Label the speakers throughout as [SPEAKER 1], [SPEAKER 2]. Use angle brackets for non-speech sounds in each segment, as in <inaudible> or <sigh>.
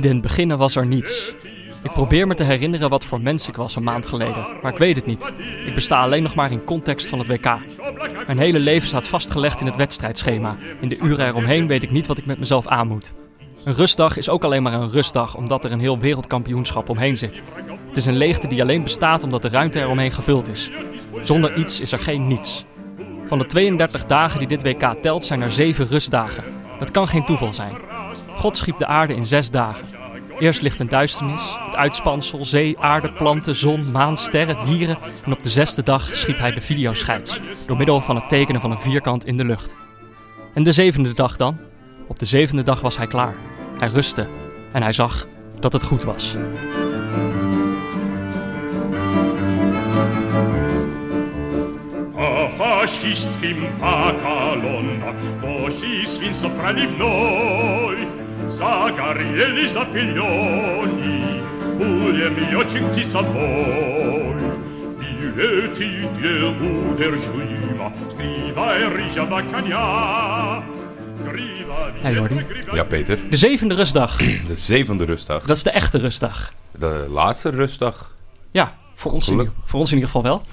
[SPEAKER 1] den beginnen was er niets. Ik probeer me te herinneren wat voor mens ik was een maand geleden, maar ik weet het niet. Ik besta alleen nog maar in context van het WK. Mijn hele leven staat vastgelegd in het wedstrijdschema. In de uren eromheen weet ik niet wat ik met mezelf aan moet. Een rustdag is ook alleen maar een rustdag omdat er een heel wereldkampioenschap omheen zit. Het is een leegte die alleen bestaat omdat de ruimte eromheen gevuld is. Zonder iets is er geen niets. Van de 32 dagen die dit WK telt zijn er 7 rustdagen. Dat kan geen toeval zijn. God schiep de aarde in 6 dagen. Eerst ligt een duisternis, het uitspansel, zee, aarde, planten, zon, maan, sterren, dieren. En op de zesde dag schiep hij de videoscheids, door middel van het tekenen van een vierkant in de lucht. En de zevende dag dan? Op de zevende dag was hij klaar. Hij rustte en hij zag dat het goed was.
[SPEAKER 2] фашистским по колоннам
[SPEAKER 3] Oh,
[SPEAKER 2] Божьи свинца проливной Загорели запыленный Пулеметчик тисовой И эти неудержимо Скривая
[SPEAKER 3] e
[SPEAKER 2] рыжего коня
[SPEAKER 1] Hey,
[SPEAKER 3] e
[SPEAKER 1] Jordi.
[SPEAKER 4] Ja, Peter.
[SPEAKER 1] De zevende rustdag, <clears throat>
[SPEAKER 4] De zevende rustdag.
[SPEAKER 1] dat is de echte rustdag.
[SPEAKER 4] De laatste rustdag.
[SPEAKER 1] Ja, voor ons, in,
[SPEAKER 4] Geluk.
[SPEAKER 1] voor ons in ieder geval wel. <laughs>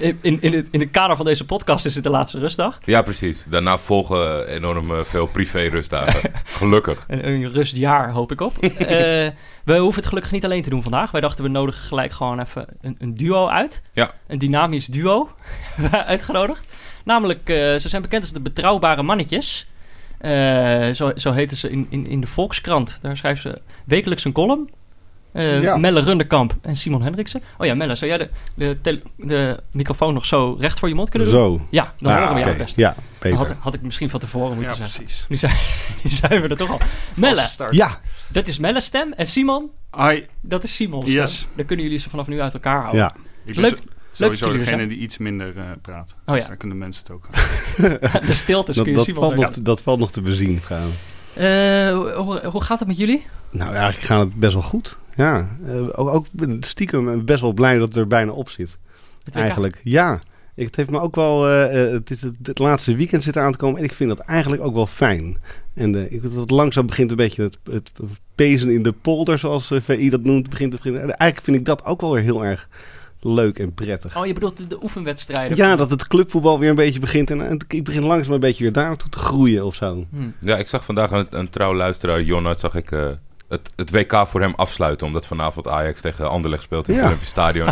[SPEAKER 1] In, in, in, het, in het kader van deze podcast is het de laatste rustdag.
[SPEAKER 4] Ja, precies. Daarna volgen enorm eh, veel privé-rustdagen. Gelukkig.
[SPEAKER 1] Een, een rustjaar, hoop ik
[SPEAKER 3] <laughs>
[SPEAKER 1] op. Eh, we hoeven het gelukkig niet alleen te doen vandaag. Wij dachten, we nodigen gelijk gewoon even een, een duo uit.
[SPEAKER 4] Ja.
[SPEAKER 1] Een dynamisch duo <laughs> hebben we uitgenodigd. Namelijk, eh, ze zijn bekend als de Betrouwbare Mannetjes. Eh, zo, zo heten ze in, in, in de Volkskrant. Daar schrijven ze wekelijks een column. Eh,
[SPEAKER 5] Ja.
[SPEAKER 1] Melle Runderkamp en Simon Hendriksen. Oh ja, Melle, zou jij de, de, tele- de microfoon nog zo recht voor je mond kunnen doen?
[SPEAKER 5] Zo.
[SPEAKER 1] Ja, dan
[SPEAKER 5] Ah,
[SPEAKER 1] horen we jou
[SPEAKER 5] oké.
[SPEAKER 1] het best.
[SPEAKER 5] Ja,
[SPEAKER 1] Had,
[SPEAKER 5] beter.
[SPEAKER 1] had ik misschien van tevoren moeten
[SPEAKER 3] Ja,
[SPEAKER 1] zeggen.
[SPEAKER 3] precies.
[SPEAKER 1] Nu zijn, nu <laughs> zijn we er toch al. Melle,
[SPEAKER 3] Vaste start.
[SPEAKER 5] Ja,
[SPEAKER 1] dat is Melle's stem. En Simon,
[SPEAKER 3] Hi,
[SPEAKER 1] dat is Simon's stem.
[SPEAKER 3] Yes.
[SPEAKER 1] Dan kunnen jullie ze vanaf nu uit elkaar houden.
[SPEAKER 5] ja.
[SPEAKER 3] ik ben
[SPEAKER 1] Leuk-
[SPEAKER 3] zo-
[SPEAKER 1] dat
[SPEAKER 3] sowieso
[SPEAKER 1] jullie er
[SPEAKER 3] degene
[SPEAKER 1] zijn. Oh
[SPEAKER 3] die iets minder eh, praat.
[SPEAKER 1] ja.
[SPEAKER 3] Dus daar kunnen mensen het ook
[SPEAKER 1] <laughs>
[SPEAKER 3] aan.
[SPEAKER 1] De stiltes dus
[SPEAKER 5] Dat,
[SPEAKER 1] kun je
[SPEAKER 5] dat,
[SPEAKER 1] Simon
[SPEAKER 5] valt nog,
[SPEAKER 1] horen.
[SPEAKER 5] te- dat valt nog te bezien, vrouw.
[SPEAKER 1] Eh, hoe, hoe gaat het met jullie?
[SPEAKER 5] Nou, eigenlijk gaat het best wel goed. Ja, eh, ook, ook stiekem best wel blij dat het er bijna op zit.
[SPEAKER 1] Het WK?
[SPEAKER 5] Eigenlijk, ja. Ik- Het heeft me ook wel. eh, eh, het, is het, het laatste weekend zit aan te komen en ik vind dat eigenlijk ook wel fijn. En eh, ik, dat langzaam begint een beetje het, het pezen in de polder, zoals eh, VI dat noemt, begint te beginnen. En Eigenlijk vind ik dat ook wel weer heel erg leuk en prettig.
[SPEAKER 1] Oh, je bedoelt de, de oefenwedstrijden?
[SPEAKER 5] Ja, dat het clubvoetbal weer een beetje begint en, en ik begin langzaam een beetje weer daartoe te groeien of zo.
[SPEAKER 1] Hm.
[SPEAKER 4] Ja, ik zag vandaag een, een trouw luisteraar, Jonat, zag ik eh, het, het WK voor hem afsluiten. Omdat vanavond Ajax tegen Anderlecht speelt in het
[SPEAKER 5] Ja.
[SPEAKER 4] Olympisch Stadion.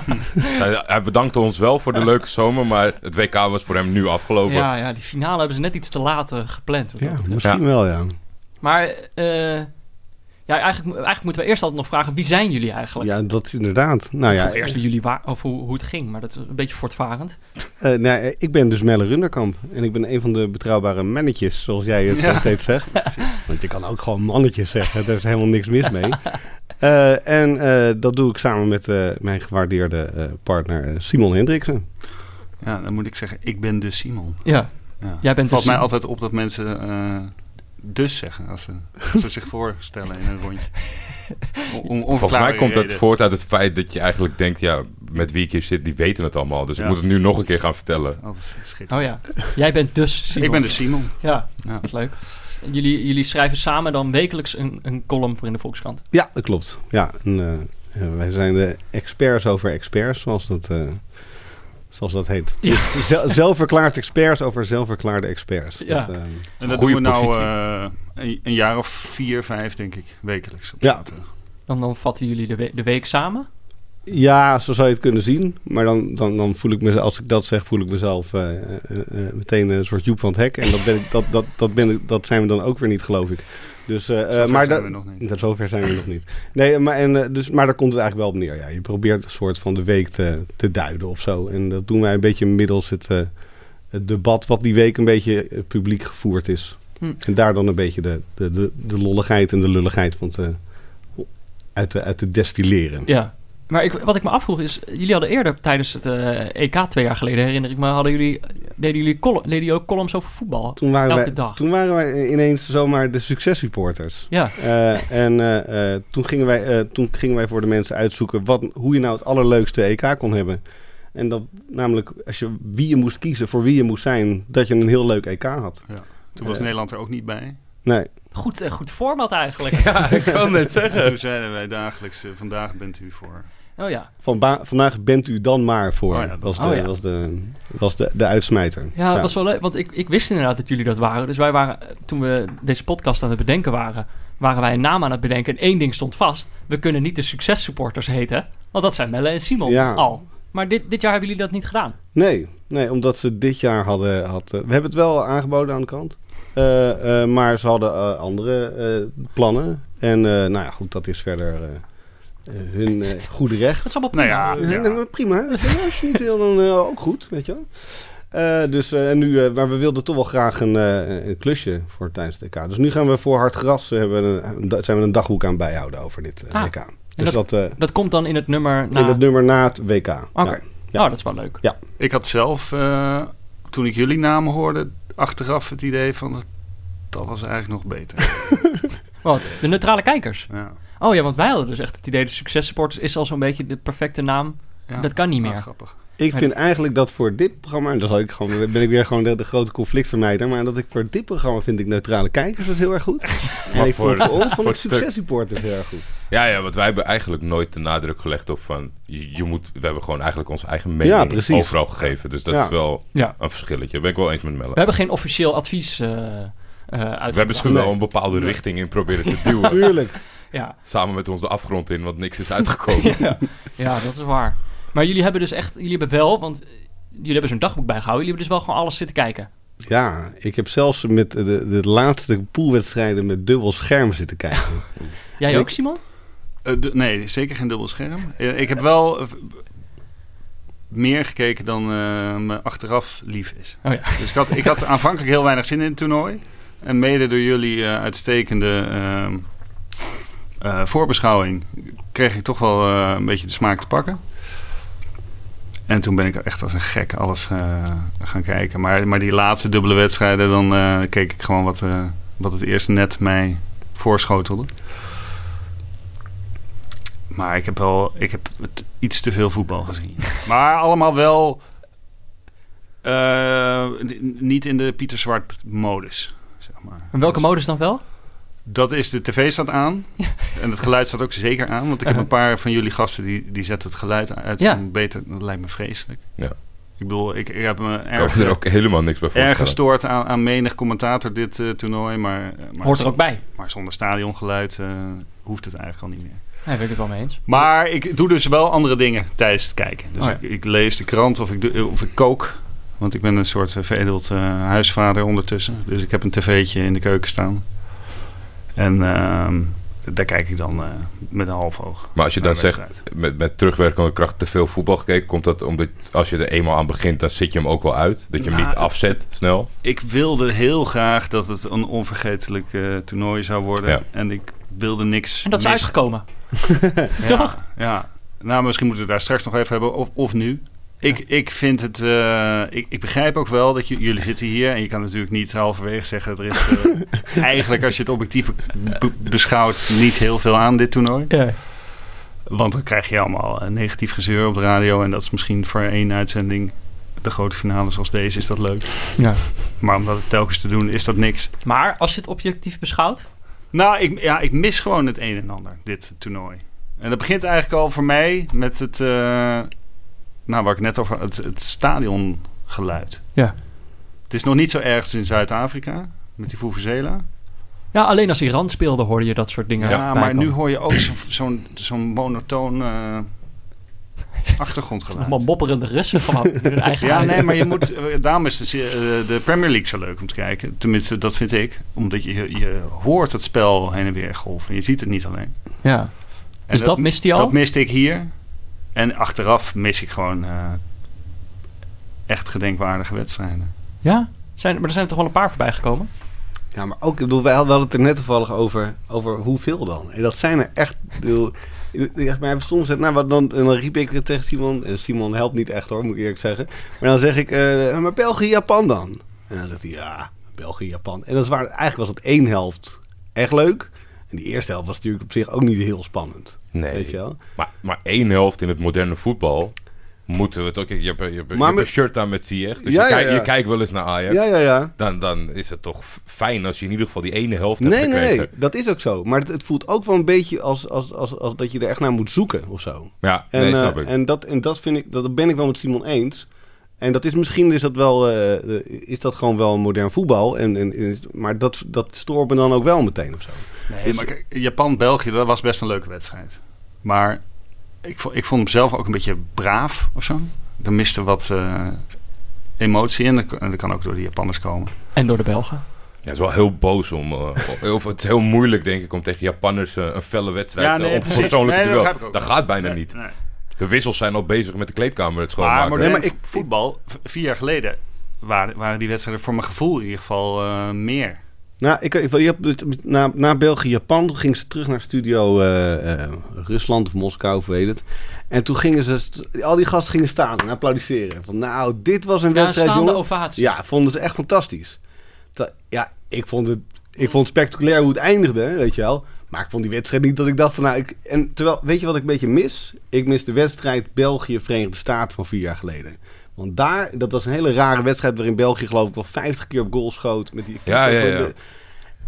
[SPEAKER 4] Zij- hij bedankte ons wel voor de leuke zomer, maar het WK was voor hem nu afgelopen.
[SPEAKER 1] Ja, ja, die finale hebben ze net iets te laat eh, gepland. wat dat
[SPEAKER 5] Ja,
[SPEAKER 1] betreft.
[SPEAKER 5] misschien
[SPEAKER 4] Ja.
[SPEAKER 5] wel, ja.
[SPEAKER 1] Maar eh, ja, eigenlijk, mo- eigenlijk moeten we eerst altijd nog vragen, wie zijn jullie eigenlijk?
[SPEAKER 5] Ja, dat is inderdaad. Nou
[SPEAKER 1] Of
[SPEAKER 5] ja,
[SPEAKER 1] eerst wie jullie waren, of hoe, hoe het ging, maar dat is een beetje voortvarend.
[SPEAKER 5] eh, nou, eh, ik ben dus Melle Runderkamp en ik ben een van de betrouwbare mannetjes, zoals jij het eh,
[SPEAKER 3] Ja.
[SPEAKER 5] steeds zegt. Want je kan ook gewoon mannetjes zeggen, daar is helemaal niks mis mee. Eh, en eh, dat doe ik samen met eh, mijn gewaardeerde eh, partner eh, Simon Hendriksen.
[SPEAKER 3] Ja, dan moet ik zeggen, ik ben dus Simon.
[SPEAKER 1] Ja,
[SPEAKER 3] Ja.
[SPEAKER 1] jij bent
[SPEAKER 3] valt
[SPEAKER 1] dus
[SPEAKER 3] mij altijd op dat mensen eh, dus zeggen als ze, als ze zich voorstellen in een rondje. O- om
[SPEAKER 4] Volgens mij
[SPEAKER 3] onverklaarbare
[SPEAKER 4] komt het
[SPEAKER 3] reden.
[SPEAKER 4] voort uit het feit dat je eigenlijk denkt, ja, met wie ik hier zit, die weten het allemaal. Dus ik
[SPEAKER 3] Ja.
[SPEAKER 4] moet het nu nog een keer gaan vertellen.
[SPEAKER 3] Altijd schitterend.
[SPEAKER 1] Oh ja, jij bent dus
[SPEAKER 4] Oh,
[SPEAKER 1] Simon.
[SPEAKER 3] ik ben dus Simon.
[SPEAKER 1] Ja,
[SPEAKER 3] Ja.
[SPEAKER 1] wat leuk. En Jullie, jullie schrijven samen dan wekelijks een, een column voor in de Volkskrant.
[SPEAKER 5] Ja, dat klopt. Ja, en, eh, eh, wij zijn de experts over experts, zoals dat, eh, zoals dat heet.
[SPEAKER 1] Ja.
[SPEAKER 5] Dus zel- zelfverklaard experts over zelfverklaarde experts.
[SPEAKER 1] Ja.
[SPEAKER 5] Dat, eh,
[SPEAKER 3] En dat
[SPEAKER 4] Goeie
[SPEAKER 3] doen we nou
[SPEAKER 4] positie.
[SPEAKER 3] eh, een, een jaar of vier, vijf, denk ik, wekelijks. Op
[SPEAKER 5] Ja. eh,
[SPEAKER 3] zaterdag.
[SPEAKER 1] Dan, dan vatten jullie de, we- de week samen.
[SPEAKER 5] Ja, zo zou je het kunnen zien. Maar dan, dan, dan voel ik mezelf, als ik dat zeg, voel ik mezelf eh, eh, eh, meteen een soort Joep van het Hek. En dat, ben ik, dat, dat, dat, ben ik, dat zijn we dan ook weer niet, geloof ik. Dus, eh, eh,
[SPEAKER 3] Zover
[SPEAKER 5] maar
[SPEAKER 3] zijn
[SPEAKER 5] dat-
[SPEAKER 3] we nog niet.
[SPEAKER 5] dat- zover zijn we nog niet. Nee, maar, en, eh, dus, maar daar komt het eigenlijk wel op neer. Ja, je probeert een soort van de week te, te duiden of zo. En dat doen wij een beetje middels het, eh, het debat wat die week een beetje eh, publiek gevoerd is.
[SPEAKER 1] Hm.
[SPEAKER 5] En daar dan een beetje de, de, de, de lolligheid en de lulligheid van te, uit, te, uit te destilleren.
[SPEAKER 1] Ja. Maar ik, wat ik me afvroeg is, jullie hadden eerder tijdens het eh, EK twee jaar geleden, herinner ik me, hadden jullie, deden, jullie col- deden jullie ook columns over voetbal?
[SPEAKER 5] Toen waren,
[SPEAKER 1] Elke
[SPEAKER 5] wij,
[SPEAKER 1] dag.
[SPEAKER 5] toen waren wij ineens zomaar de succesreporters.
[SPEAKER 1] Ja,
[SPEAKER 5] Eh, en eh, eh, toen, gingen wij, eh, toen gingen wij voor de mensen uitzoeken wat, hoe je nou het allerleukste EK kon hebben. En dat namelijk als je, wie je moest kiezen, voor wie je moest zijn, dat je een heel leuk EK had.
[SPEAKER 3] Toen was
[SPEAKER 5] Eh.
[SPEAKER 3] Nederland er ook niet bij.
[SPEAKER 5] Nee.
[SPEAKER 1] Goed, eh, goed format eigenlijk.
[SPEAKER 4] Ja, ik kan net
[SPEAKER 3] En
[SPEAKER 4] zeggen.
[SPEAKER 3] toen zeiden wij dagelijks, eh, vandaag bent u voor.
[SPEAKER 1] <laughs> Oh ja.
[SPEAKER 5] Van ba- vandaag bent u dan maar voor.
[SPEAKER 3] Oh ja, dat-
[SPEAKER 5] was de,
[SPEAKER 1] oh ja.
[SPEAKER 5] was de, was de, de uitsmijter.
[SPEAKER 1] Ja, dat was wel leuk. Want ik, ik wist inderdaad dat jullie dat waren. Dus wij waren, eh, toen we deze podcast aan het bedenken waren, waren wij een naam aan het bedenken. En één ding stond vast. We kunnen niet de successupporters heten. Want dat zijn Melle en Simon
[SPEAKER 5] Ja.
[SPEAKER 1] al. Maar dit, dit jaar hebben jullie dat niet gedaan.
[SPEAKER 5] Nee, nee, omdat ze dit jaar hadden... Had, eh, we hebben het wel aangeboden aan de kant. Eh, eh, maar ze hadden eh, andere eh, plannen. En eh, nou ja, goed, dat is verder eh, eh, hun eh, goede recht.
[SPEAKER 1] Dat is allemaal
[SPEAKER 3] Nou
[SPEAKER 1] prima.
[SPEAKER 3] ja,
[SPEAKER 5] Ja. nee, maar prima. Weet je wel. Als je niet wil, dan eh, ook goed, weet je wel. Eh, dus, eh, en nu, eh, maar we wilden toch wel graag een, eh, een klusje voor tijdens het EK. Dus nu gaan we voor hard gras, eh, hebben we een, een- zijn we een dagboek aan bijhouden over dit eh,
[SPEAKER 1] Ah,
[SPEAKER 5] EK. Dus dat, eh,
[SPEAKER 1] Dat komt dan in het nummer na...
[SPEAKER 5] in het nummer na het Nou, WK.
[SPEAKER 1] Oké.
[SPEAKER 5] Ja. ja.
[SPEAKER 1] Oh, dat is wel leuk.
[SPEAKER 3] Ik had zelf, eh, toen ik jullie namen hoorde, achteraf het idee van dat was eigenlijk nog
[SPEAKER 1] <laughs>
[SPEAKER 3] beter.
[SPEAKER 1] Wat? De neutrale kijkers.
[SPEAKER 3] Ja.
[SPEAKER 1] Oh ja, want wij hadden dus echt het idee... de successupporters is al zo'n beetje de perfecte naam.
[SPEAKER 3] Ja.
[SPEAKER 1] Dat kan niet
[SPEAKER 3] Ah,
[SPEAKER 1] meer.
[SPEAKER 3] grappig.
[SPEAKER 5] Ik
[SPEAKER 1] Maar
[SPEAKER 5] vind eigenlijk dat voor dit programma, en dan zal ik gewoon, ben ik weer gewoon de, de grote conflictvermijder, maar dat ik voor dit programma vind ik neutrale kijkers dat is heel erg
[SPEAKER 4] <laughs>
[SPEAKER 5] goed. En
[SPEAKER 4] Maar
[SPEAKER 5] ik vond
[SPEAKER 4] voor-
[SPEAKER 5] het voor ons van
[SPEAKER 4] voor
[SPEAKER 5] het
[SPEAKER 4] het stuk-
[SPEAKER 5] successreporter heel erg goed.
[SPEAKER 4] Ja, ja, want wij hebben eigenlijk nooit de nadruk gelegd op van... Je, je moet, we hebben gewoon eigenlijk onze eigen
[SPEAKER 5] Ja,
[SPEAKER 4] mening
[SPEAKER 5] precies.
[SPEAKER 4] overal gegeven. Dus dat
[SPEAKER 5] Ja.
[SPEAKER 4] is wel
[SPEAKER 1] Ja.
[SPEAKER 4] een verschilletje. Ben ik wel eens met Melle.
[SPEAKER 1] We hebben geen officieel advies eh eh,
[SPEAKER 4] We hebben ze
[SPEAKER 1] uitgebracht.
[SPEAKER 4] wel een bepaalde richting in proberen te duwen.
[SPEAKER 5] <laughs> Tuurlijk.
[SPEAKER 1] Ja.
[SPEAKER 4] Samen met ons de afgrond in, want niks is uitgekomen.
[SPEAKER 1] <laughs> ja. ja, dat is waar. Maar jullie hebben dus echt, jullie hebben wel, want eh, jullie hebben zo'n dagboek bijgehouden, jullie hebben dus wel gewoon alles zitten kijken.
[SPEAKER 5] Ja, ik heb zelfs met de, de laatste poolwedstrijden met dubbel scherm zitten kijken.
[SPEAKER 1] Jij
[SPEAKER 5] Ik-
[SPEAKER 1] ook, Simon?
[SPEAKER 3] Eh, d- nee, zeker geen dubbel scherm. Eh, ik heb wel eh, meer gekeken dan eh, me achteraf lief is.
[SPEAKER 1] Oh ja.
[SPEAKER 3] Dus ik had, ik
[SPEAKER 1] <laughs>
[SPEAKER 3] had aanvankelijk heel weinig zin in het toernooi. En mede door jullie eh, uitstekende ehm, eh, voorbeschouwing kreeg ik toch wel eh, een beetje de smaak te pakken. En toen ben ik echt als een gek alles eh, gaan kijken. Maar, maar die laatste dubbele wedstrijden, dan eh, keek ik gewoon wat, eh, wat het eerste net mij voorschotelde. Maar ik heb wel ik heb het iets te veel voetbal
[SPEAKER 1] <laughs>
[SPEAKER 3] gezien. Maar allemaal wel eh, n- niet in de Pieter Zwart modus, zeg maar.
[SPEAKER 1] En welke modus dan wel?
[SPEAKER 3] Dat is, de tv staat
[SPEAKER 1] <laughs>
[SPEAKER 3] aan. En het geluid staat ook zeker aan. Want ik heb
[SPEAKER 1] Uh-huh.
[SPEAKER 3] een paar van jullie gasten die, die zetten het geluid uit.
[SPEAKER 1] Ja.
[SPEAKER 3] om Beter, dat lijkt me vreselijk.
[SPEAKER 4] Ja.
[SPEAKER 3] Ik bedoel, ik, ik heb me
[SPEAKER 4] Ik kan
[SPEAKER 3] erg,
[SPEAKER 4] me er ook helemaal niks bij
[SPEAKER 3] erg
[SPEAKER 4] voorstellen.
[SPEAKER 3] gestoord aan, aan menig commentator dit eh, toernooi. Maar, eh, maar,
[SPEAKER 1] Hoort er ook bij.
[SPEAKER 3] maar zonder stadiongeluid eh, hoeft het eigenlijk al niet meer.
[SPEAKER 1] Daar ben ik het wel mee eens.
[SPEAKER 3] Maar ik doe dus wel andere dingen tijdens het kijken. Dus
[SPEAKER 1] Oh ja.
[SPEAKER 3] ik, ik lees de krant of ik, doe, of ik kook. Want ik ben een soort eh, veredeld eh, huisvader ondertussen. Dus ik heb een tv'tje in de keuken staan. En ehm, daar kijk ik dan eh, met een half oog.
[SPEAKER 4] Maar als je
[SPEAKER 3] naar
[SPEAKER 4] dan
[SPEAKER 3] de
[SPEAKER 4] zegt,
[SPEAKER 3] wedstrijd.
[SPEAKER 4] met, met terugwerkende kracht te veel voetbal gekeken, komt dat omdat als je er eenmaal aan begint, dan zit je hem ook wel uit. Dat je hem
[SPEAKER 3] Nou,
[SPEAKER 4] niet afzet snel.
[SPEAKER 3] Ik wilde heel graag dat het een onvergetelijk eh, toernooi zou worden.
[SPEAKER 4] Ja.
[SPEAKER 3] En ik wilde niks.
[SPEAKER 1] En dat is
[SPEAKER 3] missen.
[SPEAKER 1] uitgekomen.
[SPEAKER 3] Ja,
[SPEAKER 1] Toch?
[SPEAKER 3] Ja. Nou, misschien moeten we het daar straks nog even hebben. Of, of nu. Ik, ik vind het... eh, ik, ik begrijp ook wel dat j- jullie zitten hier... en je kan natuurlijk niet halverwege zeggen... er is eh, eigenlijk, als je het objectief be- be- beschouwt... niet heel veel aan dit toernooi.
[SPEAKER 1] Ja.
[SPEAKER 3] Want dan krijg je allemaal eh, negatief gezeur op de radio... en dat is misschien voor één uitzending... de grote finale zoals deze is dat leuk.
[SPEAKER 1] Ja.
[SPEAKER 3] Maar om dat telkens te doen is dat niks.
[SPEAKER 1] Maar als je het objectief beschouwt,
[SPEAKER 3] Nou, ik, ja, ik mis gewoon het een en ander, dit toernooi. En dat begint eigenlijk al voor mij met het, eh, nou, waar ik net over het, het stadiongeluid.
[SPEAKER 1] Ja.
[SPEAKER 3] Het is nog niet zo erg in Zuid-Afrika, met die Vuvuzela.
[SPEAKER 1] ja, alleen als Iran speelde hoorde je dat soort dingen.
[SPEAKER 3] Ja,
[SPEAKER 1] voorbij
[SPEAKER 3] maar nu
[SPEAKER 1] komen.
[SPEAKER 3] hoor je ook zo- zo'n zo'n monotoon eh, achtergrondgeluid.
[SPEAKER 1] Allemaal mopperende Russen
[SPEAKER 3] <laughs>
[SPEAKER 1] van hun eigen
[SPEAKER 3] Ja,
[SPEAKER 1] huis.
[SPEAKER 3] nee, maar je moet. eh, Daarom is de, se- eh, de Premier League zo leuk om te kijken. Tenminste, dat vind ik. Omdat je, je hoort het spel heen en weer golven. Je ziet het niet alleen.
[SPEAKER 1] <laughs> Ja.
[SPEAKER 3] En
[SPEAKER 1] Dus dat, mist hij al?
[SPEAKER 3] Dat miste ik hier. En achteraf mis ik gewoon eh, echt gedenkwaardige wedstrijden.
[SPEAKER 1] Ja? Zijn, maar er zijn er toch wel een paar voorbij gekomen?
[SPEAKER 5] Ja, maar ook, ik bedoel, wij hadden het er net toevallig over, over hoeveel dan. En dat zijn er echt, ik bedoel, ik- ik- maar soms, nou, wat dan, en dan riep ik het tegen Simon, en Simon helpt niet echt hoor, moet ik eerlijk zeggen. Maar dan zeg ik, eh, maar België, Japan dan? En dan zegt hij, ja, België, Japan. En dat is waar, eigenlijk was het één helft echt leuk. En die eerste helft was natuurlijk op zich ook niet heel spannend,
[SPEAKER 4] Nee.
[SPEAKER 5] weet je wel.
[SPEAKER 4] Maar, maar één helft in het moderne voetbal moeten we het ook. Je hebt, je hebt, je hebt
[SPEAKER 5] Maar met-
[SPEAKER 4] een shirt aan met Ziyech. Dus
[SPEAKER 5] Ja,
[SPEAKER 4] je,
[SPEAKER 5] ja,
[SPEAKER 4] kijkt-
[SPEAKER 5] ja.
[SPEAKER 4] je kijkt wel eens naar Ajax.
[SPEAKER 5] Ja, ja, ja.
[SPEAKER 4] Dan, dan is het toch fijn als je in ieder geval die ene helft hebt
[SPEAKER 5] Nee, nee,
[SPEAKER 4] gekregen.
[SPEAKER 5] nee, dat is ook zo. Maar het, het voelt ook wel een beetje als, als, als, als dat je er echt naar moet zoeken of zo.
[SPEAKER 4] Ja,
[SPEAKER 5] En,
[SPEAKER 4] nee,
[SPEAKER 5] eh,
[SPEAKER 4] snap ik.
[SPEAKER 5] en, dat, en dat vind ik, dat ben ik wel met Simon eens. En dat is misschien is dat wel, eh, eh, is dat gewoon wel modern voetbal. En, en, en is- maar dat, dat stoort me dan ook wel meteen of zo.
[SPEAKER 3] Nee, maar kijk, Japan-België, dat was best een leuke wedstrijd. Maar ik vond, ik vond hem zelf ook een beetje braaf of zo. Er miste wat eh, emotie in. Dat, kan- dat kan ook door de Japanners komen.
[SPEAKER 1] En door de Belgen.
[SPEAKER 4] Ja, het is wel heel boos om... <laughs> eh, of het is heel moeilijk, denk ik, om tegen Japanners eh, een felle wedstrijd
[SPEAKER 3] Ja,
[SPEAKER 4] ja,
[SPEAKER 3] nee,
[SPEAKER 4] op
[SPEAKER 3] precies.
[SPEAKER 4] persoonlijk
[SPEAKER 3] Nee, dat
[SPEAKER 4] duel.
[SPEAKER 3] begrijp ik ook.
[SPEAKER 4] Dat, gaat bijna
[SPEAKER 3] Nee,
[SPEAKER 4] niet.
[SPEAKER 3] nee.
[SPEAKER 4] De wissels zijn al bezig met de kleedkamer het
[SPEAKER 3] Maar,
[SPEAKER 4] schoonmaken.
[SPEAKER 3] modern
[SPEAKER 5] Nee, maar ik-
[SPEAKER 3] vo- voetbal, v- vier jaar geleden, waren, waren die wedstrijden voor mijn gevoel in ieder geval eh, meer.
[SPEAKER 5] Nou, ik, ik, je hebt- na, na België-Japan ging ze terug naar studio eh, eh, Rusland of Moskou, of weet het. En toen gingen ze, st- al die gasten gingen staan en applaudisseren. Van nou, dit was een
[SPEAKER 1] Ja, een
[SPEAKER 5] wedstrijd,
[SPEAKER 1] staande
[SPEAKER 5] jongen.
[SPEAKER 1] ovatie.
[SPEAKER 5] Ja, vonden ze echt fantastisch. Ter- ja, ik vond het, ik vond het spectaculair hoe het eindigde, weet je wel. Maar ik vond die wedstrijd niet dat ik dacht van nou... Ik, en terwijl, weet je wat ik een beetje mis? Ik mis de wedstrijd België-Verenigde Staten van vier jaar geleden. Want daar, dat was een hele rare wedstrijd waarin België geloof ik wel 50 keer op goal schoot. Met die
[SPEAKER 4] Ja, ja, ja.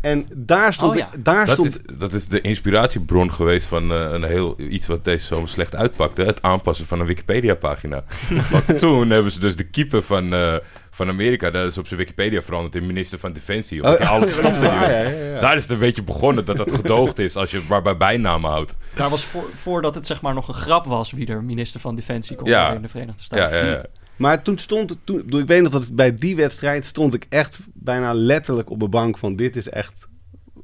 [SPEAKER 5] En daar stond
[SPEAKER 1] Oh,
[SPEAKER 5] ik,
[SPEAKER 1] ja.
[SPEAKER 5] daar
[SPEAKER 4] Dat
[SPEAKER 5] stond
[SPEAKER 4] is, dat is de inspiratiebron geweest van eh, een heel, iets wat deze zomer slecht uitpakte. Het aanpassen van een
[SPEAKER 5] <laughs>
[SPEAKER 4] Wikipedia-pagina. Want toen hebben ze dus de keeper van, eh, van Amerika... dat is op zijn Wikipedia veranderd in minister van Defensie. Omdat hij alles
[SPEAKER 5] dat is
[SPEAKER 4] stopte.
[SPEAKER 5] waar, Oh, ja, ja, ja.
[SPEAKER 4] Daar is het een beetje begonnen dat dat gedoogd is... als je het maar bij bijnamen houdt.
[SPEAKER 1] Daar was voor, voordat het zeg maar nog een grap was wie er minister van Defensie kon
[SPEAKER 4] Ja.
[SPEAKER 1] worden in de Verenigde Staten.
[SPEAKER 4] Ja,
[SPEAKER 3] hm.
[SPEAKER 4] ja, ja.
[SPEAKER 5] Maar toen stond het, toen, ik bedoel, ik weet nog dat het bij die wedstrijd stond ik echt bijna letterlijk op de bank van dit is echt,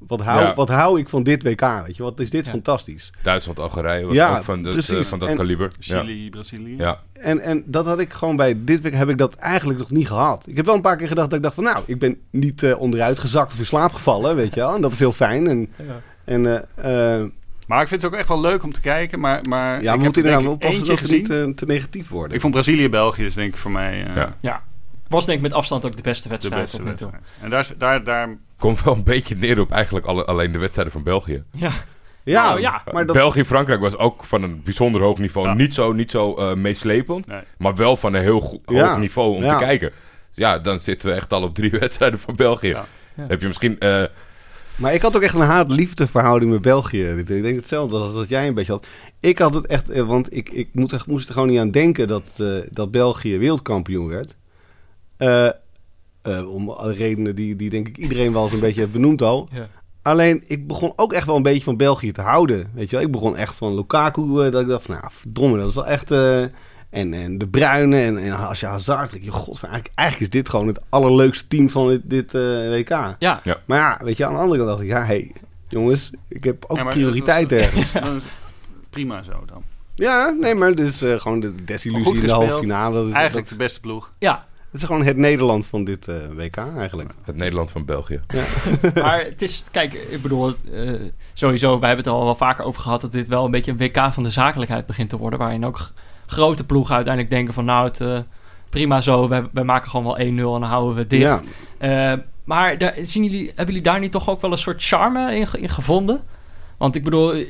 [SPEAKER 5] wat hou,
[SPEAKER 4] Ja.
[SPEAKER 5] wat hou ik van dit WK, weet je, wat is dit
[SPEAKER 1] Ja.
[SPEAKER 5] fantastisch.
[SPEAKER 4] Duitsland-Algerije was
[SPEAKER 5] Ja,
[SPEAKER 4] ook van, dat, eh,
[SPEAKER 5] precies.
[SPEAKER 4] van dat
[SPEAKER 5] En-
[SPEAKER 4] kaliber. Ja.
[SPEAKER 3] Chili, Brazilië.
[SPEAKER 4] Ja.
[SPEAKER 5] En, en dat had ik gewoon bij dit WK heb ik dat eigenlijk nog niet gehad. Ik heb wel een paar keer gedacht dat ik dacht van nou, ik ben niet eh, onderuit gezakt of in slaap gevallen, weet je wel. En dat is heel fijn. En, en, eh, eh,
[SPEAKER 3] Maar ik vind het ook echt wel leuk om te kijken. Maar, maar
[SPEAKER 5] ja,
[SPEAKER 3] ik
[SPEAKER 5] we
[SPEAKER 3] heb
[SPEAKER 5] moeten
[SPEAKER 3] er denk
[SPEAKER 5] inderdaad wel
[SPEAKER 3] ik
[SPEAKER 5] oppassen
[SPEAKER 3] eentje
[SPEAKER 5] dat we niet
[SPEAKER 3] gezien.
[SPEAKER 5] eh, te negatief worden.
[SPEAKER 3] Ik vond Brazilië-België is denk ik voor mij eh,
[SPEAKER 4] Ja.
[SPEAKER 1] Ja. Was denk ik met afstand ook de beste
[SPEAKER 3] de
[SPEAKER 1] wedstrijd
[SPEAKER 3] beste
[SPEAKER 1] tot nu toe.
[SPEAKER 3] wedstrijd. En daar, is- daar, daar
[SPEAKER 4] Komt wel een beetje neer op eigenlijk alle, alleen de wedstrijden van België.
[SPEAKER 1] Ja.
[SPEAKER 5] ja,
[SPEAKER 1] Nou, ja.
[SPEAKER 5] maar dat,
[SPEAKER 4] België-Frankrijk was ook van een bijzonder hoog niveau.
[SPEAKER 3] Ja.
[SPEAKER 4] Niet zo, niet zo eh, meeslepend,
[SPEAKER 3] Nee.
[SPEAKER 4] maar wel van een heel go-
[SPEAKER 5] Ja.
[SPEAKER 4] hoog niveau om
[SPEAKER 5] Ja.
[SPEAKER 4] te kijken. Dus ja, dan zitten we echt al op drie <laughs> wedstrijden van België.
[SPEAKER 3] Ja.
[SPEAKER 1] Ja.
[SPEAKER 4] Heb je misschien... eh,
[SPEAKER 5] Maar ik had ook echt een haat-liefde verhouding met België. Ik denk hetzelfde als wat jij een beetje had. Ik had het echt, eh, want ik, ik moet er- moest er gewoon niet aan denken dat, eh, dat België wereldkampioen werd. Eh, eh, om redenen die, die denk ik iedereen wel eens een beetje heeft benoemd al.
[SPEAKER 1] Ja.
[SPEAKER 5] Alleen, ik begon ook echt wel een beetje van België te houden. Weet je wel, ik begon echt van Lukaku. eh, dat ik dacht, van, nou, verdomme, dat is wel echt... eh, en, en de Bruyne en, en als je Hazard. denk je, god, eigenlijk, eigenlijk is dit gewoon het allerleukste team van dit, dit eh, WK.
[SPEAKER 1] Ja.
[SPEAKER 4] Ja.
[SPEAKER 5] Maar ja, weet je, aan de andere kant dacht ik, ja, hé, hey, jongens, ik heb ook
[SPEAKER 3] Ja, maar
[SPEAKER 5] prioriteit
[SPEAKER 3] dat is-
[SPEAKER 5] ergens. Dus
[SPEAKER 3] dat is prima zo dan.
[SPEAKER 5] Ja, nee, maar dit is eh, gewoon de
[SPEAKER 3] Goed
[SPEAKER 5] desillusie in de
[SPEAKER 3] gespeeld.
[SPEAKER 5] halve finale. Dat is,
[SPEAKER 3] Eigenlijk
[SPEAKER 5] dat,
[SPEAKER 3] de beste ploeg.
[SPEAKER 1] Ja,
[SPEAKER 5] dat is gewoon het Nederland van dit eh, WK eigenlijk.
[SPEAKER 4] het Nederland van België.
[SPEAKER 1] maar het is, kijk, ik bedoel, eh, sowieso, wij hebben het er al wel vaker over gehad dat dit wel een beetje een WK van de zakelijkheid begint te worden. Waarin ook g- grote ploegen uiteindelijk denken van, nou, het, eh, prima zo, wij, wij maken gewoon wel 1-0 en dan houden we dit.
[SPEAKER 5] Ja,
[SPEAKER 1] Eh, maar daar, zien jullie, hebben jullie daar niet toch ook wel een soort charme in, ge- in gevonden? Want ik bedoel,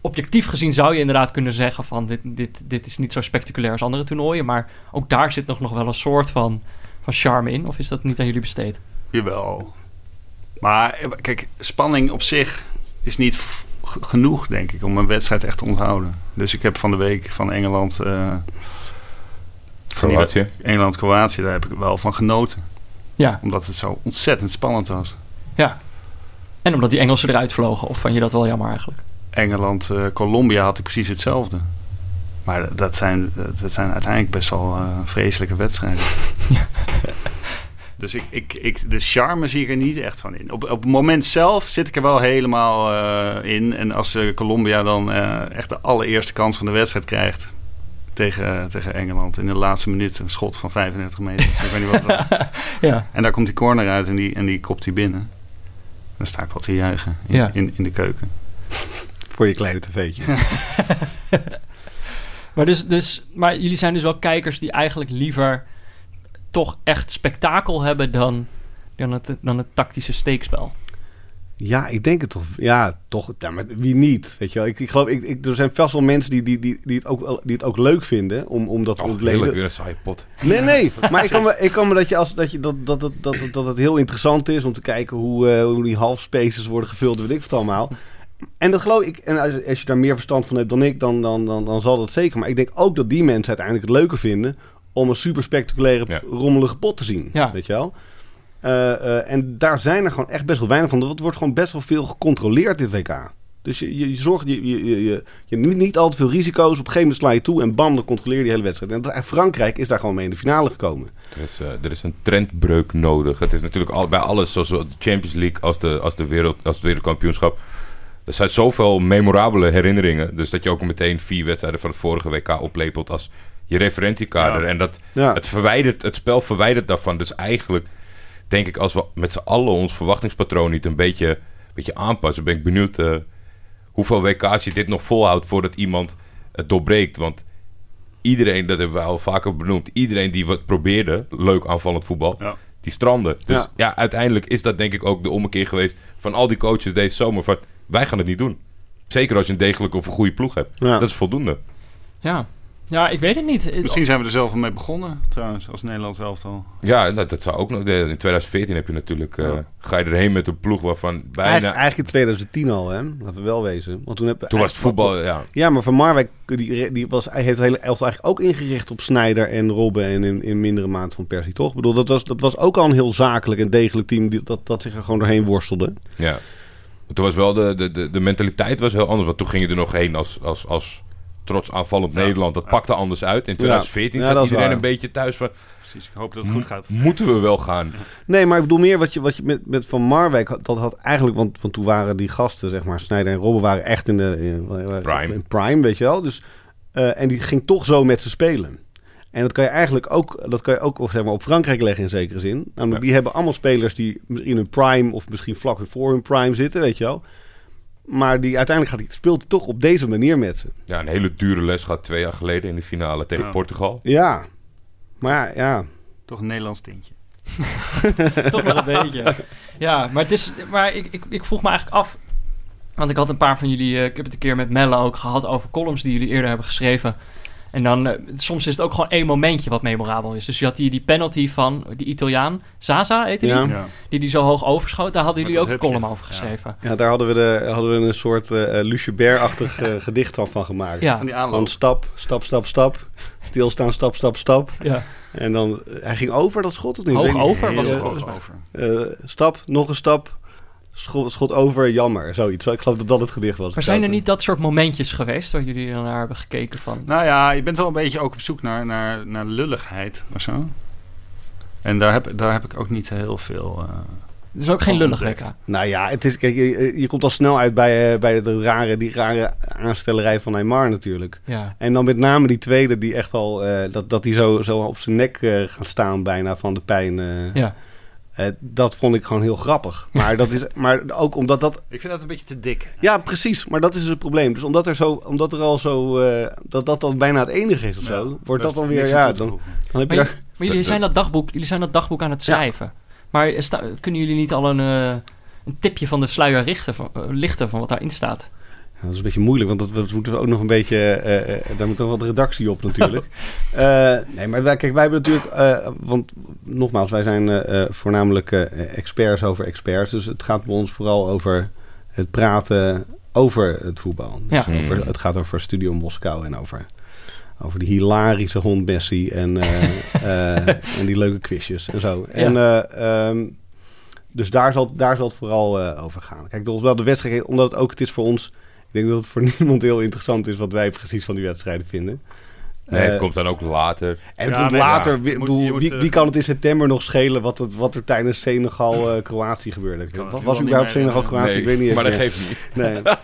[SPEAKER 1] objectief gezien zou je inderdaad kunnen zeggen van dit, dit, dit is niet zo spectaculair als andere toernooien. Maar ook daar zit nog, nog wel een soort van, van charme in. Of is dat niet aan jullie besteed?
[SPEAKER 3] Jawel. Maar eh, kijk, spanning op zich is niet v- g- genoeg, denk ik, om een wedstrijd echt te onthouden. Dus ik heb van de week van Engeland... eh, van die
[SPEAKER 4] Kroatië.
[SPEAKER 3] wed- Engeland-Kroatië, daar heb ik wel van genoten.
[SPEAKER 1] Ja.
[SPEAKER 3] Omdat het zo ontzettend spannend was.
[SPEAKER 1] En omdat die Engelsen eruit vlogen. Of vond je dat wel jammer eigenlijk?
[SPEAKER 3] Engeland-Colombia eh, had ik precies hetzelfde. Maar dat- dat zijn, dat zijn uiteindelijk best wel eh, vreselijke wedstrijden. Dus ik, ik, ik, de charme zie ik er niet echt van in. Op, op het moment zelf zit ik er wel helemaal eh, in. En als eh, Colombia dan eh, echt de allereerste kans van de wedstrijd krijgt tegen, eh, tegen Engeland. In de laatste minuut een schot van 35 meter. ik weet niet wat het was.
[SPEAKER 1] Ja.
[SPEAKER 3] En daar komt die corner uit en die, en die kopt die binnen. Dan sta ik wat te juichen in,
[SPEAKER 1] Ja.
[SPEAKER 3] in, in de keuken.
[SPEAKER 5] voor je kleine tv'tje.
[SPEAKER 1] Maar, dus, dus, maar jullie zijn dus wel kijkers die eigenlijk liever toch echt spektakel hebben dan, dan, het, dan het tactische steekspel.
[SPEAKER 5] Ja, ik denk het toch. Ja, toch. Ja, maar wie niet? Weet je wel? Ik, ik geloof, ik, ik, er zijn vast wel mensen die, die, die, die, het, ook, wel- die het ook leuk vinden om, om dat te
[SPEAKER 4] Oh,
[SPEAKER 5] ontleden.
[SPEAKER 4] heerlijk, weer een saaie pot.
[SPEAKER 5] Nee, nee. Maar ik kan me, ik kan me dat, je als, dat, je, dat, dat, dat, dat, dat het heel interessant is om te kijken hoe, eh, hoe die half spaces worden gevuld, weet ik het allemaal. En dat geloof ik. En als, als je daar meer verstand van hebt dan ik, dan, dan, dan, dan zal dat zeker. Maar ik denk ook dat die mensen uiteindelijk het leuker vinden om een super spectaculaire,
[SPEAKER 4] Ja.
[SPEAKER 5] rommelige pot te zien.
[SPEAKER 1] Ja.
[SPEAKER 5] Weet je wel? Eh, eh, en daar zijn er gewoon echt best wel weinig van. Er wordt gewoon best wel veel gecontroleerd dit WK. Dus je, je, je zorgt, je, je, je, je, je neemt niet al te veel risico's. Op een gegeven moment sla je toe en bam, dan controleer je die hele wedstrijd. En dat- Frankrijk is daar gewoon mee in de finale gekomen.
[SPEAKER 4] Er is, eh, er is een trendbreuk nodig. Het is natuurlijk al, bij alles, zoals de Champions League als, de, als, de wereld, als het wereldkampioenschap. Er zijn zoveel memorabele herinneringen. Dus dat je ook meteen vier wedstrijden van het vorige WK oplepelt als je referentiekader.
[SPEAKER 3] Ja.
[SPEAKER 4] En dat,
[SPEAKER 5] Ja.
[SPEAKER 4] het, verwijdert, het spel verwijdert daarvan. Dus eigenlijk denk ik, als we met z'n allen ons verwachtingspatroon niet een beetje, een beetje aanpassen, ben ik benieuwd eh, hoeveel WK's je dit nog volhoudt voordat iemand het doorbreekt. Want iedereen, dat hebben we al vaker benoemd, iedereen die wat probeerde, leuk aanvallend voetbal,
[SPEAKER 3] Ja.
[SPEAKER 4] die strandde. Dus
[SPEAKER 5] Ja.
[SPEAKER 4] ja. uiteindelijk is dat denk ik ook de ommekeer geweest van al die coaches deze zomer. Van, wij gaan het niet doen. Zeker als je een degelijke of een goede ploeg hebt.
[SPEAKER 5] Ja.
[SPEAKER 4] Dat is voldoende.
[SPEAKER 1] Ja. ja, ik weet het niet. Het-
[SPEAKER 3] Misschien zijn we er zelf al mee begonnen, trouwens, als Nederlands elftal.
[SPEAKER 4] Ja, dat, dat zou ook nog. In 2014 heb je natuurlijk. eh,
[SPEAKER 3] Ja.
[SPEAKER 4] Ga je erheen met een ploeg waarvan bijna.
[SPEAKER 5] Eigen- eigenlijk in 2010 al, hè? laten we wel wezen. Want toen, heb,
[SPEAKER 4] Toen was het voetbal, ja.
[SPEAKER 5] Ja, maar Van Marwijk die, die was, hij heeft het hele elftal eigenlijk ook ingericht op Snijder en Robben en in, in mindere maat van Persie, toch? Ik bedoel, dat was, dat was ook al een heel zakelijk en degelijk team die, dat, dat zich er gewoon doorheen worstelde.
[SPEAKER 4] ja. Maar Toen was wel de, de, de, de mentaliteit was heel anders. Want toen ging je er nog heen als, als, als trots aanvallend Nederland. Dat pakte anders uit. In 2014
[SPEAKER 5] Ja,
[SPEAKER 4] zat
[SPEAKER 5] dat is
[SPEAKER 4] iedereen
[SPEAKER 5] waar.
[SPEAKER 4] een beetje thuis van...
[SPEAKER 3] Precies, ik hoop dat het goed gaat.
[SPEAKER 4] Moeten we wel gaan?
[SPEAKER 5] Nee, maar ik bedoel meer wat je, wat je met, met Van Marwijk had, dat had eigenlijk... Want, want toen waren die gasten, zeg maar, Snijder en Robben waren echt in de... in- waren-
[SPEAKER 4] Prime.
[SPEAKER 5] in prime, weet je wel. Dus, eh, en die ging toch zo met ze spelen. En dat kan je eigenlijk ook, dat kan je ook of zeg maar, op Frankrijk leggen in zekere zin. Namelijk,
[SPEAKER 4] Ja.
[SPEAKER 5] die hebben allemaal spelers die in hun prime... of misschien vlak weer voor hun prime zitten, weet je wel. Maar die uiteindelijk gaat, die- speelt hij toch op deze manier met ze.
[SPEAKER 4] Ja, een hele dure les gaat twee jaar geleden in de finale tegen
[SPEAKER 3] Ja.
[SPEAKER 4] Portugal.
[SPEAKER 5] Ja, maar ja... ja.
[SPEAKER 3] Toch een Nederlands tintje.
[SPEAKER 1] Toch wel een beetje. Ja, maar, het is, maar ik, ik, ik vroeg me eigenlijk af. Want ik had een paar van jullie. eh, ik heb het een keer met Melle ook gehad over columns die jullie eerder hebben geschreven. En dan, eh, soms is het ook gewoon één momentje wat memorabel is. Dus je had die, die penalty van die Italiaan, Zaza heette die,
[SPEAKER 5] Ja.
[SPEAKER 3] Ja.
[SPEAKER 1] die die zo hoog overschoot. Daar hadden
[SPEAKER 3] Met
[SPEAKER 1] jullie ook
[SPEAKER 3] dat
[SPEAKER 1] een column
[SPEAKER 3] hupje.
[SPEAKER 1] over geschreven.
[SPEAKER 5] Ja, daar hadden we, de, hadden we een soort eh <laughs> Lucebert-achtig eh, gedicht van, van gemaakt.
[SPEAKER 1] Ja.
[SPEAKER 3] Aan die
[SPEAKER 5] Gewoon
[SPEAKER 3] aanloop.
[SPEAKER 5] stap, stap, stap, stap. Stilstaan, stap, stap, stap.
[SPEAKER 1] Ja.
[SPEAKER 5] En dan, eh, hij ging over dat schot of niet?
[SPEAKER 1] Hoog
[SPEAKER 5] Weet ik niet.
[SPEAKER 1] over was
[SPEAKER 3] Heel
[SPEAKER 1] het
[SPEAKER 5] eh,
[SPEAKER 3] hoog
[SPEAKER 1] volgens mij.
[SPEAKER 3] over.
[SPEAKER 5] Eh, stap, nog een stap. Schot, schot over, jammer. Zoiets. Ik geloof dat dat het gedicht was.
[SPEAKER 1] Maar zijn er niet dat soort momentjes geweest waar jullie dan naar hebben gekeken van?
[SPEAKER 3] Nou ja, je bent wel een beetje ook op zoek naar, naar, naar lulligheid of zo. En daar heb, daar heb ik ook niet heel veel... eh,
[SPEAKER 1] Het is ook geen lullig
[SPEAKER 3] Ontdekt.
[SPEAKER 1] WK.
[SPEAKER 5] Nou ja, het is, kijk, je, je komt al snel uit bij, eh, bij de rare, die rare aanstellerij van Neymar natuurlijk.
[SPEAKER 1] Ja.
[SPEAKER 5] En dan met name die tweede, die echt wel, eh, dat, dat die zo, zo op zijn nek eh, gaat staan bijna van de pijn. eh.
[SPEAKER 1] Ja.
[SPEAKER 5] Eh, dat vond ik gewoon heel grappig. Maar, dat is, maar ook omdat dat
[SPEAKER 3] ik vind dat een beetje te dik.
[SPEAKER 5] Ja, precies. Maar dat is dus het probleem. Dus omdat er, zo, omdat er al zo... eh, dat dat dan bijna het enige is of zo... wordt dat dan weer... Ja, dan, dan heb je
[SPEAKER 1] Maar,
[SPEAKER 5] daar-
[SPEAKER 1] maar jullie, zijn dat dagboek, jullie zijn dat dagboek aan het schrijven. Maar is da- kunnen jullie niet al een, eh, een tipje van de sluier richten van, eh, lichten van wat daarin staat?
[SPEAKER 5] Ja, dat is een beetje moeilijk, want dat, dat moeten we ook nog een beetje... eh, eh, daar moet ook wat redactie op natuurlijk. Eh, nee, maar wij, kijk, wij hebben natuurlijk... eh, want nogmaals, wij zijn eh, eh, voornamelijk eh, experts over experts. Dus het gaat bij ons vooral over het praten over het voetbal. Dus
[SPEAKER 1] Ja.
[SPEAKER 5] over, het gaat over Studio Moskou en over... Over die hilarische hond Messi en, eh, eh, en die leuke quizjes en zo. En, eh, ehm, dus daar zal, daar zal het vooral eh, over gaan. Kijk, dat is wel de wedstrijd, omdat het ook het is voor ons... Ik denk dat het voor <laughs> niemand heel interessant is wat wij precies van die wedstrijden vinden.
[SPEAKER 4] Nee, het
[SPEAKER 5] Eh,
[SPEAKER 4] komt dan ook later.
[SPEAKER 5] En het
[SPEAKER 3] Ja,
[SPEAKER 5] komt
[SPEAKER 3] nee,
[SPEAKER 5] later,
[SPEAKER 3] ja.
[SPEAKER 5] wie,
[SPEAKER 3] Je moet-
[SPEAKER 5] bedoel,
[SPEAKER 3] je moet,
[SPEAKER 5] wie,
[SPEAKER 3] eh,
[SPEAKER 5] wie kan het in september nog schelen wat, het, wat er tijdens Senegal-Kroatië gebeurde?
[SPEAKER 3] kan het
[SPEAKER 5] Wat
[SPEAKER 3] nu
[SPEAKER 5] was
[SPEAKER 3] al niet
[SPEAKER 5] überhaupt
[SPEAKER 3] meer
[SPEAKER 5] Senegal-Kroatië?
[SPEAKER 4] Nee,
[SPEAKER 5] ik weet niet.
[SPEAKER 4] maar dat
[SPEAKER 5] eens meer.
[SPEAKER 4] geeft niet.
[SPEAKER 5] Nee.
[SPEAKER 4] <laughs>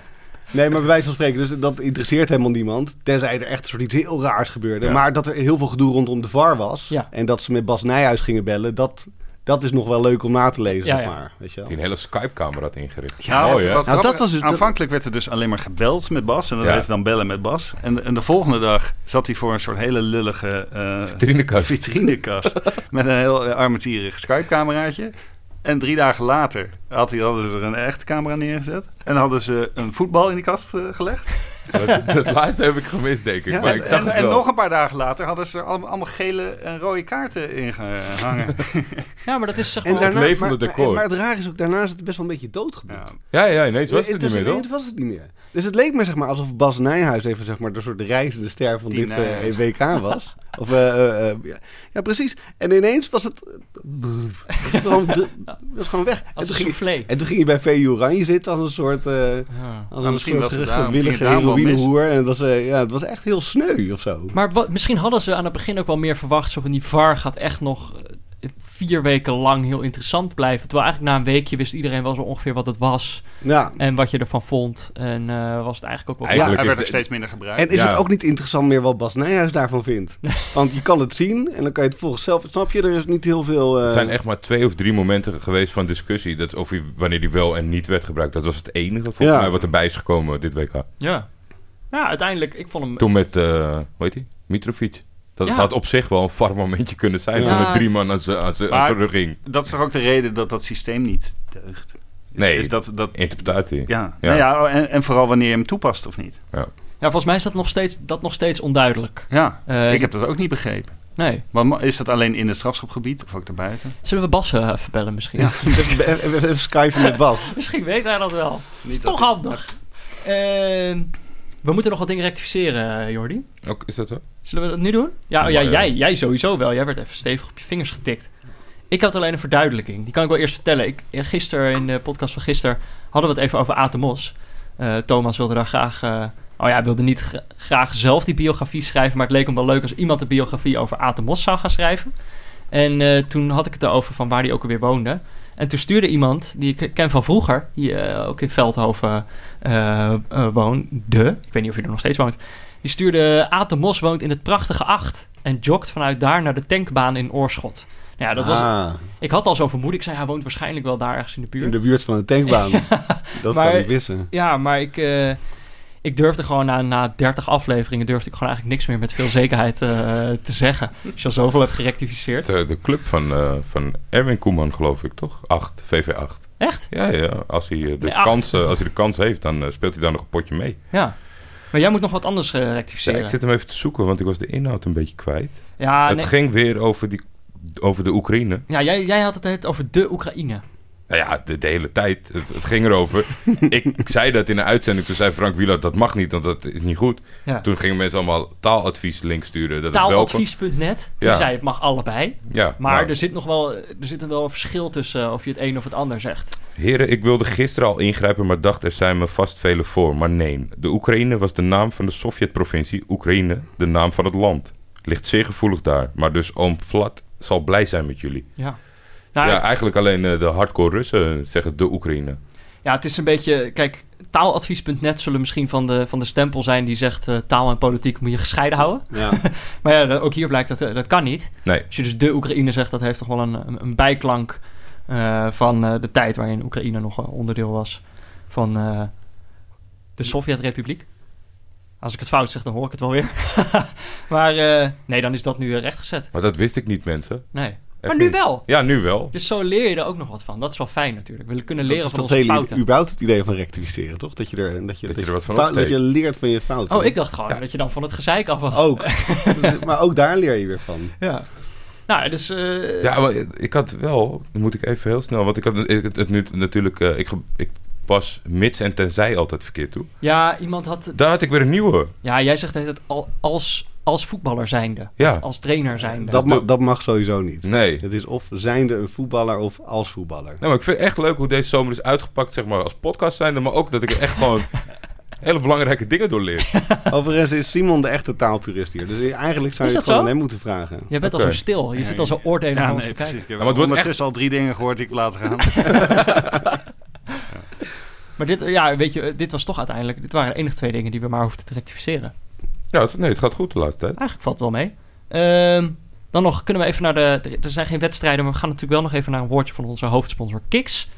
[SPEAKER 5] nee, maar bij wijze van spreken, dus dat interesseert helemaal niemand. Tenzij er echt een soort iets heel raars gebeurde.
[SPEAKER 4] Ja.
[SPEAKER 5] Maar dat er heel veel gedoe rondom de VAR was
[SPEAKER 1] Ja.
[SPEAKER 5] en dat ze met Bas Nijhuis gingen bellen, dat, dat is nog wel leuk om na te lezen,
[SPEAKER 1] Ja,
[SPEAKER 5] zeg
[SPEAKER 1] ja.
[SPEAKER 5] maar. Weet je wel.
[SPEAKER 4] Die een hele Skype-camera had ingericht.
[SPEAKER 3] Ja,
[SPEAKER 4] Mooi,
[SPEAKER 3] wat- wat
[SPEAKER 4] hè?
[SPEAKER 5] Nou,
[SPEAKER 3] grappig-
[SPEAKER 5] dat was dus- dat-
[SPEAKER 3] aanvankelijk werd er dus alleen maar gebeld met Bas. En dan
[SPEAKER 4] Ja.
[SPEAKER 3] werd dan bellen met Bas. En, en de volgende dag zat hij voor een soort hele lullige eh, <laughs>
[SPEAKER 4] Vitrinekast.
[SPEAKER 3] vitrinekast. met een heel eh, armetierig Skype-cameraatje. En drie dagen later had hij, hadden ze er een echte camera neergezet. En hadden ze een voetbal in die kast eh, gelegd.
[SPEAKER 4] <laughs> Dat, dat laatste heb ik gemist, denk ik.
[SPEAKER 5] Ja,
[SPEAKER 4] maar
[SPEAKER 3] en,
[SPEAKER 4] ik zag
[SPEAKER 3] en,
[SPEAKER 4] het
[SPEAKER 3] en
[SPEAKER 4] wel.
[SPEAKER 3] nog een paar dagen later hadden ze er allemaal, allemaal gele en rode kaarten in
[SPEAKER 4] <laughs>
[SPEAKER 3] gehangen.
[SPEAKER 1] Ja, maar dat is zeg
[SPEAKER 5] En
[SPEAKER 1] maar...
[SPEAKER 5] daarna,
[SPEAKER 4] levende
[SPEAKER 5] maar, maar-
[SPEAKER 4] decor.
[SPEAKER 5] Maar, het raar is ook, daarna is het best wel een beetje doodgebloed.
[SPEAKER 3] ja.
[SPEAKER 4] Ja, ja, ineens was
[SPEAKER 5] Nee,
[SPEAKER 4] het er niet meer, toch?
[SPEAKER 5] was, nee, het was het niet meer. Dus het leek me zeg maar, alsof Bas Nijhuis even zeg maar, de soort reizende ster van
[SPEAKER 3] Die
[SPEAKER 5] dit eh,
[SPEAKER 3] Nijhuis.
[SPEAKER 5] WK was. Of, eh, eh, eh, ja. ja, precies. En ineens was het... Het was gewoon, de- het was gewoon weg. En
[SPEAKER 1] Als een
[SPEAKER 5] toen, ging,
[SPEAKER 1] soufflé.
[SPEAKER 5] en toen ging je bij VU Oranje zitten als een soort... eh,
[SPEAKER 1] Ja.
[SPEAKER 5] als
[SPEAKER 3] Maar
[SPEAKER 5] een
[SPEAKER 3] misschien
[SPEAKER 5] soort
[SPEAKER 3] was het daarom- ging
[SPEAKER 5] gewillige
[SPEAKER 3] het daarom wel mis.
[SPEAKER 5] heroïnehoer. En het was, eh, ja, het was echt heel sneu of zo.
[SPEAKER 1] Maar wat, misschien hadden ze aan het begin ook wel meer verwacht. Zo van die VAR gaat echt nog eh, vier weken lang heel interessant blijven. Terwijl eigenlijk na een weekje wist iedereen wel zo ongeveer wat het was.
[SPEAKER 5] Ja.
[SPEAKER 1] En wat je ervan vond. En eh, was het eigenlijk ook wel...
[SPEAKER 4] Eigenlijk
[SPEAKER 3] Hij
[SPEAKER 4] is
[SPEAKER 3] werd ook
[SPEAKER 4] de-
[SPEAKER 3] steeds minder gebruikt.
[SPEAKER 5] En is
[SPEAKER 4] Ja.
[SPEAKER 5] het ook niet interessant meer wat Bas Nijhuis daarvan
[SPEAKER 4] <laughs>
[SPEAKER 5] vindt? Want je kan het zien en dan kan je het volgens zelf... Snap je, er is niet heel veel... eh,
[SPEAKER 4] Er zijn echt maar twee of drie momenten geweest van discussie. Dat is of hij, wanneer die wel en niet werd gebruikt. Dat was het enige volgens
[SPEAKER 5] Ja.
[SPEAKER 4] mij wat erbij is gekomen dit WK.
[SPEAKER 1] Ja. Ja, uiteindelijk, ik vond hem...
[SPEAKER 4] Toen met, eh hoe heet hij? Mitrovic. Dat
[SPEAKER 1] Ja.
[SPEAKER 4] had op zich wel een far momentje kunnen zijn.
[SPEAKER 5] Ja.
[SPEAKER 4] Toen met drie man aan zijn aan zijn- aan
[SPEAKER 3] Maar-
[SPEAKER 4] zijn rug ging.
[SPEAKER 3] Dat is toch ook de reden dat dat systeem niet deugt? Is,
[SPEAKER 4] Nee.
[SPEAKER 3] Is dat, dat,
[SPEAKER 4] Interpretatie.
[SPEAKER 3] ja.
[SPEAKER 4] Ja.
[SPEAKER 3] Nou ja en, en vooral wanneer je hem toepast of niet.
[SPEAKER 1] Ja, volgens mij is dat nog steeds, dat nog steeds onduidelijk.
[SPEAKER 3] Ja,
[SPEAKER 1] Eh,
[SPEAKER 3] ik heb dat ook niet begrepen.
[SPEAKER 1] Nee.
[SPEAKER 3] Maar ma- is dat alleen in het strafschopgebied of ook daarbuiten?
[SPEAKER 1] Zullen we Bas eh, even bellen misschien?
[SPEAKER 5] Ja, <laughs> even, even, even skypen met Bas.
[SPEAKER 1] <laughs> Misschien weet hij dat wel.
[SPEAKER 3] Niet
[SPEAKER 1] Toch
[SPEAKER 3] dat-
[SPEAKER 1] handig. Ehm, we moeten nog wat dingen rectificeren, eh, Jordi.
[SPEAKER 4] Ook, is dat zo?
[SPEAKER 1] Zullen we dat nu doen? Ja, oh ja
[SPEAKER 4] Maar, eh,
[SPEAKER 1] jij, jij sowieso wel. Jij werd even stevig op je vingers getikt. Ik had alleen een verduidelijking. Die kan ik wel eerst vertellen. Ik, eh, gisteren, in de podcast van gisteren, hadden we het even over Atemos. Eh Thomas wilde daar graag... eh, oh ja, hij wilde niet gra- graag zelf die biografie schrijven... maar het leek hem wel leuk als iemand een biografie over Atemos zou gaan schrijven. En eh, toen had ik het erover van waar hij ook alweer woonde. En toen stuurde iemand, die ik ken van vroeger... die eh, ook in Veldhoven eh, eh, woonde. Ik weet niet of hij er nog steeds woont. Die stuurde Aten Mos woont in het prachtige Acht en jogt vanuit daar naar de tankbaan in Oorschot. Nou ja, dat was,
[SPEAKER 5] Ah,
[SPEAKER 1] ik had al zo vermoed. Ik zei, hij woont waarschijnlijk wel daar ergens in de buurt.
[SPEAKER 5] in de buurt van de
[SPEAKER 1] <laughs>
[SPEAKER 5] tankbaan. Dat
[SPEAKER 1] Maar-
[SPEAKER 5] kan ik wissen.
[SPEAKER 1] Ja, maar ik, eh, ik durfde gewoon na, na 30 afleveringen... durfde ik gewoon eigenlijk niks meer met veel zekerheid eh, te zeggen. Als je al zoveel hebt gerectificeerd.
[SPEAKER 4] De, de club van, eh, van Erwin Koeman, geloof ik, toch? 8, VV8.
[SPEAKER 1] Echt?
[SPEAKER 4] Ja, ja. Als hij, eh, de,
[SPEAKER 1] Nee, acht.
[SPEAKER 4] kans, eh, als hij de kans heeft, dan eh, speelt hij daar nog een potje mee.
[SPEAKER 1] Ja. Maar jij moet nog wat anders eh,
[SPEAKER 4] Ja,
[SPEAKER 1] rectificeren.
[SPEAKER 4] ik zit hem even te zoeken, want ik was de inhoud een beetje kwijt.
[SPEAKER 1] Ja,
[SPEAKER 4] het
[SPEAKER 1] Ah, nee.
[SPEAKER 4] ging weer over, die, over de Oekraïne.
[SPEAKER 1] ja jij, jij had het net over de Oekraïne.
[SPEAKER 4] Nou ja, de, de hele tijd. Het, het ging
[SPEAKER 1] <laughs>
[SPEAKER 4] erover. ik, ik zei dat in een uitzending. Toen zei Frank Wielard, dat mag niet, want dat is niet goed.
[SPEAKER 1] Ja.
[SPEAKER 4] Toen gingen mensen allemaal taaladvies links sturen. Dat het wel kon.
[SPEAKER 1] Taaladvies.net. Die
[SPEAKER 4] Ja.
[SPEAKER 1] zei, het mag allebei.
[SPEAKER 4] Ja,
[SPEAKER 1] Maar dus-
[SPEAKER 4] nou,
[SPEAKER 1] er, zit nog wel, er zit er wel een verschil tussen eh, of je het een of het ander zegt.
[SPEAKER 4] Heren, ik wilde gisteren al ingrijpen, maar dacht er zijn me vast vele voor. Maar nee, de Oekraïne was de naam van de Sovjet-provincie. Oekraïne, de naam van het land. Ligt zeer gevoelig daar. Maar dus oom Vlad zal blij zijn met jullie.
[SPEAKER 1] Ja.
[SPEAKER 4] Dus
[SPEAKER 1] Nou,
[SPEAKER 4] ja, eigenlijk alleen eh, de hardcore Russen zeggen de Oekraïne.
[SPEAKER 1] ja, het is een beetje... Kijk, taaladvies.net zullen misschien van de, van de stempel zijn... die zegt eh, taal en politiek moet je gescheiden houden.
[SPEAKER 5] Ja.
[SPEAKER 1] Maar ja, dat- ook hier blijkt dat eh, dat kan niet.
[SPEAKER 4] Nee.
[SPEAKER 1] Als je dus de Oekraïne zegt, dat heeft toch wel een, een- een bijklank... eh, van eh, de tijd waarin Oekraïne nog een onderdeel was van eh, de Sovjet-republiek. Als ik het fout zeg, dan hoor ik het wel weer. <laughs> maar eh, nee, dan is dat nu eh, rechtgezet.
[SPEAKER 4] Maar dat wist ik niet, mensen.
[SPEAKER 1] Nee. Maar
[SPEAKER 4] Echt
[SPEAKER 1] nu
[SPEAKER 4] niet.
[SPEAKER 1] wel.
[SPEAKER 4] Ja, nu wel.
[SPEAKER 1] Dus zo leer je er ook nog wat van. Dat is wel fijn natuurlijk. We kunnen leren
[SPEAKER 5] dat is
[SPEAKER 1] van
[SPEAKER 5] toch
[SPEAKER 1] onze
[SPEAKER 5] hele,
[SPEAKER 1] fouten.
[SPEAKER 5] überhaupt het idee van rectificeren, toch? Dat je er, dat je,
[SPEAKER 4] je er wat van
[SPEAKER 5] fout-
[SPEAKER 4] opsteekt.
[SPEAKER 5] dat je leert van je fouten.
[SPEAKER 1] Oh, ik dacht gewoon dat je dan van het gezeik af was. <laughs>
[SPEAKER 5] Ook. maar ook daar leer je weer van.
[SPEAKER 1] Ja. Nou, dus... eh,
[SPEAKER 4] Ja, maar ik had wel, dan moet ik even heel snel, want ik had ik- het, het nu natuurlijk, eh, ik, ge- ik pas mits en tenzij altijd verkeerd toe.
[SPEAKER 1] ja, iemand had...
[SPEAKER 4] Daar had ik weer een nieuwe.
[SPEAKER 1] Ja, jij zegt het al, als, als voetballer zijnde.
[SPEAKER 4] Ja.
[SPEAKER 3] Oh.
[SPEAKER 1] Als trainer zijnde. Dus
[SPEAKER 5] Dat, ma- dat mag sowieso niet.
[SPEAKER 4] Dus Nee.
[SPEAKER 5] Het is of zijnde een voetballer of als voetballer.
[SPEAKER 4] Nou, maar ik vind het echt leuk hoe deze zomer is uitgepakt, zeg maar, als podcast zijnde, maar ook dat ik er echt
[SPEAKER 3] <laughs>
[SPEAKER 4] gewoon hele belangrijke dingen door leer.
[SPEAKER 5] Overigens is Simon de echte taalpurist hier. Dus eigenlijk zou
[SPEAKER 1] Is
[SPEAKER 5] je
[SPEAKER 1] dat
[SPEAKER 5] het gewoon
[SPEAKER 1] zo?
[SPEAKER 5] aan hem moeten vragen.
[SPEAKER 1] Jij bent al
[SPEAKER 4] Oké.
[SPEAKER 1] zo stil. Je
[SPEAKER 3] Ja,
[SPEAKER 1] zit al zo oordelend naar
[SPEAKER 3] Ja,
[SPEAKER 1] ons
[SPEAKER 3] nee,
[SPEAKER 1] te kijken.
[SPEAKER 3] precies. Ik heb
[SPEAKER 4] maar het wordt
[SPEAKER 3] ondertussen al drie dingen gehoord die ik laat gaan.
[SPEAKER 1] Maar dit, eh, ja, weet je, dit was toch uiteindelijk... Dit waren de enige twee dingen die we maar hoefden te rectificeren.
[SPEAKER 4] Ja, het, nee, het gaat goed de laatste tijd.
[SPEAKER 1] Eigenlijk valt het wel mee. Ehm, dan nog kunnen we even naar de. Er zijn geen wedstrijden, maar we gaan natuurlijk wel nog even naar een woordje van onze hoofdsponsor Kiks.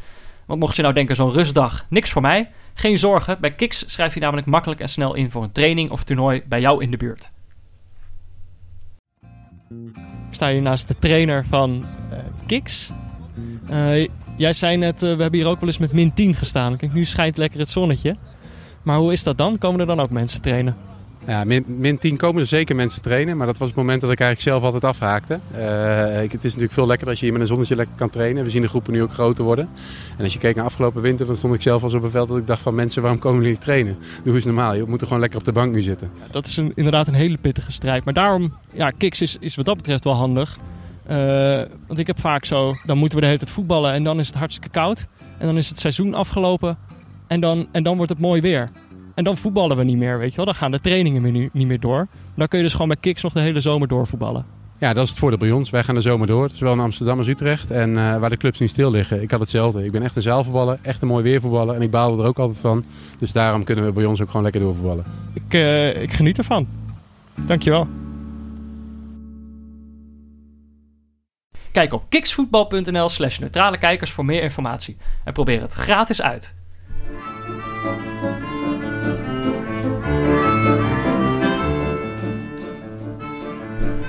[SPEAKER 1] Want mocht je nou denken, zo'n rustdag, niks voor mij. Geen zorgen, bij Kiks schrijf je namelijk makkelijk en snel in voor een training of toernooi bij jou in de buurt. Ik sta hier naast de trainer van eh Kiks. Eh, Jij zei net, eh, we hebben hier ook wel eens met min 10 gestaan. Kijk, nu schijnt lekker het zonnetje. Maar hoe is dat dan? Komen er dan ook mensen trainen?
[SPEAKER 6] Ja, min, min 10 komen er zeker mensen trainen, maar dat was het moment dat ik eigenlijk zelf altijd afhaakte. Eh, ik, het is natuurlijk veel lekkerder als je hier met een zonnetje lekker kan trainen. We zien de groepen nu ook groter worden. En als je keek naar afgelopen winter, dan stond ik zelf als op een veld dat ik dacht van mensen, waarom komen jullie niet trainen? Doe eens normaal, je moet er gewoon lekker op de bank nu zitten.
[SPEAKER 1] Ja, dat is een, inderdaad een hele pittige strijd. Maar daarom, ja, Kiks is, is wat dat betreft wel handig. Eh, want ik heb vaak zo, dan moeten we de hele tijd voetballen en dan is het hartstikke koud. En dan is het seizoen afgelopen en dan, en dan wordt het mooi weer. En dan voetballen we niet meer, weet je wel. Dan gaan de trainingen weer nu, niet meer door. Dan kun je dus gewoon bij Kiks nog de hele zomer doorvoetballen.
[SPEAKER 6] Ja, dat is het voordeel bij ons. Wij gaan de zomer door, zowel in Amsterdam als Utrecht. En eh, waar de clubs nu stil liggen, ik had hetzelfde. Ik ben echt een zaalvoetballer, echt een mooi weervoetballer en ik baalde er ook altijd van. Dus daarom kunnen we bij ons ook gewoon lekker doorvoetballen.
[SPEAKER 1] Ik, eh, ik geniet ervan. Dankjewel. Kijk op kiksvoetbal.nl slash neutrale kijkers voor meer informatie. En probeer het gratis uit.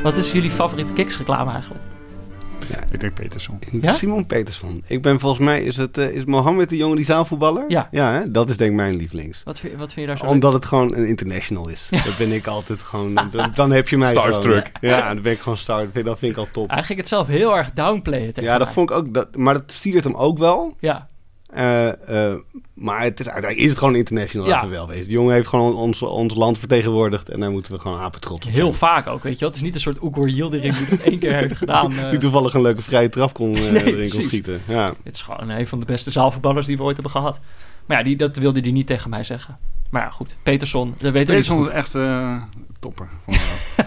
[SPEAKER 1] Wat is jullie favoriete kiksreclame eigenlijk?
[SPEAKER 3] <laughs> Ik denk Peterson.
[SPEAKER 1] Ja?
[SPEAKER 5] Simon Petersson. Ik ben volgens mij, is, het, eh, is Mohammed de jongen die zaalvoetballer?
[SPEAKER 1] Ja.
[SPEAKER 5] Ja, hè? dat is denk ik mijn lievelings.
[SPEAKER 1] Wat vind, wat vind je daar zo leuk?
[SPEAKER 5] Omdat het gewoon een international is. Dat ben ik altijd gewoon. dan- Dan heb je mij. gewoon.
[SPEAKER 4] Starstruck.
[SPEAKER 5] Ja, dan ben ik gewoon star. Dat vind ik al top.
[SPEAKER 1] Hij ging het zelf heel erg downplayen tegen
[SPEAKER 5] Ja, dat
[SPEAKER 1] mij.
[SPEAKER 5] vond ik ook. Dat, maar dat stiert hem ook wel.
[SPEAKER 1] Ja,
[SPEAKER 5] Eh, eh, maar het is, uiteindelijk is het gewoon international,
[SPEAKER 1] Ja.
[SPEAKER 5] laten we wel wezen. De jongen heeft gewoon ons, ons land vertegenwoordigd en daar moeten we gewoon apen trots op
[SPEAKER 1] heel
[SPEAKER 5] zijn.
[SPEAKER 1] vaak ook, weet je wel. Het is niet een soort Oekur Yildirim die dat één keer heeft
[SPEAKER 5] <laughs>
[SPEAKER 1] gedaan. eh.
[SPEAKER 5] Die toevallig een leuke vrije trap
[SPEAKER 1] <laughs>
[SPEAKER 5] kon, eh, erin kon
[SPEAKER 1] precies.
[SPEAKER 5] schieten. Ja.
[SPEAKER 1] Het is gewoon een van de beste zaalvoetballers die we ooit hebben gehad. Maar ja, die, dat wilde hij niet tegen mij zeggen. Maar ja, goed. Peterson, dat weten we niet zo
[SPEAKER 3] Peterson
[SPEAKER 1] goed.
[SPEAKER 3] is echt eh, topper. vond ik wel.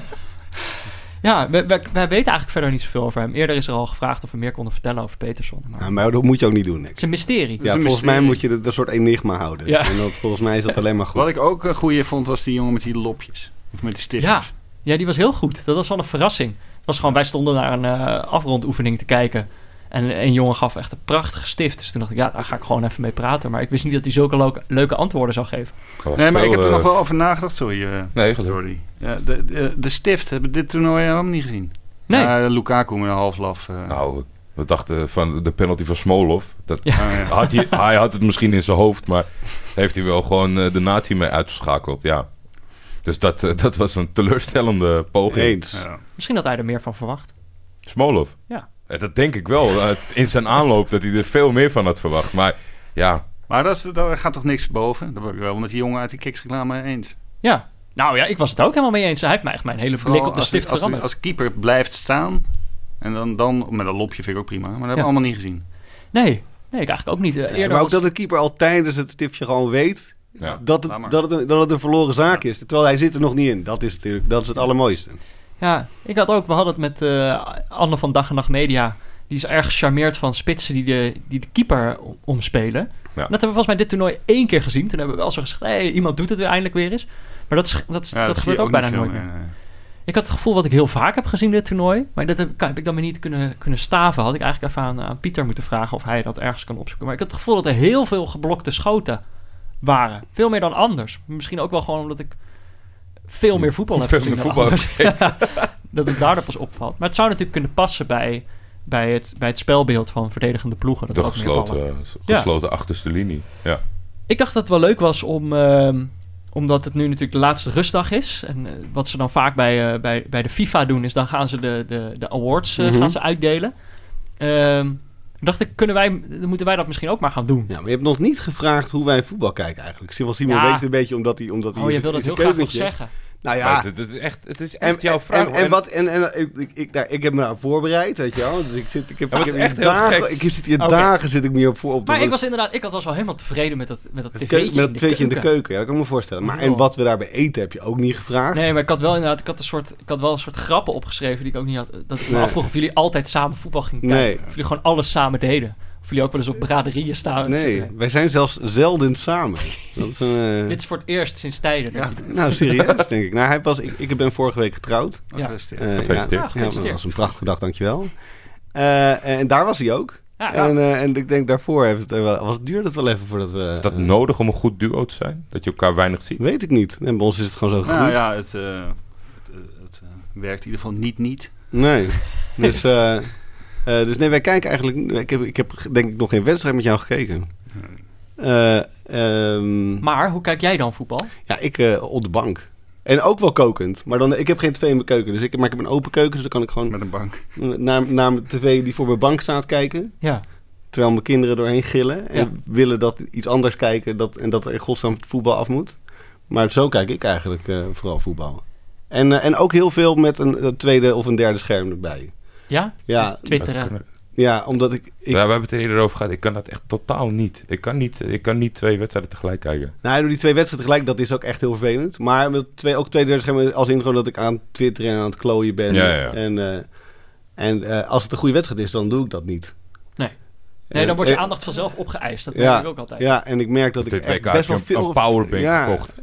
[SPEAKER 1] Ja, wij, wij, wij weten eigenlijk verder niet zoveel over hem. Eerder is er al gevraagd of we meer konden vertellen over Peterson. Maar...
[SPEAKER 5] Ja, maar dat moet je ook niet doen,
[SPEAKER 1] Het
[SPEAKER 5] niks.
[SPEAKER 1] is een mysterie.
[SPEAKER 3] is
[SPEAKER 5] Ja,
[SPEAKER 3] een
[SPEAKER 5] volgens mij
[SPEAKER 3] mysterie.
[SPEAKER 5] moet je het een soort enigma houden.
[SPEAKER 1] Ja.
[SPEAKER 5] En dat, volgens mij is
[SPEAKER 1] <laughs>
[SPEAKER 5] dat alleen maar goed.
[SPEAKER 3] Wat ik ook een goeie vond, was die jongen met die lopjes. Of met die
[SPEAKER 1] Ja.
[SPEAKER 3] stiftjes.
[SPEAKER 1] ja, die was heel goed. Dat was wel een verrassing. Het was gewoon, wij stonden naar een eh, afrondoefening te kijken. En een- een jongen gaf echt een prachtige stift. Dus toen dacht ik, ja, daar ga ik gewoon even mee praten. Maar ik wist niet dat hij zulke leuke, leuke antwoorden zou geven.
[SPEAKER 3] Nee, maar ik heb er nog wel over nagedacht. Sorry, eh,
[SPEAKER 4] eh, Nee, gelukkig.
[SPEAKER 3] Jordi. Ja, de, de, de stift hebben dit toernooi helemaal niet gezien.
[SPEAKER 1] Nee,
[SPEAKER 3] Ja, Lukaku met een half laf. eh.
[SPEAKER 4] Nou, we dachten van de penalty van Smolov. Dat
[SPEAKER 1] Ja.
[SPEAKER 3] Ah, ja.
[SPEAKER 4] had hij, hij had het misschien in zijn hoofd, maar heeft hij wel gewoon eh, de natie mee uitgeschakeld. Ja. Dus dat, eh, dat was een teleurstellende poging.
[SPEAKER 5] Eens.
[SPEAKER 3] Ja.
[SPEAKER 1] misschien had hij er meer van verwacht.
[SPEAKER 4] Smolov.
[SPEAKER 1] Ja.
[SPEAKER 4] Eh, Dat denk ik wel. eh, in zijn aanloop dat hij er veel meer van had verwacht. Maar ja,
[SPEAKER 3] Maar dat is, daar gaat toch niks boven? Dat ben ik wel met die jongen uit die kiksreclame eens.
[SPEAKER 1] Ja. Nou ja, ik was het ook helemaal mee eens. Hij heeft mij echt mijn hele blik op de
[SPEAKER 3] als,
[SPEAKER 1] stift
[SPEAKER 3] als,
[SPEAKER 1] veranderd.
[SPEAKER 3] als keeper blijft staan. En dan, dan met een lopje vind ik ook prima. Maar dat hebben
[SPEAKER 1] Ja.
[SPEAKER 3] we allemaal niet gezien.
[SPEAKER 1] Nee, nee, ik eigenlijk ook niet. Eh,
[SPEAKER 5] Ja,
[SPEAKER 1] eerder
[SPEAKER 5] maar ook
[SPEAKER 1] was-
[SPEAKER 5] dat de keeper al tijdens het tipje gewoon weet
[SPEAKER 4] Ja.
[SPEAKER 5] dat,
[SPEAKER 3] Laat maar.
[SPEAKER 5] het, dat, het, een- dat het een verloren zaak is. Terwijl hij zit er nog niet in. Dat is natuurlijk dat is het allermooiste.
[SPEAKER 1] Ja, ik had ook, we hadden het met eh, Anne van Dag en Nacht Media. Die is erg gecharmeerd van spitsen die de, die de keeper o- omspelen.
[SPEAKER 4] Ja.
[SPEAKER 1] En Dat hebben we volgens mij dit toernooi één keer gezien. Toen hebben we wel zo gezegd, hey, iemand doet het weer eindelijk weer eens. Maar dat, is- dat, is-
[SPEAKER 3] Ja,
[SPEAKER 1] dat,
[SPEAKER 3] zie
[SPEAKER 1] gebeurt
[SPEAKER 3] je
[SPEAKER 1] ook, bijna
[SPEAKER 3] niet veel
[SPEAKER 1] nooit meer.
[SPEAKER 3] meer, nee.
[SPEAKER 1] Ik had het gevoel wat ik heel vaak heb gezien dit toernooi. Maar dat heb, kan- heb ik dan weer niet kunnen, kunnen staven. Had ik eigenlijk even aan, aan Pieter moeten vragen of hij dat ergens kan opzoeken. Maar ik had het gevoel dat er heel veel geblokte schoten waren. Veel meer dan anders. Misschien ook wel gewoon omdat ik veel meer voetbal heb
[SPEAKER 4] Veel
[SPEAKER 1] gezien
[SPEAKER 4] meer
[SPEAKER 1] dan
[SPEAKER 4] voetbal
[SPEAKER 1] anders. <laughs> dat het daardoor pas opvalt. Maar het zou natuurlijk kunnen passen bij, bij, het, bij het spelbeeld van verdedigende ploegen. Dat
[SPEAKER 4] de
[SPEAKER 1] er ook meer ballen-
[SPEAKER 4] gesloten,
[SPEAKER 1] Ja.
[SPEAKER 4] gesloten achterste linie. Ja.
[SPEAKER 1] ik dacht dat het wel leuk was om. ehm, omdat het nu natuurlijk de laatste rustdag is. En eh, wat ze dan vaak bij, eh, bij, bij de FIFA doen, is dan gaan ze de, de, de awards eh,
[SPEAKER 5] Mhm.
[SPEAKER 1] gaan ze uitdelen. Ehm, dacht ik, kunnen wij, dan moeten wij dat misschien ook maar gaan doen.
[SPEAKER 5] Ja, maar je hebt nog niet gevraagd hoe wij voetbal kijken eigenlijk. Simon Simon
[SPEAKER 1] Ja.
[SPEAKER 5] weet het een beetje omdat hij... Omdat hij
[SPEAKER 1] oh, je
[SPEAKER 5] is-
[SPEAKER 1] wil dat
[SPEAKER 5] is een
[SPEAKER 1] heel graag nog
[SPEAKER 5] keukentje.
[SPEAKER 1] zeggen.
[SPEAKER 5] Nou
[SPEAKER 4] Maar
[SPEAKER 5] ja,
[SPEAKER 4] het, het is echt, het is echt
[SPEAKER 5] En,
[SPEAKER 4] jouw
[SPEAKER 5] en-
[SPEAKER 4] vraag.
[SPEAKER 5] En,
[SPEAKER 4] hoor.
[SPEAKER 5] en wat, en, en, ik, ik, ik, nou, ik heb me daar voorbereid, weet je wel. Dus ik zit, ik heb,
[SPEAKER 4] Ja, maar
[SPEAKER 5] ik heb
[SPEAKER 4] het
[SPEAKER 5] hier
[SPEAKER 4] is echt heel
[SPEAKER 5] dagen,
[SPEAKER 4] gek.
[SPEAKER 5] ik zit hier
[SPEAKER 1] Oké.
[SPEAKER 5] dagen zit ik me op voor op
[SPEAKER 1] Maar ik was inderdaad, ik had was wel helemaal tevreden met dat, met dat
[SPEAKER 5] het
[SPEAKER 1] tv'tje
[SPEAKER 5] keu- met dat
[SPEAKER 1] in, de
[SPEAKER 5] tweetje in de
[SPEAKER 1] keuken.
[SPEAKER 5] keuken, ja, dat kan ik me voorstellen. Maar en
[SPEAKER 1] Joh.
[SPEAKER 5] wat we daarbij eten heb je ook niet gevraagd.
[SPEAKER 1] Nee, maar ik had wel inderdaad, ik had, een soort, ik had wel een soort grappen opgeschreven die ik ook niet had. eh, Dat ik me
[SPEAKER 5] Nee.
[SPEAKER 1] afvroeg of jullie altijd samen voetbal gingen kijken.
[SPEAKER 5] nee,
[SPEAKER 1] Of jullie gewoon alles samen deden. Of jullie ook wel eens op braderieën staan. en
[SPEAKER 5] nee,
[SPEAKER 1] zitten.
[SPEAKER 5] wij zijn zelfs zelden samen. Dat is een, eh,
[SPEAKER 1] Dit is voor het eerst sinds tijden. dat
[SPEAKER 3] Ja.
[SPEAKER 1] je dit- <laughs>
[SPEAKER 5] Nou, serieus denk ik. Nou, hij was, ik, ik ben vorige week getrouwd.
[SPEAKER 3] Dat
[SPEAKER 1] Ja.
[SPEAKER 3] is het.
[SPEAKER 5] Eh,
[SPEAKER 4] Gefeliciteerd.
[SPEAKER 5] ja,
[SPEAKER 1] Ja,
[SPEAKER 5] ja,
[SPEAKER 1] gefeliciteerd.
[SPEAKER 5] dat was een prachtige dag, dankjewel. Eh en daar was hij ook.
[SPEAKER 1] Ja, nou,
[SPEAKER 5] En, eh, en ik denk daarvoor heeft het, er wel- was, duurde het wel even voordat we...
[SPEAKER 4] Is dat nodig om een goed duo te zijn? Dat je elkaar weinig ziet?
[SPEAKER 5] Weet ik niet. En bij ons is het gewoon zo
[SPEAKER 3] Nou
[SPEAKER 5] gegroeid.
[SPEAKER 3] ja, het, eh, het, eh, het, eh, werkt in ieder geval niet niet.
[SPEAKER 5] Nee. Dus eh, eh, Eh, dus nee, wij kijken eigenlijk... Ik heb, ik heb denk ik nog geen wedstrijd met jou gekeken. Eh, ehm,
[SPEAKER 1] Maar hoe kijk jij dan voetbal?
[SPEAKER 5] ja, ik eh, op de bank. En ook wel kokend. Maar dan, ik heb geen tv in mijn keuken. Dus ik, maar ik heb een open keuken, dus dan kan ik gewoon
[SPEAKER 3] Met een bank.
[SPEAKER 5] naar, naar mijn tv die voor mijn bank staat kijken.
[SPEAKER 1] Ja.
[SPEAKER 5] Terwijl mijn kinderen doorheen gillen. En
[SPEAKER 1] Ja.
[SPEAKER 5] willen dat iets anders kijken dat, en dat er in godsnaam het voetbal af moet. Maar zo kijk ik eigenlijk eh, vooral voetbal. En, eh, en ook heel veel met een, een tweede of een derde scherm erbij.
[SPEAKER 1] Ja?
[SPEAKER 5] Ja.
[SPEAKER 1] Dus twitteren.
[SPEAKER 5] Ja, omdat ik... ik
[SPEAKER 4] Ja, we hebben het er eerder over gehad. Ik kan dat echt totaal niet. Ik kan niet, ik kan niet twee wedstrijden tegelijk kijken.
[SPEAKER 5] Nou, door die twee wedstrijden tegelijk, dat is ook echt heel vervelend. Maar met twee, ook twee derde schermen als in gewoon dat ik aan Twitter en aan het klooien ben.
[SPEAKER 4] Ja, ja.
[SPEAKER 5] En, eh, en eh, als het een goede wedstrijd is, dan doe ik dat niet.
[SPEAKER 1] Nee. Nee, dan wordt je
[SPEAKER 5] Eh,
[SPEAKER 1] aandacht vanzelf opgeëist. Dat
[SPEAKER 5] ja,
[SPEAKER 1] merk ik ook altijd.
[SPEAKER 5] Ja, en ik merk dat ik
[SPEAKER 4] Dit
[SPEAKER 5] echt
[SPEAKER 4] WK
[SPEAKER 5] best
[SPEAKER 4] heb
[SPEAKER 5] wel
[SPEAKER 4] ik een,
[SPEAKER 5] veel...
[SPEAKER 4] een powerbank
[SPEAKER 5] Ja,
[SPEAKER 4] gekocht.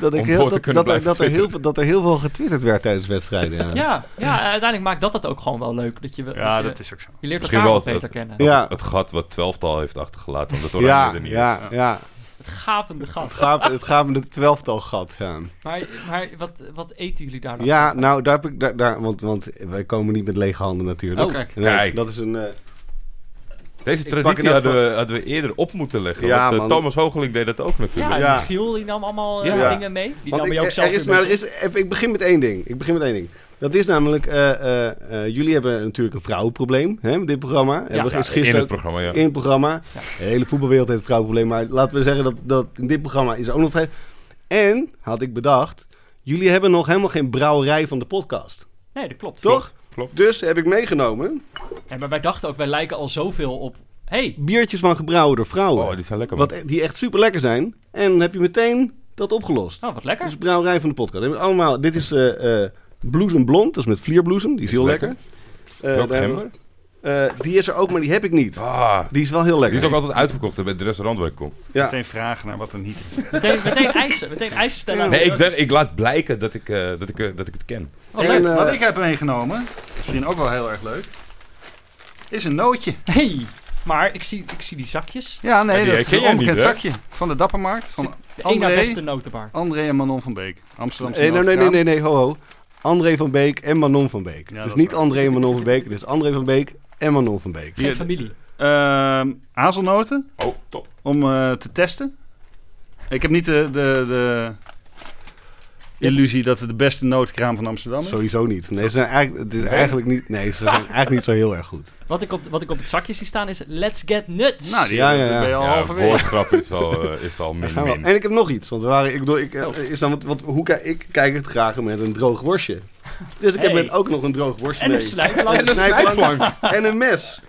[SPEAKER 5] dat, ik
[SPEAKER 4] om
[SPEAKER 5] heel,
[SPEAKER 4] door te
[SPEAKER 5] dat,
[SPEAKER 4] kunnen
[SPEAKER 5] dat, er,
[SPEAKER 4] blijven
[SPEAKER 5] dat, er heel,
[SPEAKER 4] twitteren.
[SPEAKER 5] veel- dat er heel veel getwitterd werd tijdens wedstrijden. Ja,
[SPEAKER 1] Ja, ja, uiteindelijk maakt dat het ook gewoon wel leuk. Dat je, dat
[SPEAKER 3] Ja,
[SPEAKER 1] je,
[SPEAKER 3] dat is ook zo.
[SPEAKER 1] je leert
[SPEAKER 4] Misschien
[SPEAKER 1] elkaar
[SPEAKER 4] wel
[SPEAKER 1] wat beter
[SPEAKER 4] dat-
[SPEAKER 1] kennen.
[SPEAKER 5] ja,
[SPEAKER 4] Het gat wat twelftal heeft achtergelaten, omdat Oranje
[SPEAKER 5] ja,
[SPEAKER 4] er niet is.
[SPEAKER 5] ja, ja.
[SPEAKER 1] Het gapende gat.
[SPEAKER 5] Het gaat, het gaat met het twelftal gat, ja.
[SPEAKER 1] Maar, maar wat, wat eten jullie daar dan?
[SPEAKER 5] Ja, nou, daar heb ik... Daar, daar, want, want wij komen niet met lege handen natuurlijk.
[SPEAKER 1] Oh, kijk.
[SPEAKER 5] Nee,
[SPEAKER 4] Kijk.
[SPEAKER 5] Dat is een... eh,
[SPEAKER 4] Deze
[SPEAKER 5] pak
[SPEAKER 4] traditie
[SPEAKER 5] het
[SPEAKER 4] hadden
[SPEAKER 5] ook
[SPEAKER 4] we, hadden we eerder op moeten leggen.
[SPEAKER 5] Ja,
[SPEAKER 4] want, eh,
[SPEAKER 5] man.
[SPEAKER 4] Thomas Hoogeling deed dat ook natuurlijk.
[SPEAKER 1] Ja,
[SPEAKER 5] Ja.
[SPEAKER 1] Giel die nam allemaal eh,
[SPEAKER 5] Ja.
[SPEAKER 1] dingen mee. Die
[SPEAKER 5] Want
[SPEAKER 1] nam
[SPEAKER 5] ik,
[SPEAKER 1] je ook
[SPEAKER 5] er
[SPEAKER 1] zelf
[SPEAKER 5] is,
[SPEAKER 1] weer
[SPEAKER 5] maar er
[SPEAKER 1] mee.
[SPEAKER 5] is, even, ik begin met één ding. Ik begin met één ding. Dat is namelijk, eh, eh, eh, jullie hebben natuurlijk een vrouwenprobleem hè, met dit programma. Hebben we
[SPEAKER 1] Ja,
[SPEAKER 5] gisteren
[SPEAKER 4] in het
[SPEAKER 5] ook-
[SPEAKER 4] programma, ja.
[SPEAKER 5] in het programma. De hele voetbalwereld heeft een vrouwenprobleem. Maar laten we zeggen dat, dat in dit programma is er ook nog vrij. En, had ik bedacht, jullie hebben nog helemaal geen brouwerij van de podcast.
[SPEAKER 1] Nee, dat klopt.
[SPEAKER 5] Toch?
[SPEAKER 4] klopt.
[SPEAKER 5] Dus heb ik meegenomen
[SPEAKER 1] Ja, maar wij dachten ook, wij lijken al zoveel op... hey,
[SPEAKER 5] biertjes van gebrouwen door vrouwen.
[SPEAKER 4] Oh, die zijn lekker, man.
[SPEAKER 5] wat, die echt super lekker zijn. En dan heb je meteen dat opgelost.
[SPEAKER 1] nou, wat lekker.
[SPEAKER 5] Dat is brouwerij van de podcast. Hebben we Allemaal, dit is eh eh bloesemblond, dat is met vlierbloesem, die is heel lekker. Eh,
[SPEAKER 4] Welke
[SPEAKER 5] daar hebben
[SPEAKER 4] gember?
[SPEAKER 5] we- eh, die is er ook, maar die heb ik niet.
[SPEAKER 4] Ah,
[SPEAKER 5] Die is wel heel
[SPEAKER 4] die
[SPEAKER 5] lekker.
[SPEAKER 4] is ook altijd uitverkocht hè, bij het restaurant waar ik kom.
[SPEAKER 5] ja.
[SPEAKER 3] Meteen vragen naar wat er niet is.
[SPEAKER 1] Meteen, meteen eisen. Meteen eisen stellen. aan
[SPEAKER 4] Nee,
[SPEAKER 1] de
[SPEAKER 4] ik, dacht, ik laat blijken dat ik, eh, dat, ik, eh, dat ik het ken.
[SPEAKER 1] Oh,
[SPEAKER 5] En,
[SPEAKER 1] leuk.
[SPEAKER 5] eh,
[SPEAKER 3] Wat ik heb meegenomen, misschien ook wel heel erg leuk, is een nootje.
[SPEAKER 1] Hey, maar ik zie, ik zie die zakjes.
[SPEAKER 3] Ja,
[SPEAKER 4] Ja,
[SPEAKER 3] nee,
[SPEAKER 4] die
[SPEAKER 3] dat is
[SPEAKER 4] herken
[SPEAKER 3] een
[SPEAKER 4] jij niet,
[SPEAKER 3] onbekend
[SPEAKER 4] hè?
[SPEAKER 3] zakje van de Dappermarkt. Van
[SPEAKER 1] De één na beste
[SPEAKER 3] André,
[SPEAKER 1] notenbar.
[SPEAKER 3] André en Manon van Beek. Amsterdamse
[SPEAKER 5] Eh, nee, nee, nee,
[SPEAKER 3] notenkraam.
[SPEAKER 5] nee, nee, ho, ho. André van Beek en Manon van Beek.
[SPEAKER 3] dat
[SPEAKER 5] dus
[SPEAKER 3] is
[SPEAKER 5] niet
[SPEAKER 3] waar.
[SPEAKER 5] André en Manon van Beek, dus André van Beek en Manon van Beek.
[SPEAKER 1] Geen
[SPEAKER 3] Hier,
[SPEAKER 1] familie.
[SPEAKER 3] Ehm, hazelnoten
[SPEAKER 4] Oh, top.
[SPEAKER 3] om eh, te testen. Ik heb niet de, de, de illusie dat het de beste notenkraam van Amsterdam is.
[SPEAKER 5] Sowieso niet. Nee, ze zijn eigenlijk, het is eigenlijk niet, nee, ze zijn <laughs> eigenlijk niet zo heel erg goed.
[SPEAKER 1] Wat ik, op, wat ik op het zakje zie staan is Let's Get Nuts.
[SPEAKER 3] Nou, die
[SPEAKER 5] Ja, ja,
[SPEAKER 3] daar
[SPEAKER 5] ja.
[SPEAKER 3] ben je al
[SPEAKER 4] Ja,
[SPEAKER 3] halverwege.
[SPEAKER 4] woordgrap is al, eh, is al
[SPEAKER 5] Daar
[SPEAKER 4] min,
[SPEAKER 5] gaan we.
[SPEAKER 4] min.
[SPEAKER 5] En ik heb nog iets, want we waren, ik bedoel, ik, eh, is dan, wat, wat, hoe kijk, ik kijk het graag met een droog worstje. Dus ik
[SPEAKER 1] Hey.
[SPEAKER 5] heb met ook nog een droog worstje
[SPEAKER 1] en
[SPEAKER 5] mee.
[SPEAKER 1] een
[SPEAKER 5] <laughs>
[SPEAKER 1] slijplank.
[SPEAKER 5] En een snijplank.
[SPEAKER 1] <laughs>
[SPEAKER 5] en een mes.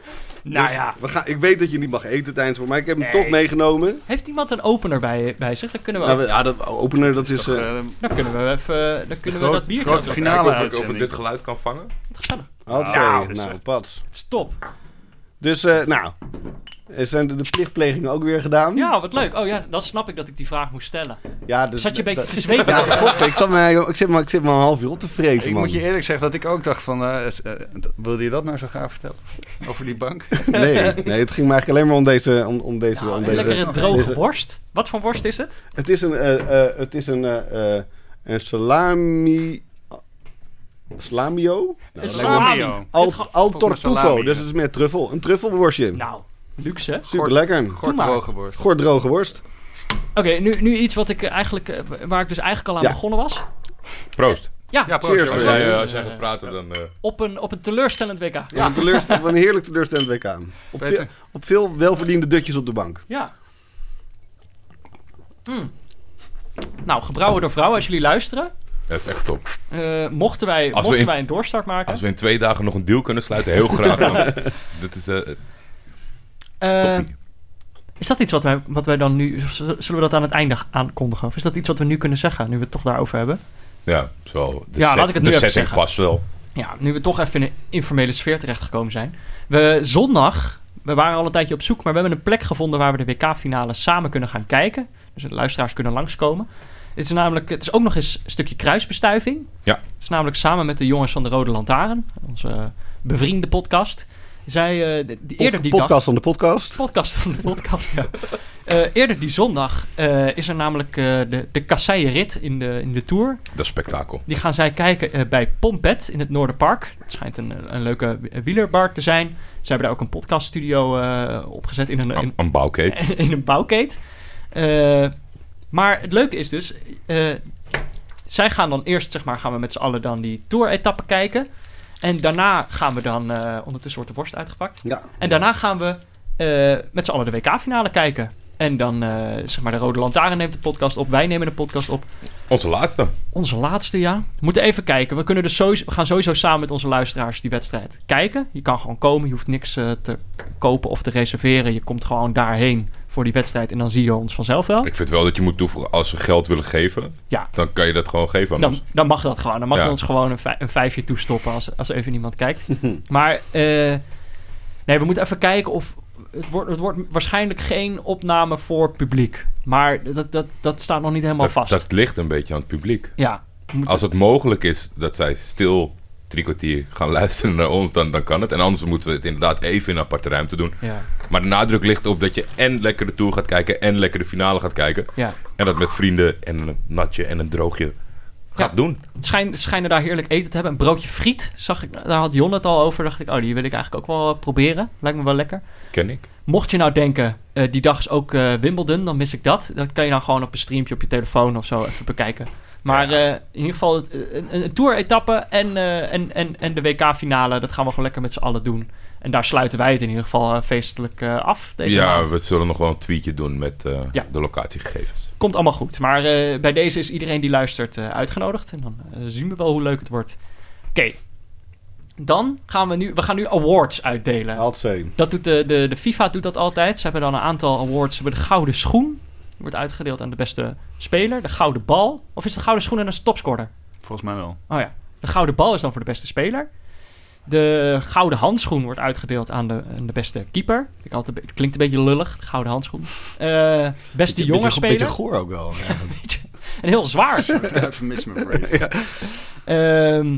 [SPEAKER 1] nou
[SPEAKER 5] Dus
[SPEAKER 1] ja.
[SPEAKER 5] we gaan, ik weet dat je niet mag eten tijdens voor, maar ik heb hem
[SPEAKER 1] Nee. Oh.
[SPEAKER 5] toch meegenomen.
[SPEAKER 1] Heeft iemand een opener bij, bij zich? Dan kunnen we,
[SPEAKER 5] Nou, we- ja, dat opener, dat is...
[SPEAKER 3] Toch,
[SPEAKER 5] eh,
[SPEAKER 3] eh,
[SPEAKER 1] dan kunnen we even dan kunnen we
[SPEAKER 3] grote-
[SPEAKER 1] dat bier
[SPEAKER 3] grote
[SPEAKER 1] kopen.
[SPEAKER 3] finale.
[SPEAKER 4] Kijken of ik- of, ik
[SPEAKER 3] uitzending.
[SPEAKER 4] dit geluid kan vangen.
[SPEAKER 1] Gezellig.
[SPEAKER 5] hoppakee,
[SPEAKER 3] Ja, dat is
[SPEAKER 5] nou,
[SPEAKER 3] echt-
[SPEAKER 5] pats.
[SPEAKER 1] Het eh, is top.
[SPEAKER 5] Dus, eh, nou, er zijn de, de plichtplegingen ook weer gedaan.
[SPEAKER 1] Ja, wat leuk. Oh ja, dan snap ik dat ik die vraag moest stellen.
[SPEAKER 5] Ja, dus,
[SPEAKER 1] Zat je een beetje
[SPEAKER 5] dat-
[SPEAKER 1] te zweten?
[SPEAKER 5] <laughs> Ja, god, ik, zat me, ik, zit maar, ik zit maar een half uur op te vreten,
[SPEAKER 3] ik
[SPEAKER 5] man.
[SPEAKER 3] moet je eerlijk zeggen dat ik ook dacht van, eh, is- eh, d- wilde je dat nou zo graag vertellen? <laughs> Over die bank?
[SPEAKER 5] nee, nee, het ging me eigenlijk alleen maar om deze... Om, om deze,
[SPEAKER 1] Nou,
[SPEAKER 5] om
[SPEAKER 1] een
[SPEAKER 5] deze
[SPEAKER 1] lekkere droge
[SPEAKER 5] deze-
[SPEAKER 1] worst. Wat voor worst is het?
[SPEAKER 5] Het is een, eh, eh, het is een, eh, eh, een salami... Nou, Slamio?
[SPEAKER 1] een
[SPEAKER 3] salami.
[SPEAKER 5] Al,
[SPEAKER 1] Het ge-
[SPEAKER 5] al
[SPEAKER 3] volgens mij
[SPEAKER 5] tortufo,
[SPEAKER 3] salami,
[SPEAKER 5] dus
[SPEAKER 3] ja.
[SPEAKER 5] het is met truffel. Een truffelworstje.
[SPEAKER 1] Nou, luxe. hè?
[SPEAKER 5] Super lekker.
[SPEAKER 3] Gort
[SPEAKER 1] maar.
[SPEAKER 3] droge worst.
[SPEAKER 5] Goor droge worst.
[SPEAKER 1] Oké, nu, nu iets wat ik eh, eigenlijk, eh, waar ik dus eigenlijk al aan
[SPEAKER 5] Ja.
[SPEAKER 1] begonnen was.
[SPEAKER 4] Proost.
[SPEAKER 1] Ja,
[SPEAKER 3] Ja, proost,
[SPEAKER 5] Cheers.
[SPEAKER 3] jongens.
[SPEAKER 4] Als
[SPEAKER 5] Ja,
[SPEAKER 4] jij,
[SPEAKER 5] ja,
[SPEAKER 4] eh, als jij gaat praten, dan... eh,
[SPEAKER 1] op, een, op een teleurstellend WK.
[SPEAKER 5] Ja. Een,
[SPEAKER 1] <laughs>
[SPEAKER 5] teleurst- een heerlijk teleurstellend WK. Op veel,
[SPEAKER 3] Peter.
[SPEAKER 5] op veel welverdiende dutjes op de bank.
[SPEAKER 1] Ja. Mm. Nou, gebrouwen door vrouwen, als jullie luisteren.
[SPEAKER 4] dat is echt top.
[SPEAKER 1] eh, mochten wij,
[SPEAKER 4] we
[SPEAKER 1] mochten
[SPEAKER 4] in-
[SPEAKER 1] wij een doorstart maken.
[SPEAKER 4] Als we in twee dagen nog een deal kunnen sluiten, heel graag. man. dat is... eh,
[SPEAKER 1] Eh,
[SPEAKER 4] Toppie.
[SPEAKER 1] is dat iets wat wij, wat wij dan nu... z- Zullen we dat aan het einde aankondigen? Of is dat iets wat we nu kunnen zeggen, nu we het toch daarover hebben?
[SPEAKER 4] ja, zo. De,
[SPEAKER 1] Ja,
[SPEAKER 4] set-
[SPEAKER 1] laat ik het
[SPEAKER 4] de
[SPEAKER 1] nu even
[SPEAKER 4] setting
[SPEAKER 1] zeggen.
[SPEAKER 4] past wel.
[SPEAKER 1] Ja, nu we toch even in een informele sfeer terechtgekomen zijn. We zondag, we waren al een tijdje op zoek, maar we hebben een plek gevonden waar we de WK-finale samen kunnen gaan kijken. Dus de luisteraars kunnen langskomen. Het is namelijk, het is ook nog eens een stukje kruisbestuiving.
[SPEAKER 4] Ja.
[SPEAKER 1] Het is namelijk samen met de jongens van de Rode Lantaarn, onze bevriende podcast. Zij, eh, de- die,
[SPEAKER 5] Pod-
[SPEAKER 1] eerder die dag...
[SPEAKER 5] podcast van de podcast.
[SPEAKER 1] Podcast van de podcast, ja. Eh, eerder die zondag eh, is er namelijk eh, de, de kasseien-rit in de, in de Tour.
[SPEAKER 4] Dat is spektakel.
[SPEAKER 1] Die gaan zij kijken eh, bij Pompet in het Noorderpark. Het schijnt een, eh, een leuke wi- wielerbar te zijn. Ze hebben daar ook een podcaststudio eh, opgezet in een, in,
[SPEAKER 4] Een, een bouwkeet.
[SPEAKER 1] <laughs> in, een bouwkeet. Eh, maar het leuke is dus... eh, zij gaan dan eerst, zeg maar, gaan we met z'n allen dan die Tour-etappe kijken. En daarna gaan we dan... eh, ondertussen wordt de worst uitgepakt.
[SPEAKER 5] Ja.
[SPEAKER 1] En daarna gaan we eh, met z'n allen de WK-finale kijken. En dan, eh, zeg maar, de Rode Lantaarn neemt de podcast op. Wij nemen de podcast op.
[SPEAKER 4] Onze laatste.
[SPEAKER 1] Onze laatste, ja. We moeten even kijken. We, kunnen dus sowieso, we gaan sowieso samen met onze luisteraars die wedstrijd kijken. Je kan gewoon komen. Je hoeft niks eh, te kopen of te reserveren. Je komt gewoon daarheen voor die wedstrijd. En dan zie je ons vanzelf wel.
[SPEAKER 4] Ik vind wel dat je moet toevoegen, als ze geld willen geven,
[SPEAKER 1] Ja.
[SPEAKER 4] dan kan je dat gewoon geven aan
[SPEAKER 1] Dan,
[SPEAKER 4] ons.
[SPEAKER 1] dan mag dat gewoon. Dan mag
[SPEAKER 4] Ja.
[SPEAKER 1] je ons gewoon een, vij- een vijfje toestoppen als, als even niemand kijkt.
[SPEAKER 4] <laughs>
[SPEAKER 1] maar eh, nee, we moeten even kijken of... Het wordt, het wordt waarschijnlijk geen opname voor publiek. Maar dat, dat, dat staat nog niet helemaal
[SPEAKER 4] Dat,
[SPEAKER 1] vast.
[SPEAKER 4] dat ligt een beetje aan het publiek.
[SPEAKER 1] Ja, we moeten-
[SPEAKER 4] Als het mogelijk is dat zij stil drie kwartier gaan <laughs> luisteren naar ons, dan, dan kan het. En anders moeten we het inderdaad even in een aparte ruimte doen.
[SPEAKER 1] ja,
[SPEAKER 4] Maar de nadruk ligt op dat je en lekker de Tour gaat kijken en lekker de finale gaat kijken.
[SPEAKER 1] ja.
[SPEAKER 4] En dat met vrienden en een natje en een droogje gaat
[SPEAKER 1] Ja.
[SPEAKER 4] doen.
[SPEAKER 1] Het schijn, ze schijnen daar heerlijk eten te hebben. Een broodje friet, zag ik, daar had Jon het al over. Dacht ik, oh, die wil ik eigenlijk ook wel eh, proberen. Lijkt me wel lekker.
[SPEAKER 4] Ken ik.
[SPEAKER 1] Mocht je nou denken, eh, die dag is ook eh, Wimbledon, dan mis ik dat. Dat kan je dan gewoon op een streampje op je telefoon of zo even bekijken. Maar eh, in ieder geval het- een, een- een tour-etappe en, eh, en, en, en de WK-finale, dat gaan we gewoon lekker met z'n allen doen. En daar sluiten wij het in ieder geval eh, feestelijk eh, af deze
[SPEAKER 4] ja,
[SPEAKER 1] maand.
[SPEAKER 4] we zullen nog wel een tweetje doen met eh,
[SPEAKER 1] Ja.
[SPEAKER 4] de locatiegegevens.
[SPEAKER 1] Komt allemaal goed. Maar eh, bij deze is iedereen die luistert eh, uitgenodigd. En dan eh, zien we wel hoe leuk het wordt. Oké. Dan gaan we nu... We gaan nu awards uitdelen.
[SPEAKER 5] Alt zijn.
[SPEAKER 1] Dat doet de, de, de FIFA doet dat altijd. Ze hebben dan een aantal awards. Ze hebben de Gouden Schoen. Die wordt uitgedeeld aan de beste speler. De Gouden Bal. Of is de Gouden Schoen en dat is de topscorer?
[SPEAKER 3] Volgens mij <laughs> wel.
[SPEAKER 1] Oh ja. De Gouden Bal is dan voor de beste speler. De Gouden Handschoen wordt uitgedeeld aan de, aan de beste keeper. Vind Ik altijd, een be- klinkt een beetje lullig, de Gouden Handschoen. Eh, beste jonge
[SPEAKER 5] Een beetje
[SPEAKER 1] speler.
[SPEAKER 5] goor ook wel. Ja.
[SPEAKER 1] En heel
[SPEAKER 5] <laughs>
[SPEAKER 1] zwaar.
[SPEAKER 3] Euphemisme <laughs> phrase.
[SPEAKER 1] Ehm,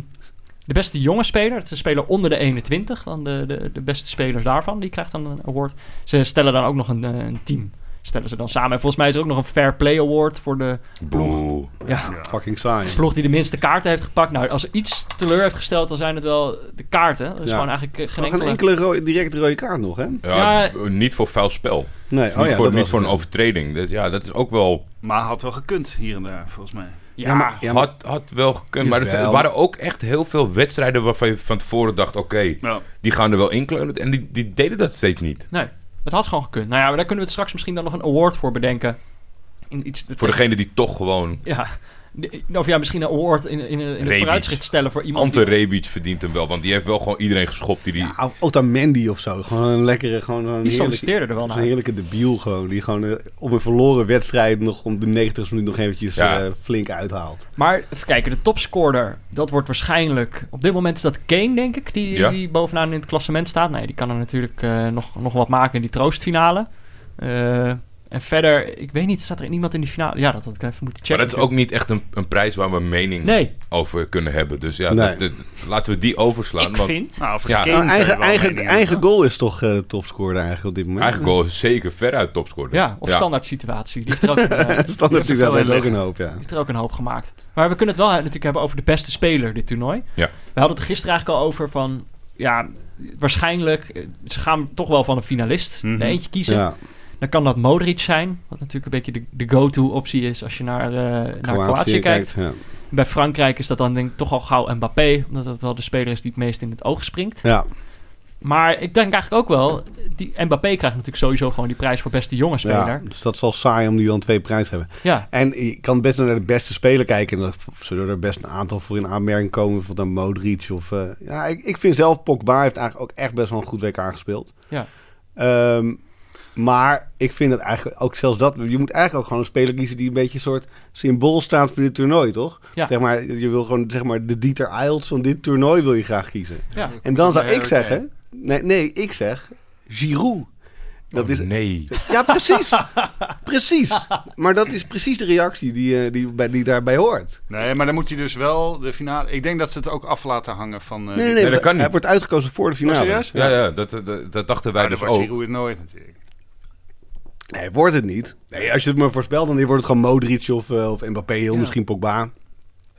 [SPEAKER 1] de beste jonge speler, dat is een speler onder de 21, dan de, de, de beste spelers daarvan, die krijgt dan een award. Ze stellen dan ook nog een, eh, een team, stellen ze dan samen. En volgens mij is er ook nog een Fair Play Award voor de
[SPEAKER 4] Boe.
[SPEAKER 1] <laughs> ja,
[SPEAKER 5] Fucking saai.
[SPEAKER 1] ploeg die de minste kaarten heeft gepakt. Nou, als er iets teleur heeft gesteld, dan zijn het wel de kaarten. Er is
[SPEAKER 5] Ja.
[SPEAKER 1] gewoon eigenlijk eh, geen
[SPEAKER 5] Nog een
[SPEAKER 1] enkele...
[SPEAKER 5] enkele rode, direct rode kaart nog, hè? Nee,
[SPEAKER 4] Ja,
[SPEAKER 1] Ja.
[SPEAKER 4] d- Niet voor vuil spel.
[SPEAKER 5] oh ja,
[SPEAKER 4] niet
[SPEAKER 5] dat
[SPEAKER 4] voor, niet
[SPEAKER 5] was
[SPEAKER 4] voor een
[SPEAKER 5] het.
[SPEAKER 4] overtreding. Dus ja, dat is ook wel...
[SPEAKER 3] Maar had wel gekund hier en daar, volgens mij.
[SPEAKER 1] Ja,
[SPEAKER 5] Ja, maar, ja, maar-
[SPEAKER 4] had, had wel gekund. Maar er z-
[SPEAKER 5] Jawel.
[SPEAKER 4] waren ook echt heel veel wedstrijden waarvan je van tevoren dacht... Oké,
[SPEAKER 3] Ja.
[SPEAKER 4] die gaan er wel in kleunen. En die, die deden dat steeds niet.
[SPEAKER 1] nee, het had gewoon gekund. Nou ja, maar daar kunnen we het straks misschien dan nog een award voor bedenken. In iets,
[SPEAKER 4] Voor degene die toch gewoon...
[SPEAKER 1] Ja, de- of ja, misschien een award in, in, in het
[SPEAKER 4] Rebic.
[SPEAKER 1] vooruitschrift stellen voor iemand...
[SPEAKER 4] Ante
[SPEAKER 1] die-
[SPEAKER 4] Rebic verdient hem wel. Want die heeft wel gewoon iedereen geschopt die... die
[SPEAKER 5] ja, of Otamendi of zo. Gewoon een lekkere, gewoon een
[SPEAKER 1] Die
[SPEAKER 5] heerlijke,
[SPEAKER 1] solliciteerde er wel
[SPEAKER 5] zo'n
[SPEAKER 1] naar.
[SPEAKER 5] heerlijke debiel gewoon. Die gewoon eh, op een verloren wedstrijd nog om de 90 minuut nog eventjes
[SPEAKER 4] Ja.
[SPEAKER 5] eh, flink uithaalt.
[SPEAKER 1] Maar even kijken, de topscorer, dat wordt waarschijnlijk... Op dit moment is dat Kane, denk ik, die,
[SPEAKER 4] Ja.
[SPEAKER 1] die bovenaan in het klassement staat. Nee, die kan er natuurlijk eh, nog, nog wat maken in die troostfinale. Eh, en verder, ik weet niet, staat er iemand in die finale? Ja, dat had ik even moeten checken.
[SPEAKER 4] maar dat is ook niet echt een, een prijs waar we een mening
[SPEAKER 1] Nee,
[SPEAKER 4] over kunnen hebben. Dus ja,
[SPEAKER 5] Nee.
[SPEAKER 4] dat- dat- laten we die overslaan.
[SPEAKER 1] ik
[SPEAKER 4] want
[SPEAKER 1] vind...
[SPEAKER 3] Nou, voor
[SPEAKER 4] Ja.
[SPEAKER 3] Kane
[SPEAKER 5] Nou,
[SPEAKER 3] zou je
[SPEAKER 5] eigen
[SPEAKER 3] wel
[SPEAKER 5] eigen,
[SPEAKER 3] meningen
[SPEAKER 5] eigen
[SPEAKER 3] hebben.
[SPEAKER 5] goal is toch eh topscorer eigenlijk op dit moment.
[SPEAKER 4] eigenlijk wel zeker veruit topscorer.
[SPEAKER 1] Ja, of standaard situatie. Die heeft er ook, een, eh, die heeft
[SPEAKER 5] Standaard
[SPEAKER 3] Die
[SPEAKER 5] natuurlijk
[SPEAKER 3] heeft er
[SPEAKER 5] wel
[SPEAKER 3] veel
[SPEAKER 5] leuk
[SPEAKER 3] in
[SPEAKER 5] een hoop, ja.
[SPEAKER 1] er ook een hoop gemaakt. Maar we kunnen het wel natuurlijk hebben over de beste speler, dit toernooi.
[SPEAKER 4] Ja.
[SPEAKER 1] We hadden het er gisteren eigenlijk al over van... Ja, waarschijnlijk, eh, ze gaan toch wel van een finalist
[SPEAKER 3] Mhm.
[SPEAKER 1] er eentje kiezen.
[SPEAKER 5] Ja,
[SPEAKER 1] Dan kan dat Modric zijn, wat natuurlijk een beetje de, de go-to optie is als je naar, eh, naar
[SPEAKER 5] Kroatië
[SPEAKER 1] Kroatië kijkt.
[SPEAKER 5] Ja.
[SPEAKER 1] Bij Frankrijk is dat dan denk ik toch al gauw Mbappé, omdat dat wel de speler is die het meest in het oog springt.
[SPEAKER 5] ja.
[SPEAKER 1] Maar ik denk eigenlijk ook wel, die Mbappé krijgt natuurlijk sowieso gewoon die prijs voor beste jonge
[SPEAKER 5] Ja,
[SPEAKER 1] speler.
[SPEAKER 5] dus dat is al saai om die dan twee prijzen te hebben.
[SPEAKER 1] Ja,
[SPEAKER 5] En je kan best naar de beste speler kijken. En dan zullen er best een aantal voor in aanmerking komen. Van dan Modric of... eh, ja, ik, ik vind zelf Pogba heeft eigenlijk ook echt best wel een goed WK gespeeld.
[SPEAKER 1] Ja.
[SPEAKER 5] Ehm, maar ik vind het eigenlijk ook zelfs dat... Je moet eigenlijk ook gewoon een speler kiezen die een beetje een soort symbool staat voor dit toernooi, toch?
[SPEAKER 1] Ja.
[SPEAKER 5] Zeg maar, je wil gewoon zeg maar de Dieter Eilt van dit toernooi wil je graag kiezen.
[SPEAKER 1] ja.
[SPEAKER 5] En dan zou
[SPEAKER 3] Nee,
[SPEAKER 5] ik
[SPEAKER 3] oké.
[SPEAKER 5] zeggen... Nee, nee, ik zeg Giroud. Dat
[SPEAKER 4] Oh,
[SPEAKER 5] is,
[SPEAKER 4] nee.
[SPEAKER 5] ja, precies. precies. Maar dat is precies de reactie die, eh, die, bij, die daarbij hoort.
[SPEAKER 3] Nee, maar dan moet hij dus wel de finale... Ik denk dat ze het ook af laten hangen van... eh,
[SPEAKER 5] Nee, nee,
[SPEAKER 3] die-
[SPEAKER 5] nee,
[SPEAKER 4] dat
[SPEAKER 5] want
[SPEAKER 4] kan
[SPEAKER 5] hij
[SPEAKER 4] niet.
[SPEAKER 5] wordt uitgekozen voor de finale.
[SPEAKER 3] Oh, serieus?
[SPEAKER 4] Ja, ja, dat, dat, dat dachten wij
[SPEAKER 3] Maar
[SPEAKER 4] dus
[SPEAKER 3] dan wordt
[SPEAKER 4] ook.
[SPEAKER 3] Giroud het nooit natuurlijk.
[SPEAKER 5] Nee, wordt het niet. Nee, als je het me voorspelt, dan wordt het gewoon Modric of, eh, of Mbappé of
[SPEAKER 3] Ja.
[SPEAKER 5] misschien Pogba.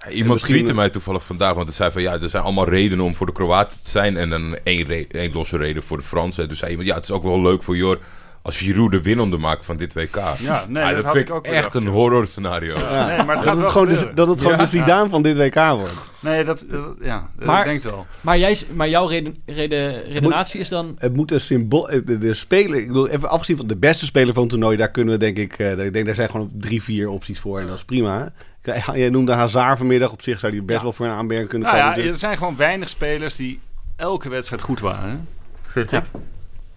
[SPEAKER 4] Iemand
[SPEAKER 5] misschien-
[SPEAKER 4] tweette mij toevallig vandaag, want hij zei van ja, er zijn allemaal redenen om voor de Kroaten te zijn en dan één, re- één losse reden voor de Fransen. En toen zei iemand, ja, het is ook wel leuk voor Jor als Giroud de winnende maakt van dit WK.
[SPEAKER 3] Ja, nee, dat had
[SPEAKER 4] vind
[SPEAKER 3] ik ook
[SPEAKER 4] echt
[SPEAKER 3] bedacht,
[SPEAKER 4] een
[SPEAKER 3] joh.
[SPEAKER 4] horror scenario.
[SPEAKER 3] Ja, Nee, maar het gaat
[SPEAKER 5] Dat het,
[SPEAKER 3] wel
[SPEAKER 5] gewoon de,
[SPEAKER 3] gebeuren.
[SPEAKER 5] dat het gewoon
[SPEAKER 4] Ja.
[SPEAKER 5] de Zidane van dit WK wordt.
[SPEAKER 3] Nee, dat... dat- ja, dat
[SPEAKER 1] Maar-
[SPEAKER 3] denkt wel.
[SPEAKER 1] Maar, jij, s- maar jouw reden, reden, redenatie is dan...
[SPEAKER 5] Het moet een symbool. eh, De, de speler, ik bedoel, even afgezien van de beste speler van het toernooi, daar kunnen we denk ik. eh, ik denk daar zijn gewoon drie, vier opties voor en dat is prima. Kijk, Jij noemde Hazard vanmiddag. Op zich zou die best
[SPEAKER 1] Ja.
[SPEAKER 5] wel voor een aanmerking kunnen
[SPEAKER 3] Nou ja,
[SPEAKER 5] komen. dus-
[SPEAKER 3] er zijn gewoon weinig spelers die elke wedstrijd goed waren. Vind
[SPEAKER 1] Ja.
[SPEAKER 3] ik.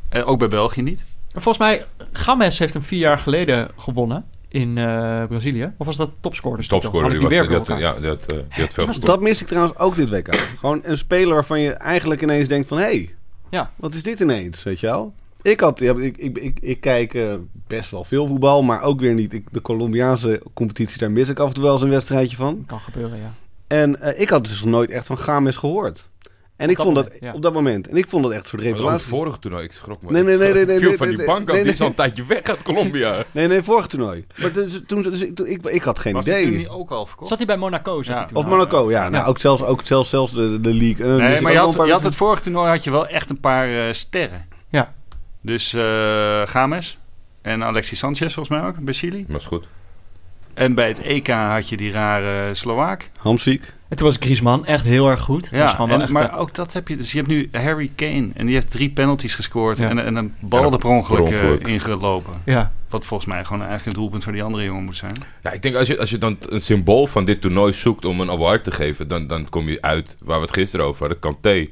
[SPEAKER 3] Eh, ook bij België niet.
[SPEAKER 1] Volgens mij, Games heeft hem vier jaar geleden gewonnen in eh, Brazilië. Of was dat topscorer?
[SPEAKER 4] Topscorer, die,
[SPEAKER 1] die
[SPEAKER 4] was,
[SPEAKER 1] weer
[SPEAKER 4] die,
[SPEAKER 1] door
[SPEAKER 4] had,
[SPEAKER 1] elkaar.
[SPEAKER 4] ja, die, had, eh, die had veel gescoord.
[SPEAKER 5] dat mis ik trouwens ook dit
[SPEAKER 1] <clears throat>
[SPEAKER 5] WK. Gewoon een speler waarvan je eigenlijk ineens denkt van... hé, hey,
[SPEAKER 1] Ja.
[SPEAKER 5] wat is dit ineens, weet je wel? Ik, had, ja, ik, ik, ik, ik kijk eh, best wel veel voetbal, maar ook weer niet. Ik, de Colombiaanse competitie, daar mis ik af en toe wel eens een wedstrijdje van.
[SPEAKER 1] Kan gebeuren, ja.
[SPEAKER 5] En eh, ik had dus nog nooit echt van Games gehoord. En ik
[SPEAKER 1] dat
[SPEAKER 5] vond dat
[SPEAKER 1] moment, ja.
[SPEAKER 5] op dat moment. En ik vond dat echt een soort
[SPEAKER 4] Maar dan het
[SPEAKER 5] revelatie.
[SPEAKER 4] vorige toernooi, ik schrok me.
[SPEAKER 5] Nee, nee,
[SPEAKER 4] ik
[SPEAKER 5] nee,
[SPEAKER 4] schrok-
[SPEAKER 5] nee, nee,
[SPEAKER 4] viel
[SPEAKER 5] nee,
[SPEAKER 4] van die
[SPEAKER 5] nee,
[SPEAKER 4] bank af,
[SPEAKER 5] nee,
[SPEAKER 4] die is al
[SPEAKER 5] nee.
[SPEAKER 4] een tijdje weg uit Colombia.
[SPEAKER 5] Nee, nee, vorig toernooi. Maar dus, toen, dus, ik, toen- ik, ik had geen
[SPEAKER 3] Was
[SPEAKER 5] idee.
[SPEAKER 3] die toen niet ook al verkocht?
[SPEAKER 1] Zat hij bij Monaco? Zat
[SPEAKER 3] Ja.
[SPEAKER 1] hij toen
[SPEAKER 5] Of
[SPEAKER 1] al?
[SPEAKER 5] Monaco, ja. Nou,
[SPEAKER 1] Ja.
[SPEAKER 5] ook zelfs, ook zelfs, zelfs de, de league. eh, dus
[SPEAKER 3] Nee,
[SPEAKER 5] ik
[SPEAKER 3] maar je
[SPEAKER 5] had
[SPEAKER 3] had,
[SPEAKER 5] wel
[SPEAKER 3] je
[SPEAKER 5] een
[SPEAKER 3] had
[SPEAKER 5] paar-
[SPEAKER 3] het vorige toernooi had je wel echt een paar eh, sterren.
[SPEAKER 1] Ja.
[SPEAKER 3] Dus eh Games en Alexis Sanchez volgens mij ook, bij Chili.
[SPEAKER 4] Maar is goed.
[SPEAKER 3] En bij het EK had je die rare Slovaak.
[SPEAKER 5] Hamziek.
[SPEAKER 1] En toen was Griezmann echt heel erg goed. Dat was
[SPEAKER 3] Ja,
[SPEAKER 1] gewoon wel
[SPEAKER 3] en-
[SPEAKER 1] echt,
[SPEAKER 3] maar
[SPEAKER 1] eh,
[SPEAKER 3] ook dat heb je. Dus je hebt nu Harry Kane en die heeft drie penalties gescoord
[SPEAKER 1] Ja.
[SPEAKER 3] en, en een
[SPEAKER 4] Ja,
[SPEAKER 3] bal er per ongeluk,
[SPEAKER 4] per ongeluk.
[SPEAKER 3] eh, ingelopen.
[SPEAKER 1] ja.
[SPEAKER 3] Wat volgens mij gewoon eigenlijk een doelpunt voor die andere jongen moet zijn.
[SPEAKER 4] Ja, ik denk als je, als je dan een symbool van dit toernooi zoekt om een award te geven, dan, dan kom je uit waar we het gisteren over hadden, Kanté.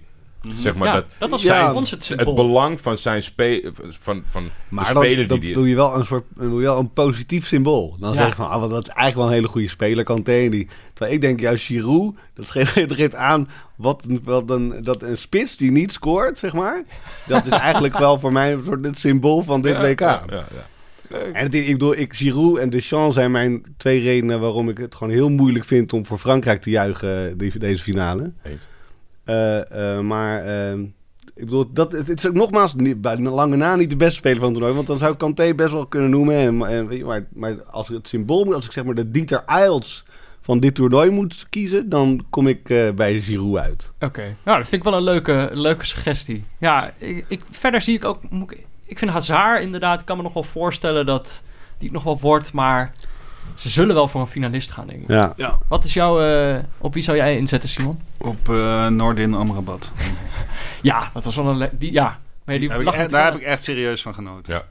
[SPEAKER 4] Zeg maar
[SPEAKER 1] ja,
[SPEAKER 4] dat,
[SPEAKER 1] dat, was
[SPEAKER 5] Mhm. Ja,
[SPEAKER 1] voor ons het
[SPEAKER 4] het
[SPEAKER 1] symbool.
[SPEAKER 4] belang van zijn spe van, van
[SPEAKER 5] Maar
[SPEAKER 4] de
[SPEAKER 5] dan,
[SPEAKER 4] speler
[SPEAKER 5] dan
[SPEAKER 4] die die
[SPEAKER 5] doe je wel een soort dan doe je wel een positief symbool. Dan
[SPEAKER 1] Ja.
[SPEAKER 5] zeg je van, ah, want dat is eigenlijk wel een hele goede speler, Kanté. Die, terwijl ik denk, juist Giroud, dat geeft, <laughs> dat geeft aan wat, een- wat een, dat een spits die niet scoort, zeg maar. Dat is eigenlijk wel voor mij een soort het symbool van dit
[SPEAKER 4] Ja,
[SPEAKER 5] WK.
[SPEAKER 4] Ja, ja, ja.
[SPEAKER 5] En het- ik bedoel, ik, Giroud en Deschamps zijn mijn twee redenen waarom ik het gewoon heel moeilijk vind om voor Frankrijk te juichen eh, die- deze finale.
[SPEAKER 4] Eens.
[SPEAKER 5] Eh, eh, maar eh, ik bedoel, dat, het, het is ook nogmaals niet, bij lange na niet de beste speler van het toernooi. Want dan zou ik Kanté best wel kunnen noemen. En, en, weet je, maar, maar als ik het symbool moet, als ik zeg maar de Dieter Eils van dit toernooi moet kiezen, dan kom ik eh, bij Giroud uit.
[SPEAKER 1] Oké, nou, dat vind ik wel een leuke, leuke suggestie. Ja, ik, ik, verder zie ik ook... moet Ik, ik vind Hazard inderdaad, ik kan me nog wel voorstellen dat die het nog wel wordt, maar ze zullen wel voor een finalist gaan, denk ik.
[SPEAKER 5] Ja.
[SPEAKER 1] Wat is jouw... eh, op wie zou jij inzetten, Simon?
[SPEAKER 3] Op eh Noordin Amrabat.
[SPEAKER 1] Ja, dat was wel een... le- Die, ja, maar die
[SPEAKER 3] Daar heb, ik,
[SPEAKER 1] lag
[SPEAKER 3] echt-
[SPEAKER 1] met-
[SPEAKER 3] daar heb ik echt serieus van genoten.
[SPEAKER 4] Ja.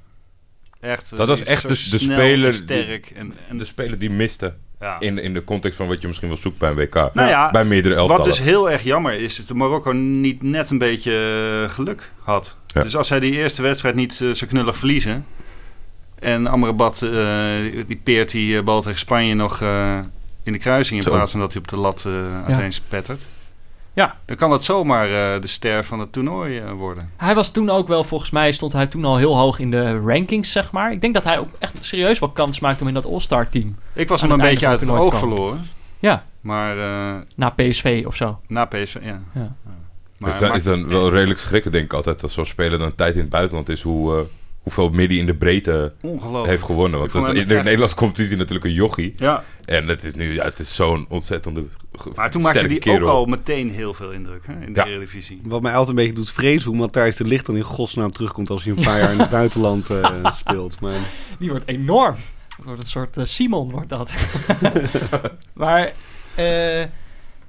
[SPEAKER 3] Echt, eh,
[SPEAKER 4] Dat was
[SPEAKER 3] die
[SPEAKER 4] echt
[SPEAKER 3] zo
[SPEAKER 4] de- de
[SPEAKER 3] snel
[SPEAKER 4] speler
[SPEAKER 3] en
[SPEAKER 4] die-
[SPEAKER 3] Sterk en, en
[SPEAKER 4] En de speler die miste
[SPEAKER 3] ja.
[SPEAKER 4] in, in de context van wat je misschien wel zoekt bij een WK.
[SPEAKER 3] Nou ja,
[SPEAKER 4] bij meerdere elftallen.
[SPEAKER 3] Wat dus heel erg jammer is, dat Marokko niet net een beetje eh, geluk had.
[SPEAKER 4] Ja.
[SPEAKER 3] Dus als zij die eerste wedstrijd niet eh, zo knullig verliezen... en Amrabat, eh, die- die peert die eh, bal tegen Spanje nog eh, in de kruising... in
[SPEAKER 4] Zo.
[SPEAKER 3] plaats van dat hij op de lat eh uiteen spettert...
[SPEAKER 1] Ja.
[SPEAKER 3] dan kan dat zomaar eh, de ster van het toernooi eh, worden.
[SPEAKER 1] Hij was toen ook wel, volgens mij stond hij toen al heel hoog in de rankings, zeg maar. Ik denk dat hij ook echt serieus wel kans maakt om in dat All-Star team.
[SPEAKER 3] Ik was
[SPEAKER 1] Aan
[SPEAKER 3] hem een
[SPEAKER 1] het
[SPEAKER 3] beetje
[SPEAKER 1] einde
[SPEAKER 3] uit
[SPEAKER 1] van
[SPEAKER 3] het
[SPEAKER 1] het
[SPEAKER 3] oog
[SPEAKER 1] toernooi te
[SPEAKER 3] verloren.
[SPEAKER 1] Ja,
[SPEAKER 3] Maar eh,
[SPEAKER 1] na PSV of zo.
[SPEAKER 3] na PSV, ja.
[SPEAKER 1] Ja.
[SPEAKER 3] Maar
[SPEAKER 4] dus dat
[SPEAKER 3] maakt-
[SPEAKER 4] is dan wel redelijk schrikken, denk ik altijd, als zo'n speler dan tijd in het buitenland is, hoe, eh, hoeveel midden in de breedte
[SPEAKER 3] ongelooflijk.
[SPEAKER 4] heeft gewonnen.
[SPEAKER 3] Oh. Ik
[SPEAKER 4] Want
[SPEAKER 3] vond
[SPEAKER 4] dat is-
[SPEAKER 3] hem
[SPEAKER 4] in de
[SPEAKER 3] echt-
[SPEAKER 4] Nederlandse competitie natuurlijk een jochie.
[SPEAKER 3] Ja,
[SPEAKER 4] En het is nu, ja, het is zo'n ontzettende ge-
[SPEAKER 3] maar toen maakte
[SPEAKER 4] sterke
[SPEAKER 3] hij
[SPEAKER 4] kerel.
[SPEAKER 3] ook al meteen heel veel indruk hè, in de
[SPEAKER 4] Ja.
[SPEAKER 3] Eredivisie.
[SPEAKER 5] Wat mij altijd een beetje doet vrezen hoe Matthijs de Licht dan in godsnaam terugkomt als hij een paar jaar in het <laughs> buitenland eh, speelt. Maar,
[SPEAKER 1] Die wordt enorm. Dat wordt een soort eh, Simon, wordt dat. <laughs> maar, eh,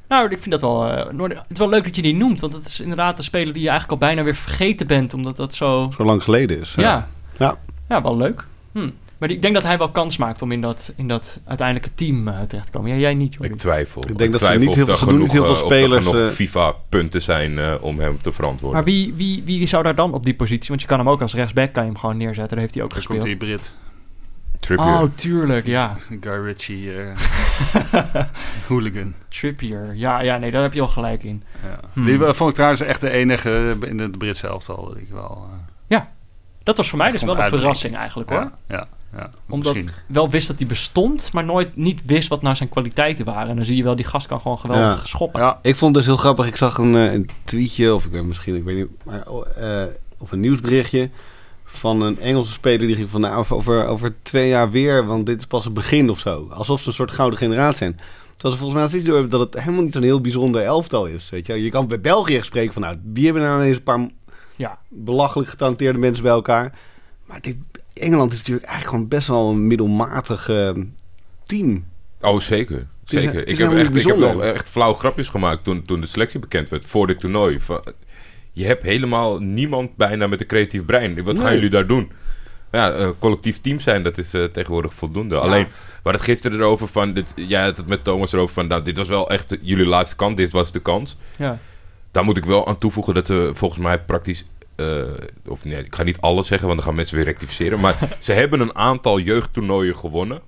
[SPEAKER 1] nou, ik vind dat wel... eh, Noorden- het is wel leuk dat je die noemt, want het is inderdaad een speler die je eigenlijk al bijna weer vergeten bent, omdat dat zo...
[SPEAKER 5] zo lang geleden is.
[SPEAKER 1] Ja, ja.
[SPEAKER 5] Ja.
[SPEAKER 1] wel leuk. Hm. Maar die- ik denk dat hij wel kans maakt om in dat, in dat uiteindelijke team eh, terecht te komen. Ja, jij niet, Jordi.
[SPEAKER 4] Ik twijfel.
[SPEAKER 5] denk dat ze
[SPEAKER 4] twijfel
[SPEAKER 5] niet
[SPEAKER 4] of
[SPEAKER 5] heel veel-
[SPEAKER 4] er
[SPEAKER 5] ze doen niet
[SPEAKER 4] genoeg,
[SPEAKER 5] heel
[SPEAKER 4] eh,
[SPEAKER 5] veel
[SPEAKER 4] of er
[SPEAKER 5] spelers,
[SPEAKER 4] genoeg
[SPEAKER 5] eh,
[SPEAKER 4] FIFA-punten zijn eh, om hem te verantwoorden.
[SPEAKER 1] Maar wie, wie, wie zou daar dan op die positie? Want je kan hem ook als rechtsback kan je hem gewoon neerzetten. Daar heeft hij ook
[SPEAKER 3] Daar komt die
[SPEAKER 1] gespeeld.
[SPEAKER 3] Brit.
[SPEAKER 4] Trippier.
[SPEAKER 1] Oh, tuurlijk, ja.
[SPEAKER 3] Guy Ritchie eh,
[SPEAKER 1] <laughs>
[SPEAKER 3] hooligan.
[SPEAKER 1] Trippier. Ja, ja, nee, daar heb je al gelijk in.
[SPEAKER 3] Ja.
[SPEAKER 1] Hmm.
[SPEAKER 3] Die eh, vond ik trouwens echt de enige in het Britse elftal. die Ik wel, eh,
[SPEAKER 1] Ja. Dat was voor mij
[SPEAKER 3] Ik
[SPEAKER 1] dus
[SPEAKER 3] vond
[SPEAKER 1] wel een
[SPEAKER 3] het uitblinken.
[SPEAKER 1] verrassing eigenlijk hoor.
[SPEAKER 3] Ja, ja, ja.
[SPEAKER 1] Omdat ik
[SPEAKER 3] Misschien.
[SPEAKER 1] wel wist dat hij bestond, maar nooit niet wist wat nou zijn kwaliteiten waren. En dan zie je wel, die gast kan gewoon geweldig
[SPEAKER 5] Ja.
[SPEAKER 1] schoppen.
[SPEAKER 3] Ja,
[SPEAKER 5] Ik vond het dus heel grappig. Ik zag een, eh, een tweetje, of ik weet misschien, ik weet niet, maar, eh, of een nieuwsberichtje van een Engelse speler die ging van nou, over- over, over twee jaar weer, want dit is pas het begin of zo. Alsof ze een soort gouden generatie zijn. Terwijl ze volgens mij steeds door hebben dat het helemaal niet zo'n heel bijzonder elftal is. Weet je? wel. je kan bij België spreken van nou, die hebben nou ineens een paar
[SPEAKER 1] Ja.
[SPEAKER 5] belachelijk getalenteerde mensen bij elkaar. Maar dit, Engeland is natuurlijk eigenlijk gewoon best wel een middelmatig eh, team.
[SPEAKER 4] Oh, zeker.
[SPEAKER 5] is-
[SPEAKER 4] Zeker.
[SPEAKER 5] het is
[SPEAKER 4] ik, heb
[SPEAKER 5] helemaal
[SPEAKER 4] echt,
[SPEAKER 5] niet
[SPEAKER 4] ik heb
[SPEAKER 5] bijzonder.
[SPEAKER 4] nog echt flauw grapjes gemaakt toen, toen de selectie bekend werd voor dit toernooi. Van, je hebt helemaal niemand bijna met een creatief brein. Wat gaan
[SPEAKER 5] Nee.
[SPEAKER 4] jullie daar doen? Ja, eh, collectief team zijn, dat is eh, tegenwoordig voldoende. Alleen, we hadden het gisteren erover van... Dit, jij had het met Thomas erover van... Nou, dit was wel echt jullie laatste kans. Dit was de kans.
[SPEAKER 1] Ja.
[SPEAKER 4] Daar moet ik wel aan toevoegen dat ze volgens mij praktisch... eh, of nee, ik ga niet alles zeggen, want dan gaan mensen weer rectificeren.
[SPEAKER 5] <laughs>
[SPEAKER 4] Maar ze hebben een aantal jeugdtoernooien gewonnen.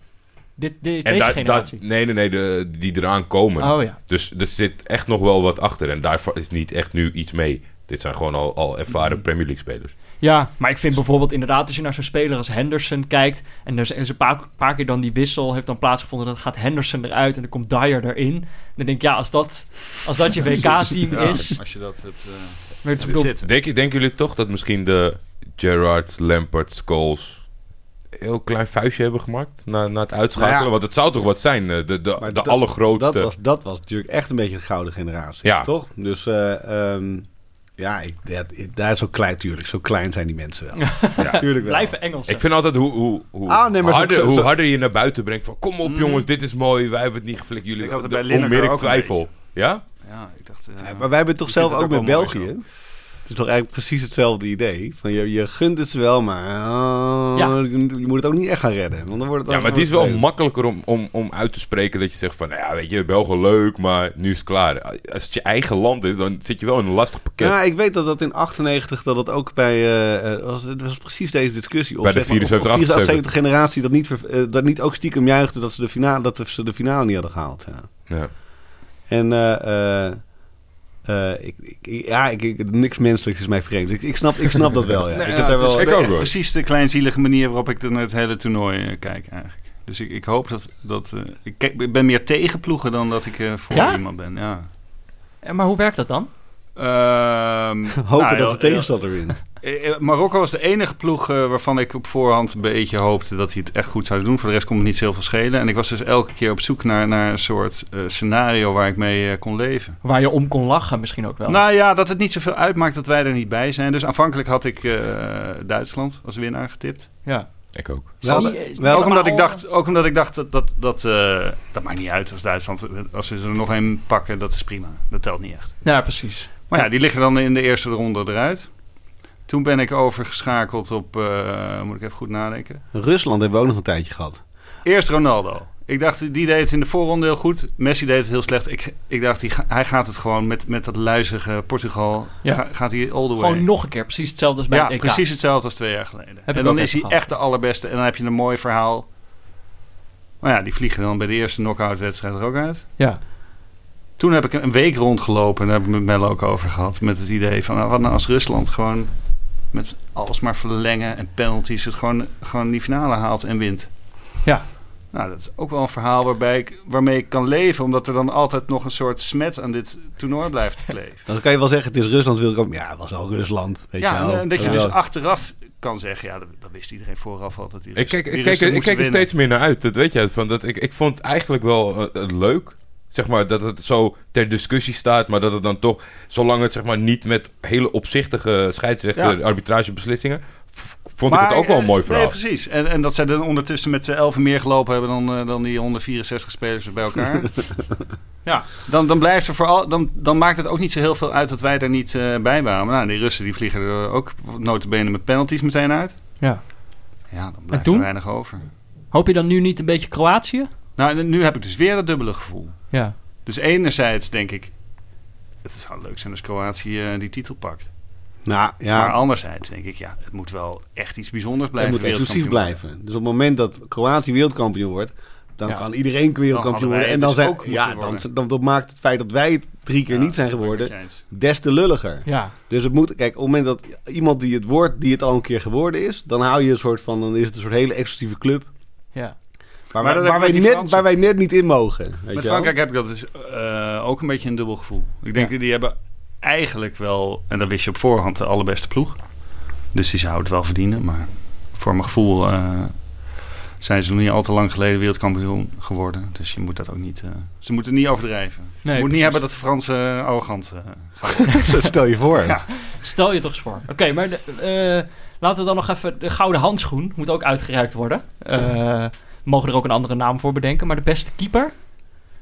[SPEAKER 1] Dit, dit,
[SPEAKER 4] En
[SPEAKER 1] deze
[SPEAKER 4] daar-
[SPEAKER 1] generatie.
[SPEAKER 4] daar- nee, nee, nee, de, die eraan komen.
[SPEAKER 1] oh ja.
[SPEAKER 4] Dus er zit echt nog wel wat achter. En daarvan is niet echt nu iets mee. Dit zijn gewoon al, al
[SPEAKER 1] Mm.
[SPEAKER 4] ervaren Premier League spelers.
[SPEAKER 1] Ja, maar ik vind bijvoorbeeld inderdaad, als je naar zo'n speler als Henderson kijkt. en er is, er is een paar, paar keer dan die wissel heeft dan plaatsgevonden. dan gaat Henderson eruit en dan komt Dyer erin. Dan denk ik, ja, als dat, als dat je WK-team
[SPEAKER 3] <laughs> Ja,
[SPEAKER 1] is.
[SPEAKER 3] als je dat hebt eh,
[SPEAKER 1] Maar het is
[SPEAKER 3] hebt
[SPEAKER 1] bedoel-
[SPEAKER 3] zitten.
[SPEAKER 4] Denk, denken jullie toch dat misschien de Gerrard, Lampard, Scholes... een heel klein vuistje hebben gemaakt na, na het uitschakelen?
[SPEAKER 5] Nou ja.
[SPEAKER 4] Want het zou toch wat zijn? eh, De, de, de
[SPEAKER 5] dat-
[SPEAKER 4] allergrootste.
[SPEAKER 5] Dat was, dat was natuurlijk echt een beetje de gouden generatie,
[SPEAKER 4] Ja.
[SPEAKER 5] toch? Dus eh, ehm, ja, ik, dat, ik- daar is zo klein, tuurlijk. Zo klein zijn die mensen wel.
[SPEAKER 4] Ja.
[SPEAKER 5] <laughs> Tuurlijk wel.
[SPEAKER 1] Blijven Engelsen.
[SPEAKER 4] Ik vind altijd hoe, hoe, hoe,
[SPEAKER 5] Ah, nee, maar zo-
[SPEAKER 4] harder,
[SPEAKER 5] zo- Mm.
[SPEAKER 4] hoe
[SPEAKER 5] zo-
[SPEAKER 4] harder je naar buiten brengt van... kom op jongens, dit is mooi. Wij hebben het niet geflikt. Jullie
[SPEAKER 3] Ik had het
[SPEAKER 4] de
[SPEAKER 3] bij Lineker
[SPEAKER 4] onmiddellijk
[SPEAKER 3] ook een
[SPEAKER 4] twijfel. Ja?
[SPEAKER 3] Ja, ik dacht... eh,
[SPEAKER 5] Ja, maar wij hebben toch
[SPEAKER 3] Ik
[SPEAKER 5] zelf
[SPEAKER 3] vind
[SPEAKER 5] ook
[SPEAKER 3] het
[SPEAKER 5] met
[SPEAKER 3] ook wel mooi
[SPEAKER 5] België. Het is toch eigenlijk precies hetzelfde idee. Van je, je gunt het ze wel, maar eh,
[SPEAKER 1] Ja.
[SPEAKER 5] je, je moet het ook niet echt gaan redden. Want dan wordt het
[SPEAKER 4] Ja,
[SPEAKER 5] ook-
[SPEAKER 4] maar het is wel
[SPEAKER 5] vervelend.
[SPEAKER 4] makkelijker om, om, om uit te spreken dat je zegt van... Nou ja, weet je, België leuk, maar nu is het klaar. Als het je eigen land is, dan zit je wel in een lastig pakket.
[SPEAKER 5] Ja, ik weet dat dat in 98, dat dat ook bij, eh, eh, was, het was precies deze discussie. Of
[SPEAKER 4] Bij de
[SPEAKER 5] zeg maar, of- of
[SPEAKER 4] 74,
[SPEAKER 5] 74 generatie dat niet, ver- eh, dat niet ook stiekem juichte dat ze de finale, dat ze de finale niet hadden gehaald. Ja.
[SPEAKER 4] Ja.
[SPEAKER 5] En eh, eh, eh, ik, ik- ja, ik, ik- niks menselijks is mij vreemd. Ik, ik, snap, ik snap dat
[SPEAKER 3] <laughs>
[SPEAKER 5] wel. Ja.
[SPEAKER 3] Nou ja,
[SPEAKER 5] ik heb daar
[SPEAKER 3] het is
[SPEAKER 5] wel.
[SPEAKER 4] Ik
[SPEAKER 3] echt
[SPEAKER 4] ook, hoor.
[SPEAKER 3] precies de kleinzielige manier waarop ik er naar het hele toernooi eh, kijk eigenlijk. Dus ik, ik hoop dat... dat eh, ik, kijk, ik ben meer tegen ploegen dan dat ik eh, voor
[SPEAKER 1] Ja?
[SPEAKER 3] iemand ben. Ja.
[SPEAKER 1] Eh, Maar hoe werkt dat dan?
[SPEAKER 3] Ehm,
[SPEAKER 5] Hopen
[SPEAKER 3] nou,
[SPEAKER 5] dat
[SPEAKER 3] heel-
[SPEAKER 5] de tegenstander wint.
[SPEAKER 3] Eh, eh, Marokko was de enige ploeg eh, waarvan ik op voorhand een beetje hoopte dat hij het echt goed zou doen. Voor de rest kon het niet zoveel schelen. En ik was dus elke keer op zoek naar, naar een soort eh, scenario waar ik mee eh, kon leven.
[SPEAKER 1] Waar je om kon lachen misschien ook wel.
[SPEAKER 3] Nou ja, dat het niet zoveel uitmaakt dat wij er niet bij zijn. Dus aanvankelijk had ik eh, Duitsland als winnaar getipt.
[SPEAKER 1] ja.
[SPEAKER 4] Ik ook.
[SPEAKER 5] We hadden-
[SPEAKER 1] Zie je-
[SPEAKER 5] we hadden-
[SPEAKER 3] ook, omdat
[SPEAKER 1] maar-
[SPEAKER 3] ik dacht, ook omdat ik dacht dat dat, dat, eh, dat maakt niet uit als Duitsland. Als ze er nog één pakken, dat is prima. Dat telt niet echt.
[SPEAKER 1] Ja, precies.
[SPEAKER 3] Maar ja, die liggen dan in de eerste ronde eruit. Toen ben ik overgeschakeld op, eh, moet ik even goed nadenken.
[SPEAKER 5] Rusland hebben we ook nog een tijdje gehad.
[SPEAKER 3] Eerst Ronaldo. Ik dacht, die deed het in de voorronde heel goed. Messi deed het heel slecht. Ik, ik dacht, die, ga- hij gaat het gewoon met, met dat luizige Portugal.
[SPEAKER 1] Ja.
[SPEAKER 3] Ga- gaat hij all the way.
[SPEAKER 1] Gewoon nog een keer. Precies hetzelfde als bij
[SPEAKER 3] ja,
[SPEAKER 1] het EK.
[SPEAKER 3] precies hetzelfde als twee jaar geleden.
[SPEAKER 1] ik
[SPEAKER 3] en dan
[SPEAKER 1] ook
[SPEAKER 3] is
[SPEAKER 1] even
[SPEAKER 3] hij
[SPEAKER 1] gehad.
[SPEAKER 3] echt de allerbeste. En dan heb je een mooi verhaal. Maar ja, die vliegen dan bij de eerste knock-out wedstrijd er ook uit.
[SPEAKER 1] Ja.
[SPEAKER 3] Toen heb ik een week rondgelopen. En daar heb ik met Melle ook over gehad. Met het idee van, nou, wat nou als Rusland gewoon met alles maar verlengen en penalties. Het gewoon, gewoon die finale haalt en wint.
[SPEAKER 1] Ja.
[SPEAKER 3] Nou, dat is ook wel een verhaal waarbij ik, waarmee ik kan leven. Omdat er dan altijd nog een soort smet aan dit toernooi blijft kleven.
[SPEAKER 5] Dan kan je wel zeggen, het is Rusland. Wil ik ook, ja, het was al Rusland. Weet je
[SPEAKER 3] Ja,
[SPEAKER 5] wel.
[SPEAKER 3] en, en dat je dus
[SPEAKER 5] Ja.
[SPEAKER 3] achteraf kan zeggen... Ja, dat, dat wist iedereen vooraf al. Dat die
[SPEAKER 4] Ik kijk,
[SPEAKER 3] die
[SPEAKER 4] ik kijk,
[SPEAKER 3] Russen
[SPEAKER 4] ik kijk er
[SPEAKER 3] moesten
[SPEAKER 4] steeds meer naar uit. Dat weet je. Van dat ik, ik vond het eigenlijk wel eh, eh, leuk. Zeg maar dat het zo ter discussie staat. Maar dat het dan toch, zolang het zeg maar niet met hele opzichtige scheidsrechter
[SPEAKER 3] Ja.
[SPEAKER 4] arbitragebeslissingen. v- Vond
[SPEAKER 3] winnen.
[SPEAKER 4] ik het ook wel een
[SPEAKER 3] eh,
[SPEAKER 4] mooi verhaal.
[SPEAKER 3] Nee, precies. En, en dat zij dan ondertussen met z'n elfen meer gelopen hebben... dan, eh, dan die 164 spelers bij
[SPEAKER 4] <laughs>
[SPEAKER 3] elkaar.
[SPEAKER 1] Ja.
[SPEAKER 3] dan, dan, blijft er vooral, dan, dan maakt het ook niet zo heel veel uit dat wij er niet eh, bij waren. Maar nou, die Russen die vliegen er ook notabene met penalties meteen uit.
[SPEAKER 1] ja.
[SPEAKER 3] Ja, dan blijft
[SPEAKER 1] toen?
[SPEAKER 3] er weinig over.
[SPEAKER 1] Hoop je dan nu niet een beetje Kroatië?
[SPEAKER 3] Nou, en nu heb ik dus weer dat dubbele gevoel.
[SPEAKER 1] Ja.
[SPEAKER 3] Dus enerzijds denk ik, het zou leuk zijn als Kroatië eh, die titel pakt.
[SPEAKER 5] Nou, ja,
[SPEAKER 3] Maar anderzijds denk ik, ja, het moet wel echt iets bijzonders
[SPEAKER 5] het
[SPEAKER 3] blijven.
[SPEAKER 5] moet exclusief
[SPEAKER 3] wereldkampioen.
[SPEAKER 5] blijven. Dus op het moment dat Kroatië wereldkampioen wordt... Dan
[SPEAKER 1] Ja.
[SPEAKER 5] kan iedereen wereldkampioen
[SPEAKER 3] Dan hadden wij
[SPEAKER 5] worden. En
[SPEAKER 3] het
[SPEAKER 5] dan,
[SPEAKER 3] dus
[SPEAKER 5] zijn,
[SPEAKER 3] ook moeten
[SPEAKER 5] ja, dan,
[SPEAKER 3] worden.
[SPEAKER 5] dan, dan maakt het feit dat wij het drie keer
[SPEAKER 3] Ja,
[SPEAKER 5] niet zijn
[SPEAKER 3] dat ben ik
[SPEAKER 5] geworden
[SPEAKER 3] met je eens.
[SPEAKER 5] des te lulliger.
[SPEAKER 1] Ja,
[SPEAKER 5] Dus het moet, kijk, op het moment dat iemand die het wordt, die het al een keer geworden is, dan hou je een soort van, dan is het een soort hele exclusieve club.
[SPEAKER 1] ja.
[SPEAKER 5] Waar,
[SPEAKER 3] Maar
[SPEAKER 5] wij-
[SPEAKER 3] dat
[SPEAKER 5] waar,
[SPEAKER 3] heb
[SPEAKER 5] wij,
[SPEAKER 3] ik met die
[SPEAKER 5] net,
[SPEAKER 3] Fransen.
[SPEAKER 5] waar wij net niet in mogen. Weet je
[SPEAKER 3] Met
[SPEAKER 5] wel? <laughs>
[SPEAKER 3] Frankrijk heb ik dat dus, eh, ook een beetje een dubbel gevoel. Ik denk, die hebben eigenlijk wel, en dat wist je op voorhand, de allerbeste ploeg. Dus die zou het wel verdienen. Maar voor mijn gevoel eh, zijn ze nog niet al te lang geleden wereldkampioen geworden. Dus je moet dat ook niet... eh, ze moeten niet overdrijven.
[SPEAKER 1] Nee,
[SPEAKER 3] je moet
[SPEAKER 1] precies.
[SPEAKER 3] niet hebben dat de Fransen eh, arrogant eh, gaan.
[SPEAKER 5] Stel je voor.
[SPEAKER 3] Ja.
[SPEAKER 1] Stel je toch eens voor. Oké, maar de, eh, laten we dan nog even... De gouden handschoen moet ook uitgereikt worden. Eh, we mogen er ook een andere naam voor bedenken. Maar de beste keeper?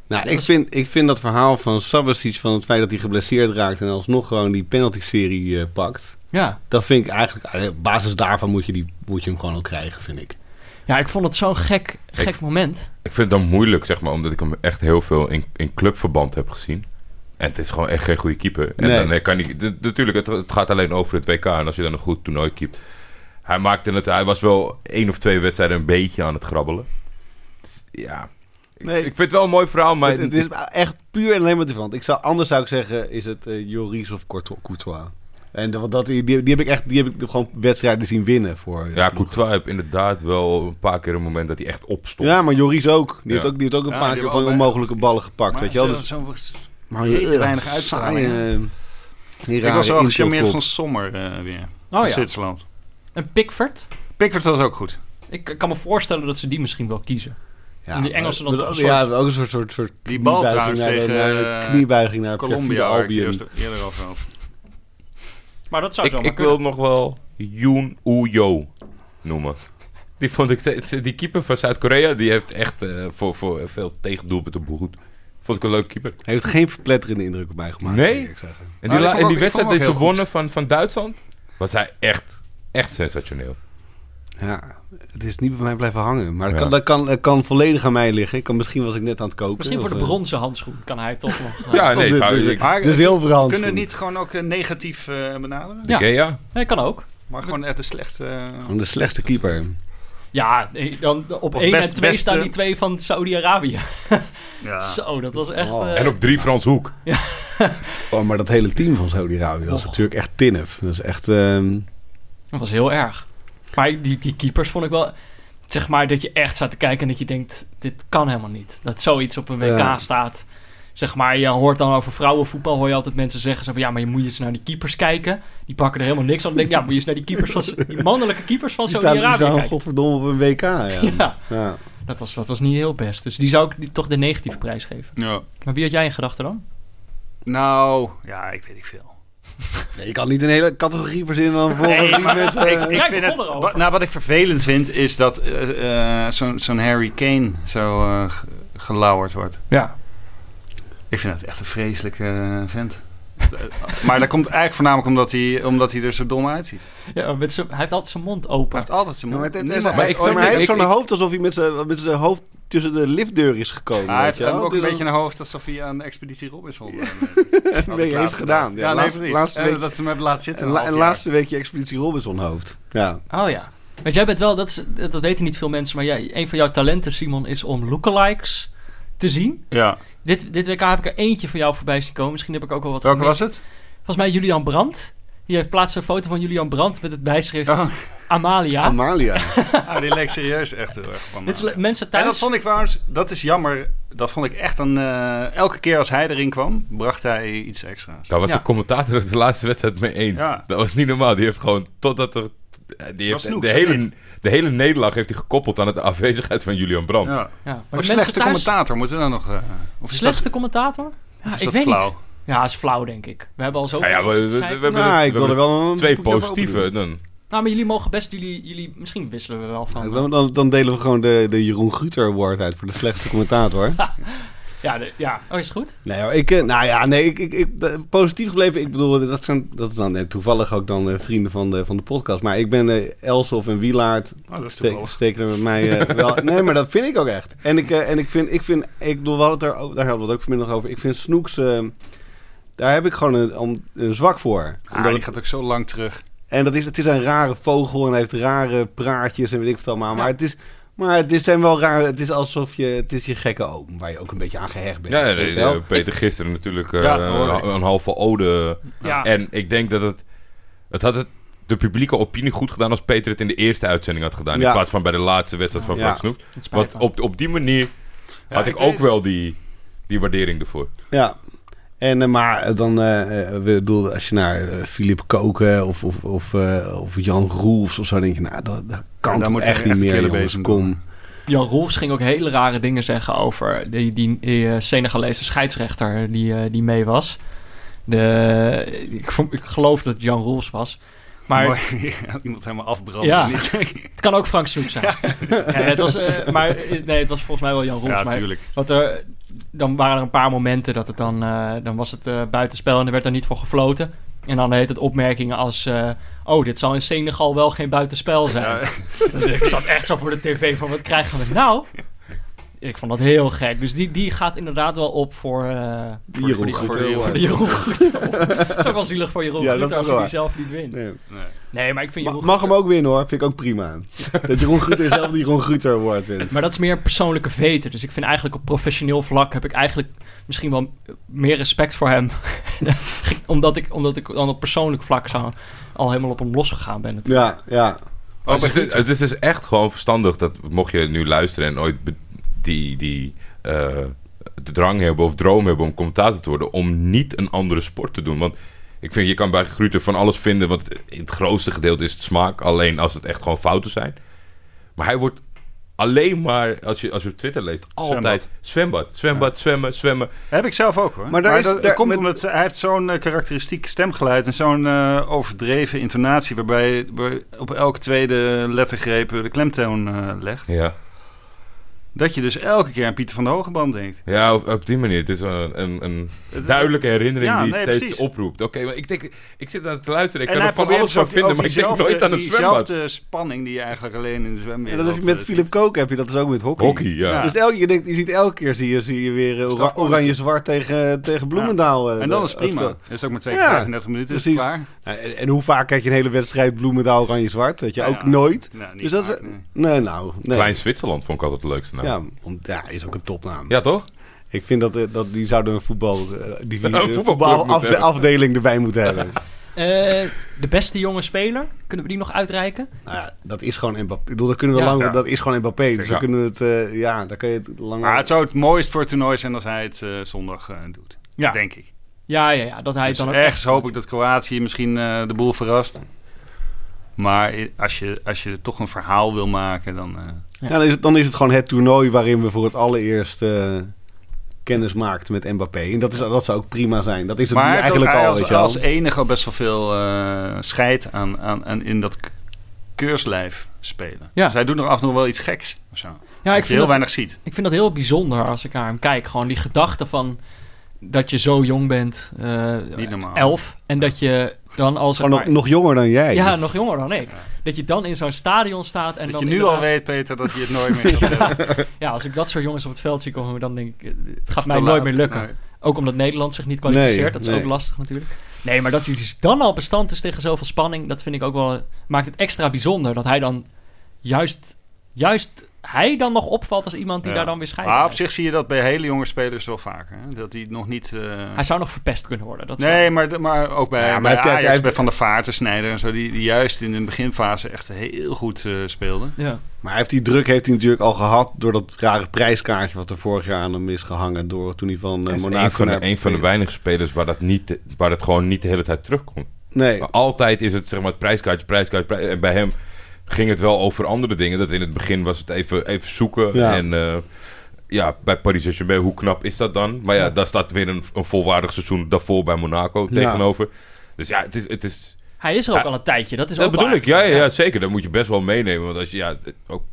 [SPEAKER 5] Nou, ik vind, ik vind dat verhaal van Sabasic, van het feit dat hij geblesseerd raakt en alsnog gewoon die penalty-serie eh, pakt.
[SPEAKER 1] Ja.
[SPEAKER 5] Dat vind ik eigenlijk, op basis daarvan moet je, die, moet je hem gewoon ook krijgen, vind ik.
[SPEAKER 1] Ja, ik vond het zo'n gek, gek
[SPEAKER 4] Ik-
[SPEAKER 1] moment.
[SPEAKER 4] Ik vind het dan moeilijk, zeg maar, omdat ik hem echt heel veel in, in clubverband heb gezien. En het is gewoon echt geen goede keeper. En
[SPEAKER 5] Nee.
[SPEAKER 4] dan eh, kan hij... d- Natuurlijk, het, het gaat alleen over het WK. En als je dan een goed toernooi keept... Hij maakte het... Hij was wel één of twee wedstrijden een beetje aan het grabbelen. Dus, ja. Ik,
[SPEAKER 5] Nee.
[SPEAKER 4] ik vind het wel een mooi verhaal, maar...
[SPEAKER 5] het, het is echt puur en alleen maar van. Ik zou, anders zou ik zeggen, is het eh, Joris of Courtois- Courtois. En dat, dat, die, die heb ik echt, die heb ik gewoon wedstrijden zien winnen voor. eh,
[SPEAKER 4] Ja,
[SPEAKER 5] ploegen.
[SPEAKER 4] Courtois heeft inderdaad wel een paar keer een moment dat hij echt opstond.
[SPEAKER 5] Ja, maar Joris ook. Die,
[SPEAKER 4] Ja.
[SPEAKER 5] heeft ook. die heeft ook een
[SPEAKER 3] Ja,
[SPEAKER 5] paar
[SPEAKER 3] die hebben
[SPEAKER 5] keer van
[SPEAKER 3] allebei-
[SPEAKER 5] onmogelijke ballen gepakt, weet je wel.
[SPEAKER 3] ze-
[SPEAKER 5] Dus,
[SPEAKER 3] zo-
[SPEAKER 5] maar
[SPEAKER 3] Weet
[SPEAKER 5] eh,
[SPEAKER 3] weinig
[SPEAKER 5] saaie,
[SPEAKER 3] uitstraling, hè?
[SPEAKER 5] eh, die
[SPEAKER 3] Ik
[SPEAKER 5] rare
[SPEAKER 3] was wel gecharmeerd
[SPEAKER 5] inschotgolf.
[SPEAKER 3] van Sommer eh, weer.
[SPEAKER 1] Oh
[SPEAKER 3] van
[SPEAKER 1] ja,
[SPEAKER 3] Zwitserland.
[SPEAKER 1] en Pickford.
[SPEAKER 3] Pickford was ook goed.
[SPEAKER 1] Ik kan me voorstellen dat ze die misschien wel kiezen. En die Engelsen dan
[SPEAKER 5] maar-
[SPEAKER 1] toch een
[SPEAKER 5] Ja,
[SPEAKER 1] soort-
[SPEAKER 5] ook een soort, soort, soort
[SPEAKER 3] Die bal
[SPEAKER 5] kniebuiging
[SPEAKER 3] trouwens
[SPEAKER 5] naar,
[SPEAKER 3] tegen,
[SPEAKER 5] naar-
[SPEAKER 3] eh,
[SPEAKER 5] kniebuiging naar perfide
[SPEAKER 3] Colombia, waar ik het
[SPEAKER 5] Albion.
[SPEAKER 3] eerst- eerder over had.
[SPEAKER 1] Maar dat zou
[SPEAKER 4] Ik,
[SPEAKER 1] zo
[SPEAKER 4] ik wil nog wel Yoon Uyo noemen. Die vond ik... te- Die keeper van Zuid-Korea, die heeft echt eh, voor, voor veel tegendoelpunten behoed. Vond ik een leuk keeper.
[SPEAKER 5] Hij heeft geen verpletterende indruk op mij gemaakt.
[SPEAKER 4] Nee?
[SPEAKER 5] moet ik zeggen.
[SPEAKER 4] En
[SPEAKER 3] Maar
[SPEAKER 4] die,
[SPEAKER 3] ik
[SPEAKER 4] la-
[SPEAKER 3] vond
[SPEAKER 4] en
[SPEAKER 3] ook-
[SPEAKER 4] die
[SPEAKER 3] ik
[SPEAKER 4] wedstrijd
[SPEAKER 3] vond
[SPEAKER 4] die
[SPEAKER 3] hem
[SPEAKER 4] ze
[SPEAKER 3] ook heel
[SPEAKER 4] wonnen van, van Duitsland, was hij echt, echt sensationeel.
[SPEAKER 5] Ja, het is niet bij mij blijven hangen. Maar dat,
[SPEAKER 4] Ja.
[SPEAKER 5] kan, dat, kan, dat kan volledig aan mij liggen. Ik kan, misschien was ik net aan het koken.
[SPEAKER 1] Misschien voor de
[SPEAKER 5] of, eh,
[SPEAKER 1] bronzen handschoen kan hij toch nog. eh,
[SPEAKER 4] Ja,
[SPEAKER 1] ja.
[SPEAKER 4] Ah, nee,
[SPEAKER 5] dit-
[SPEAKER 4] zou-
[SPEAKER 5] dus
[SPEAKER 4] ik-
[SPEAKER 5] ik- De zilveren handschoen.
[SPEAKER 3] Kunnen eh, we niet gewoon ook eh, negatief eh, benaderen?
[SPEAKER 1] Ja.
[SPEAKER 4] Oké, ja.
[SPEAKER 1] Nee, kan ook.
[SPEAKER 3] Maar gewoon echt de slechtste... eh,
[SPEAKER 5] Gewoon de slechtste keeper.
[SPEAKER 1] Ja, nee, dan op
[SPEAKER 3] Of
[SPEAKER 1] 1
[SPEAKER 3] best-
[SPEAKER 1] en 2
[SPEAKER 3] beste-
[SPEAKER 1] staan die twee van Saudi-Arabië.
[SPEAKER 3] Ja.
[SPEAKER 1] <laughs> Zo, dat was echt...
[SPEAKER 5] Oh.
[SPEAKER 1] eh,
[SPEAKER 4] En op drie Frans Hoek.
[SPEAKER 5] Oh, maar dat hele team van Saudi-Arabië was
[SPEAKER 1] Och.
[SPEAKER 5] natuurlijk echt tinnef. Dat is echt... ehm,
[SPEAKER 1] Dat was heel erg. Maar die, die keepers vond ik wel... Zeg maar dat je echt staat te kijken en dat je denkt... Dit kan helemaal niet. Dat zoiets op een WK
[SPEAKER 5] Ja.
[SPEAKER 1] staat. Zeg maar, je hoort dan over vrouwenvoetbal... hoor je altijd mensen zeggen zo van... Ja, maar je moet je eens naar die keepers kijken. Die pakken er helemaal niks aan. Dan denk ik, ja, moet je eens naar die, keepers van, die mannelijke keepers van
[SPEAKER 5] die staan, die
[SPEAKER 1] Saudi-Arabië
[SPEAKER 5] staan
[SPEAKER 1] kijken.
[SPEAKER 5] godverdomme op een WK. Ja.
[SPEAKER 1] <laughs> Ja,
[SPEAKER 5] Ja.
[SPEAKER 1] dat was, dat was niet heel best. Dus die zou ik die- toch de negatieve prijs geven.
[SPEAKER 3] Ja.
[SPEAKER 1] Maar wie had jij in gedachten dan?
[SPEAKER 3] Nou, ja, ik weet niet veel.
[SPEAKER 5] Nee, je kan niet een hele categorie verzinnen dan volgens
[SPEAKER 3] Nee,
[SPEAKER 5] die
[SPEAKER 3] maar
[SPEAKER 5] met... eh,
[SPEAKER 3] ik, ik
[SPEAKER 1] Ja, ik
[SPEAKER 3] vind
[SPEAKER 1] begon
[SPEAKER 3] het,
[SPEAKER 1] erover.
[SPEAKER 3] wa- nou, wat ik vervelend vind, is dat eh, eh, zo'n zo'n Harry Kane zo eh, ge- gelauwerd wordt.
[SPEAKER 1] Ja.
[SPEAKER 3] Ik vind dat echt een vreselijke eh, vent. maar dat komt eigenlijk voornamelijk omdat hij, omdat hij er zo dom uitziet.
[SPEAKER 1] ja oh, met zijn- hij heeft altijd zijn mond
[SPEAKER 3] Hij
[SPEAKER 1] open.
[SPEAKER 3] heeft altijd zijn
[SPEAKER 5] Ja, maar
[SPEAKER 3] mond.
[SPEAKER 5] het- het-
[SPEAKER 3] Niemand-
[SPEAKER 5] maar hij
[SPEAKER 4] ik snap
[SPEAKER 5] heeft- Oh, maar hij
[SPEAKER 4] het.
[SPEAKER 5] heeft
[SPEAKER 4] Ik-
[SPEAKER 5] zo'n
[SPEAKER 4] ik-
[SPEAKER 5] hoofd alsof hij met zijn, met zijn hoofd tussen de liftdeur is gekomen.
[SPEAKER 3] hij
[SPEAKER 5] weet
[SPEAKER 3] heeft
[SPEAKER 5] je wel?
[SPEAKER 3] Ah, ook een
[SPEAKER 5] Dus
[SPEAKER 3] beetje een hoofd alsof hij aan de expeditie Robinson eh, had
[SPEAKER 5] beetje heeft
[SPEAKER 3] laatst
[SPEAKER 5] gedaan.
[SPEAKER 3] gedacht.
[SPEAKER 5] Ja,
[SPEAKER 3] Ja, nee,
[SPEAKER 5] laatst-
[SPEAKER 3] precies.
[SPEAKER 5] laatste
[SPEAKER 3] Eh,
[SPEAKER 5] week-
[SPEAKER 3] Dat ze hem hebben laten zitten.
[SPEAKER 5] een
[SPEAKER 3] een Oh,
[SPEAKER 5] la-
[SPEAKER 3] half
[SPEAKER 5] een
[SPEAKER 3] jaar.
[SPEAKER 5] laatste weekje Expeditie Robinson hoofd. Ja.
[SPEAKER 1] Oh ja. Want jij bent wel, dat, is- dat dat weten niet veel mensen, maar jij, een van jouw talenten, Simon, is om lookalikes te zien.
[SPEAKER 3] Ja.
[SPEAKER 1] Dit, dit WK heb ik er eentje van jou voorbij zien komen. Misschien heb ik ook wel wat.
[SPEAKER 3] Welke
[SPEAKER 1] gemist.
[SPEAKER 3] was het?
[SPEAKER 1] Volgens mij Julian Brandt. Die heeft plaatst een foto van Julian Brandt met het bijschrift
[SPEAKER 3] Oh.
[SPEAKER 1] Amalia.
[SPEAKER 5] Amalia.
[SPEAKER 3] Ah, die leek serieus echt heel erg van.
[SPEAKER 1] dit is
[SPEAKER 3] eh,
[SPEAKER 1] le- mensen
[SPEAKER 3] En
[SPEAKER 1] thuis.
[SPEAKER 3] dat vond ik trouwens, dat is jammer. Dat vond ik echt een. eh, elke keer als hij erin kwam, bracht hij iets extra's.
[SPEAKER 4] Daar was
[SPEAKER 1] Ja.
[SPEAKER 4] de commentator het de laatste wedstrijd mee eens.
[SPEAKER 3] Ja.
[SPEAKER 4] Dat was niet normaal. Die heeft gewoon, totdat er... Die heeft,
[SPEAKER 3] snoeks, hè,
[SPEAKER 4] de, hele,
[SPEAKER 3] dit?
[SPEAKER 4] de hele nederlaag heeft hij gekoppeld aan de afwezigheid van Julian Brandt.
[SPEAKER 1] Ja,
[SPEAKER 3] Ja.
[SPEAKER 1] maar,
[SPEAKER 3] Maar
[SPEAKER 1] de mensen
[SPEAKER 3] slechtste
[SPEAKER 1] thuis.
[SPEAKER 3] commentator moeten we dan nog. eh, of is
[SPEAKER 1] Slechtste
[SPEAKER 3] dat-
[SPEAKER 1] commentator? Ja,
[SPEAKER 3] is
[SPEAKER 1] Ah, ik
[SPEAKER 3] dat
[SPEAKER 1] weet
[SPEAKER 3] flauw?
[SPEAKER 1] niet. Ja, is flauw, denk ik. We hebben al zoveel.
[SPEAKER 4] Nou ja, we, we- we
[SPEAKER 1] zei-
[SPEAKER 4] hebben
[SPEAKER 5] Nou, ik
[SPEAKER 4] we
[SPEAKER 5] wil er
[SPEAKER 4] hebben
[SPEAKER 5] wel een
[SPEAKER 4] twee
[SPEAKER 5] boekje over
[SPEAKER 4] positieve.
[SPEAKER 5] open
[SPEAKER 4] Dan.
[SPEAKER 1] Nou, maar jullie mogen best, jullie, jullie, misschien wisselen we wel van. eh,
[SPEAKER 5] doen. Dan, dan, dan delen we gewoon de, de Jeroen Guter Award uit voor de slechtste commentator.
[SPEAKER 4] <laughs>
[SPEAKER 1] Ja, de- ja. Oh, is het goed?
[SPEAKER 5] Nee, hoor, ik, eh, nou ja, nee, ik, ik, ik, eh, positief gebleven. Ik bedoel, dat, zijn, dat is dan net toevallig ook dan eh, vrienden van de, van de podcast. Maar ik ben eh Elsof en Wielaard
[SPEAKER 4] Ah,
[SPEAKER 3] Oh, dat is
[SPEAKER 5] Ste-
[SPEAKER 3] toevallig.
[SPEAKER 5] steken er
[SPEAKER 4] <laughs>
[SPEAKER 5] met mij eh, wel. Nee, maar dat vind ik ook echt. En ik, eh, en ik vind, ik vind, ik bedoel, we hadden het er, ook- daar hadden we het ook vanmiddag over. Ik vind Snoeks, eh, daar heb ik gewoon een, om- een zwak voor.
[SPEAKER 3] Ah,
[SPEAKER 5] Omdat
[SPEAKER 3] die
[SPEAKER 5] het-
[SPEAKER 3] gaat ook zo lang terug.
[SPEAKER 5] en dat is, het is een rare vogel en hij heeft rare praatjes en weet ik wat allemaal. Maar
[SPEAKER 1] Ja.
[SPEAKER 5] het is, Maar het is zijn wel raar. Het is alsof je, het is je gekke oom, waar je ook een beetje aan gehecht bent.
[SPEAKER 4] Ja, ja,
[SPEAKER 5] weet je
[SPEAKER 4] de-
[SPEAKER 5] wel.
[SPEAKER 4] de- Peter gisteren natuurlijk eh,
[SPEAKER 3] Ja,
[SPEAKER 4] een,
[SPEAKER 3] hoor
[SPEAKER 4] een halve ode.
[SPEAKER 1] Ja.
[SPEAKER 4] En ik denk dat het... Het had het, de publieke opinie goed gedaan als Peter het in de eerste uitzending had gedaan.
[SPEAKER 5] Ja.
[SPEAKER 4] In plaats van bij de laatste wedstrijd van
[SPEAKER 5] Ja.
[SPEAKER 4] Frank Snoep.
[SPEAKER 1] Het spijt
[SPEAKER 4] Want
[SPEAKER 1] me.
[SPEAKER 4] op, op die manier
[SPEAKER 3] Ja,
[SPEAKER 4] had ik,
[SPEAKER 3] ik
[SPEAKER 4] ook
[SPEAKER 3] weet
[SPEAKER 4] wel die, die waardering ervoor.
[SPEAKER 5] Ja. En, eh, maar eh, dan, eh, eh, we bedoel, als je naar eh, Philip Koken of, of, of, eh, of Jan Roels of zo, dan denk je, nou, dat, dat kan
[SPEAKER 3] Ja, daar
[SPEAKER 5] toch
[SPEAKER 3] moet je
[SPEAKER 5] echt
[SPEAKER 3] echt
[SPEAKER 5] niet meer,
[SPEAKER 3] killen
[SPEAKER 5] jongens,
[SPEAKER 3] bezig
[SPEAKER 5] kom.
[SPEAKER 3] doen.
[SPEAKER 1] Jan Rolfs ging ook hele rare dingen zeggen over die, die, eh, Senegalese scheidsrechter die, eh, die mee was. De, ik, vond- ik geloof dat het Jan Rolfs was. Maar
[SPEAKER 3] <laughs> Mooi, iemand helemaal afbranden. <laughs>
[SPEAKER 1] Ja.
[SPEAKER 3] Niet-
[SPEAKER 1] het kan ook Frank Soek
[SPEAKER 3] <laughs>
[SPEAKER 1] zijn. Ja, het was, eh, maar eh, nee, het was volgens mij wel Jan Rolfs.
[SPEAKER 3] ja,
[SPEAKER 1] maar
[SPEAKER 3] natuurlijk.
[SPEAKER 1] Want er, dan waren er een paar momenten dat het dan, eh, dan was het eh, buitenspel en er werd daar niet voor gefloten. En dan heet het opmerkingen als, eh, oh, dit zal in Senegal wel geen buitenspel zijn. <laughs> Dus ik zat echt zo voor de tv van, wat krijgen we nou? Ik vond dat heel gek. Dus die, die gaat inderdaad wel op voor, eh
[SPEAKER 5] Die Jeroen
[SPEAKER 1] die-
[SPEAKER 5] Goed,
[SPEAKER 3] voor die-
[SPEAKER 5] heel
[SPEAKER 1] voor
[SPEAKER 5] hard.
[SPEAKER 1] de Jeroen Groeten. Het
[SPEAKER 5] <laughs>
[SPEAKER 1] is ook wel zielig voor Jeroen
[SPEAKER 5] Ja, dat
[SPEAKER 1] Groeten als
[SPEAKER 5] is wel
[SPEAKER 1] hij die
[SPEAKER 5] waar.
[SPEAKER 1] zelf niet wint.
[SPEAKER 5] Nee.
[SPEAKER 3] Nee.
[SPEAKER 1] Nee, maar ik vind
[SPEAKER 5] Ma-
[SPEAKER 1] Jeroen
[SPEAKER 5] Mag hem ook winnen hoor, vind ik ook
[SPEAKER 3] <laughs>
[SPEAKER 5] prima. Dat Jeroen Gruter zelf die Jeroen Gruter Award wint.
[SPEAKER 1] Maar dat is meer een persoonlijke veten. Dus ik vind eigenlijk op professioneel vlak heb ik eigenlijk misschien wel meer respect voor hem. <laughs> omdat, ik, omdat ik dan op persoonlijk vlak zo al helemaal op hem losgegaan ben. natuurlijk.
[SPEAKER 5] Ja, ja.
[SPEAKER 4] Maar het, is, het is dus echt gewoon verstandig dat mocht je nu luisteren en ooit be- die, die eh, de drang hebben of droom hebben om commentator te worden, om niet een andere sport te doen. Want ik vind, je kan bij Gruter van alles vinden, want in het grootste gedeelte is het smaak, alleen als het echt gewoon fouten zijn. Maar hij wordt alleen maar, als je, als je op Twitter leest, altijd zwembad, zwembad, zwemmen, zwemmen.
[SPEAKER 3] Heb ik zelf ook hoor.
[SPEAKER 5] Maar
[SPEAKER 3] Maar,
[SPEAKER 5] daar is-
[SPEAKER 3] dat, dat
[SPEAKER 5] daar-
[SPEAKER 3] komt
[SPEAKER 5] met-
[SPEAKER 3] omdat ze- hij heeft zo'n eh, karakteristiek stemgeluid en zo'n eh, overdreven intonatie waarbij waar- op elke tweede lettergreep de klemtoon eh, legt.
[SPEAKER 4] Ja.
[SPEAKER 3] Dat je dus elke keer aan Pieter van der Hogeband denkt.
[SPEAKER 4] Ja, op, op die manier. Het is een, een, een duidelijke herinnering
[SPEAKER 3] Ja,
[SPEAKER 4] die het
[SPEAKER 3] nee,
[SPEAKER 4] steeds
[SPEAKER 3] precies.
[SPEAKER 4] oproept. Oké, maar ik denk, ik zit aan het luisteren. Ik
[SPEAKER 3] en
[SPEAKER 4] kan
[SPEAKER 3] hij
[SPEAKER 4] er van
[SPEAKER 3] probeert dus
[SPEAKER 4] alles van
[SPEAKER 3] ook-
[SPEAKER 4] vinden,
[SPEAKER 3] ook
[SPEAKER 4] maar ik denk
[SPEAKER 3] diezelfde-
[SPEAKER 4] nooit aan een zwembad.
[SPEAKER 3] Diezelfde spanning die je eigenlijk alleen in de eh, zwembad
[SPEAKER 5] En dat heb je met Philip Koken heb je dat dus ook met hockey.
[SPEAKER 4] Hockey, ja.
[SPEAKER 3] Ja.
[SPEAKER 5] Dus elke, je, denkt, je ziet elke keer zie je, zie je weer eh, ora-
[SPEAKER 3] Strafcorner.
[SPEAKER 5] oranje-zwart tegen, tegen Bloemendaal. eh,
[SPEAKER 3] En dan
[SPEAKER 5] de-
[SPEAKER 3] is het prima.
[SPEAKER 5] het
[SPEAKER 3] Dat is ook maar 2
[SPEAKER 5] Ja,
[SPEAKER 3] keer 35 minuten. Is het
[SPEAKER 5] precies.
[SPEAKER 3] klaar.
[SPEAKER 5] veld. En, en hoe vaak kijk je een hele wedstrijd Bloemendaal-oranje-zwart? Weet je,
[SPEAKER 3] Ja,
[SPEAKER 5] ook
[SPEAKER 3] ja.
[SPEAKER 5] nooit.
[SPEAKER 3] Nou, niet
[SPEAKER 5] Dus dat is,
[SPEAKER 3] vaak, nee.
[SPEAKER 5] nee, nou. Nee.
[SPEAKER 4] Klein Zwitserland vond ik altijd het leukste naam. Ja,
[SPEAKER 5] Ja, want, ja, is ook een topnaam.
[SPEAKER 4] toch?
[SPEAKER 5] Ik vind dat, eh, dat die zouden een voetbal, eh,
[SPEAKER 4] <laughs> Een
[SPEAKER 5] divisie, een
[SPEAKER 4] voetbalclub moeten
[SPEAKER 5] voetbalafde-
[SPEAKER 4] hebben.
[SPEAKER 5] afdeling erbij
[SPEAKER 4] <laughs>
[SPEAKER 5] moeten hebben.
[SPEAKER 1] Eh, de beste jonge speler, kunnen we die nog uitreiken?
[SPEAKER 5] nou ja, dat is gewoon Mbappé. Ik bedoel, dat kunnen we
[SPEAKER 1] Ja.
[SPEAKER 5] lang,
[SPEAKER 3] Ja.
[SPEAKER 5] dat is gewoon Mbappé. Dus
[SPEAKER 4] Ja.
[SPEAKER 5] dan kunnen we het, eh, ja, daar kun je het lang.
[SPEAKER 3] Maar het zou het mooist voor het toernooi zijn als hij het eh, zondag eh, doet.
[SPEAKER 1] Ja.
[SPEAKER 3] Denk ik.
[SPEAKER 1] Ja, ja, ja. Dat hij
[SPEAKER 3] Dus
[SPEAKER 1] het dan ook
[SPEAKER 3] ergens hoop
[SPEAKER 1] goed-
[SPEAKER 3] ik dat Kroatië misschien eh, de boel verrast. Maar i- als je, als je toch een verhaal wil maken, dan... eh,
[SPEAKER 5] ja. dan, is het, dan is het gewoon het toernooi waarin we voor het allereerst eh, kennis maakten met Mbappé. En dat, is, dat zou ook prima zijn. Dat is het
[SPEAKER 3] Maar
[SPEAKER 5] nu
[SPEAKER 3] hij heeft ook-
[SPEAKER 5] eigenlijk
[SPEAKER 3] hij
[SPEAKER 5] al,
[SPEAKER 3] als,
[SPEAKER 5] weet je wel.
[SPEAKER 3] als enige al best wel veel eh scheid aan, aan, aan in dat k- keurslijf spelen.
[SPEAKER 1] Ja.
[SPEAKER 3] Dus hij doet nog af en toe wel iets geks of zo.
[SPEAKER 1] Ja, ik
[SPEAKER 3] dat je heel
[SPEAKER 1] vind dat,
[SPEAKER 3] weinig ziet.
[SPEAKER 1] ik vind dat heel bijzonder als ik naar hem kijk. Gewoon die gedachte van dat je zo jong bent, eh,
[SPEAKER 3] Niet normaal.
[SPEAKER 1] elf, en dat je dan als...
[SPEAKER 5] Gewoon nog, nog jonger dan jij.
[SPEAKER 1] Ja, nog jonger dan ik. Dat je dan in zo'n stadion staat en
[SPEAKER 3] dat
[SPEAKER 1] dan
[SPEAKER 3] je nu
[SPEAKER 1] inderdaad-
[SPEAKER 3] al weet, Peter, dat hij het
[SPEAKER 1] <laughs>
[SPEAKER 3] nooit meer gaat doen.
[SPEAKER 1] Ja, als ik dat soort jongens op het veld zie komen, dan denk ik, eh, het gaat
[SPEAKER 3] Te
[SPEAKER 1] mij
[SPEAKER 3] laat.
[SPEAKER 1] nooit meer lukken.
[SPEAKER 3] Nee.
[SPEAKER 1] Ook omdat Nederland zich niet kwalificeert,
[SPEAKER 5] Nee,
[SPEAKER 1] dat is
[SPEAKER 5] nee.
[SPEAKER 1] ook lastig natuurlijk. Nee, maar dat hij dus dan al bestand is tegen zoveel spanning, dat vind ik ook wel, maakt het extra bijzonder. Dat hij dan juist, juist hij dan nog opvalt als iemand die
[SPEAKER 3] Ja.
[SPEAKER 1] daar dan weer scheidt.
[SPEAKER 3] Maar op zich zie je dat bij hele jonge spelers wel vaker. Hè? Dat die nog niet... eh,
[SPEAKER 1] Hij zou nog verpest kunnen worden. Dat is wel-
[SPEAKER 3] Nee, maar, de- maar ook bij,
[SPEAKER 5] Ja, maar
[SPEAKER 3] bij
[SPEAKER 5] hij heeft- hij
[SPEAKER 3] Ajax,
[SPEAKER 5] heeft-
[SPEAKER 3] bij Van der Vaart, de Snijder en zo, die, die juist in de beginfase echt heel goed eh, speelden.
[SPEAKER 1] ja.
[SPEAKER 5] Maar hij heeft die druk heeft hij natuurlijk al gehad door dat rare prijskaartje wat er vorig jaar aan hem is gehangen. Door toen hij van eh,
[SPEAKER 4] Hij is
[SPEAKER 5] Monaco
[SPEAKER 4] een van, de,
[SPEAKER 5] naar-
[SPEAKER 4] een van de weinige spelers waar, dat niet, waar dat gewoon niet de hele tijd terugkomt.
[SPEAKER 5] Nee,
[SPEAKER 4] Maar altijd is het zeg maar het prijskaartje, prijskaartje, prij- En bij hem ging het wel over andere dingen. Dat in het begin was het even, even zoeken.
[SPEAKER 5] Ja.
[SPEAKER 4] En eh, ja, bij Paris Saint-Germain, hoe knap is dat dan? Maar ja, daar staat weer een, een volwaardig seizoen daarvoor bij Monaco
[SPEAKER 5] Ja.
[SPEAKER 4] tegenover. Dus ja, het is... Het is
[SPEAKER 1] Hij is er ook
[SPEAKER 4] Ja.
[SPEAKER 1] al een tijdje, dat is
[SPEAKER 4] dat
[SPEAKER 1] ook
[SPEAKER 4] bedoel
[SPEAKER 1] waar.
[SPEAKER 4] ik, ja, ja, ja, zeker. Dat moet je best wel meenemen. Want als je, ja, het- ook,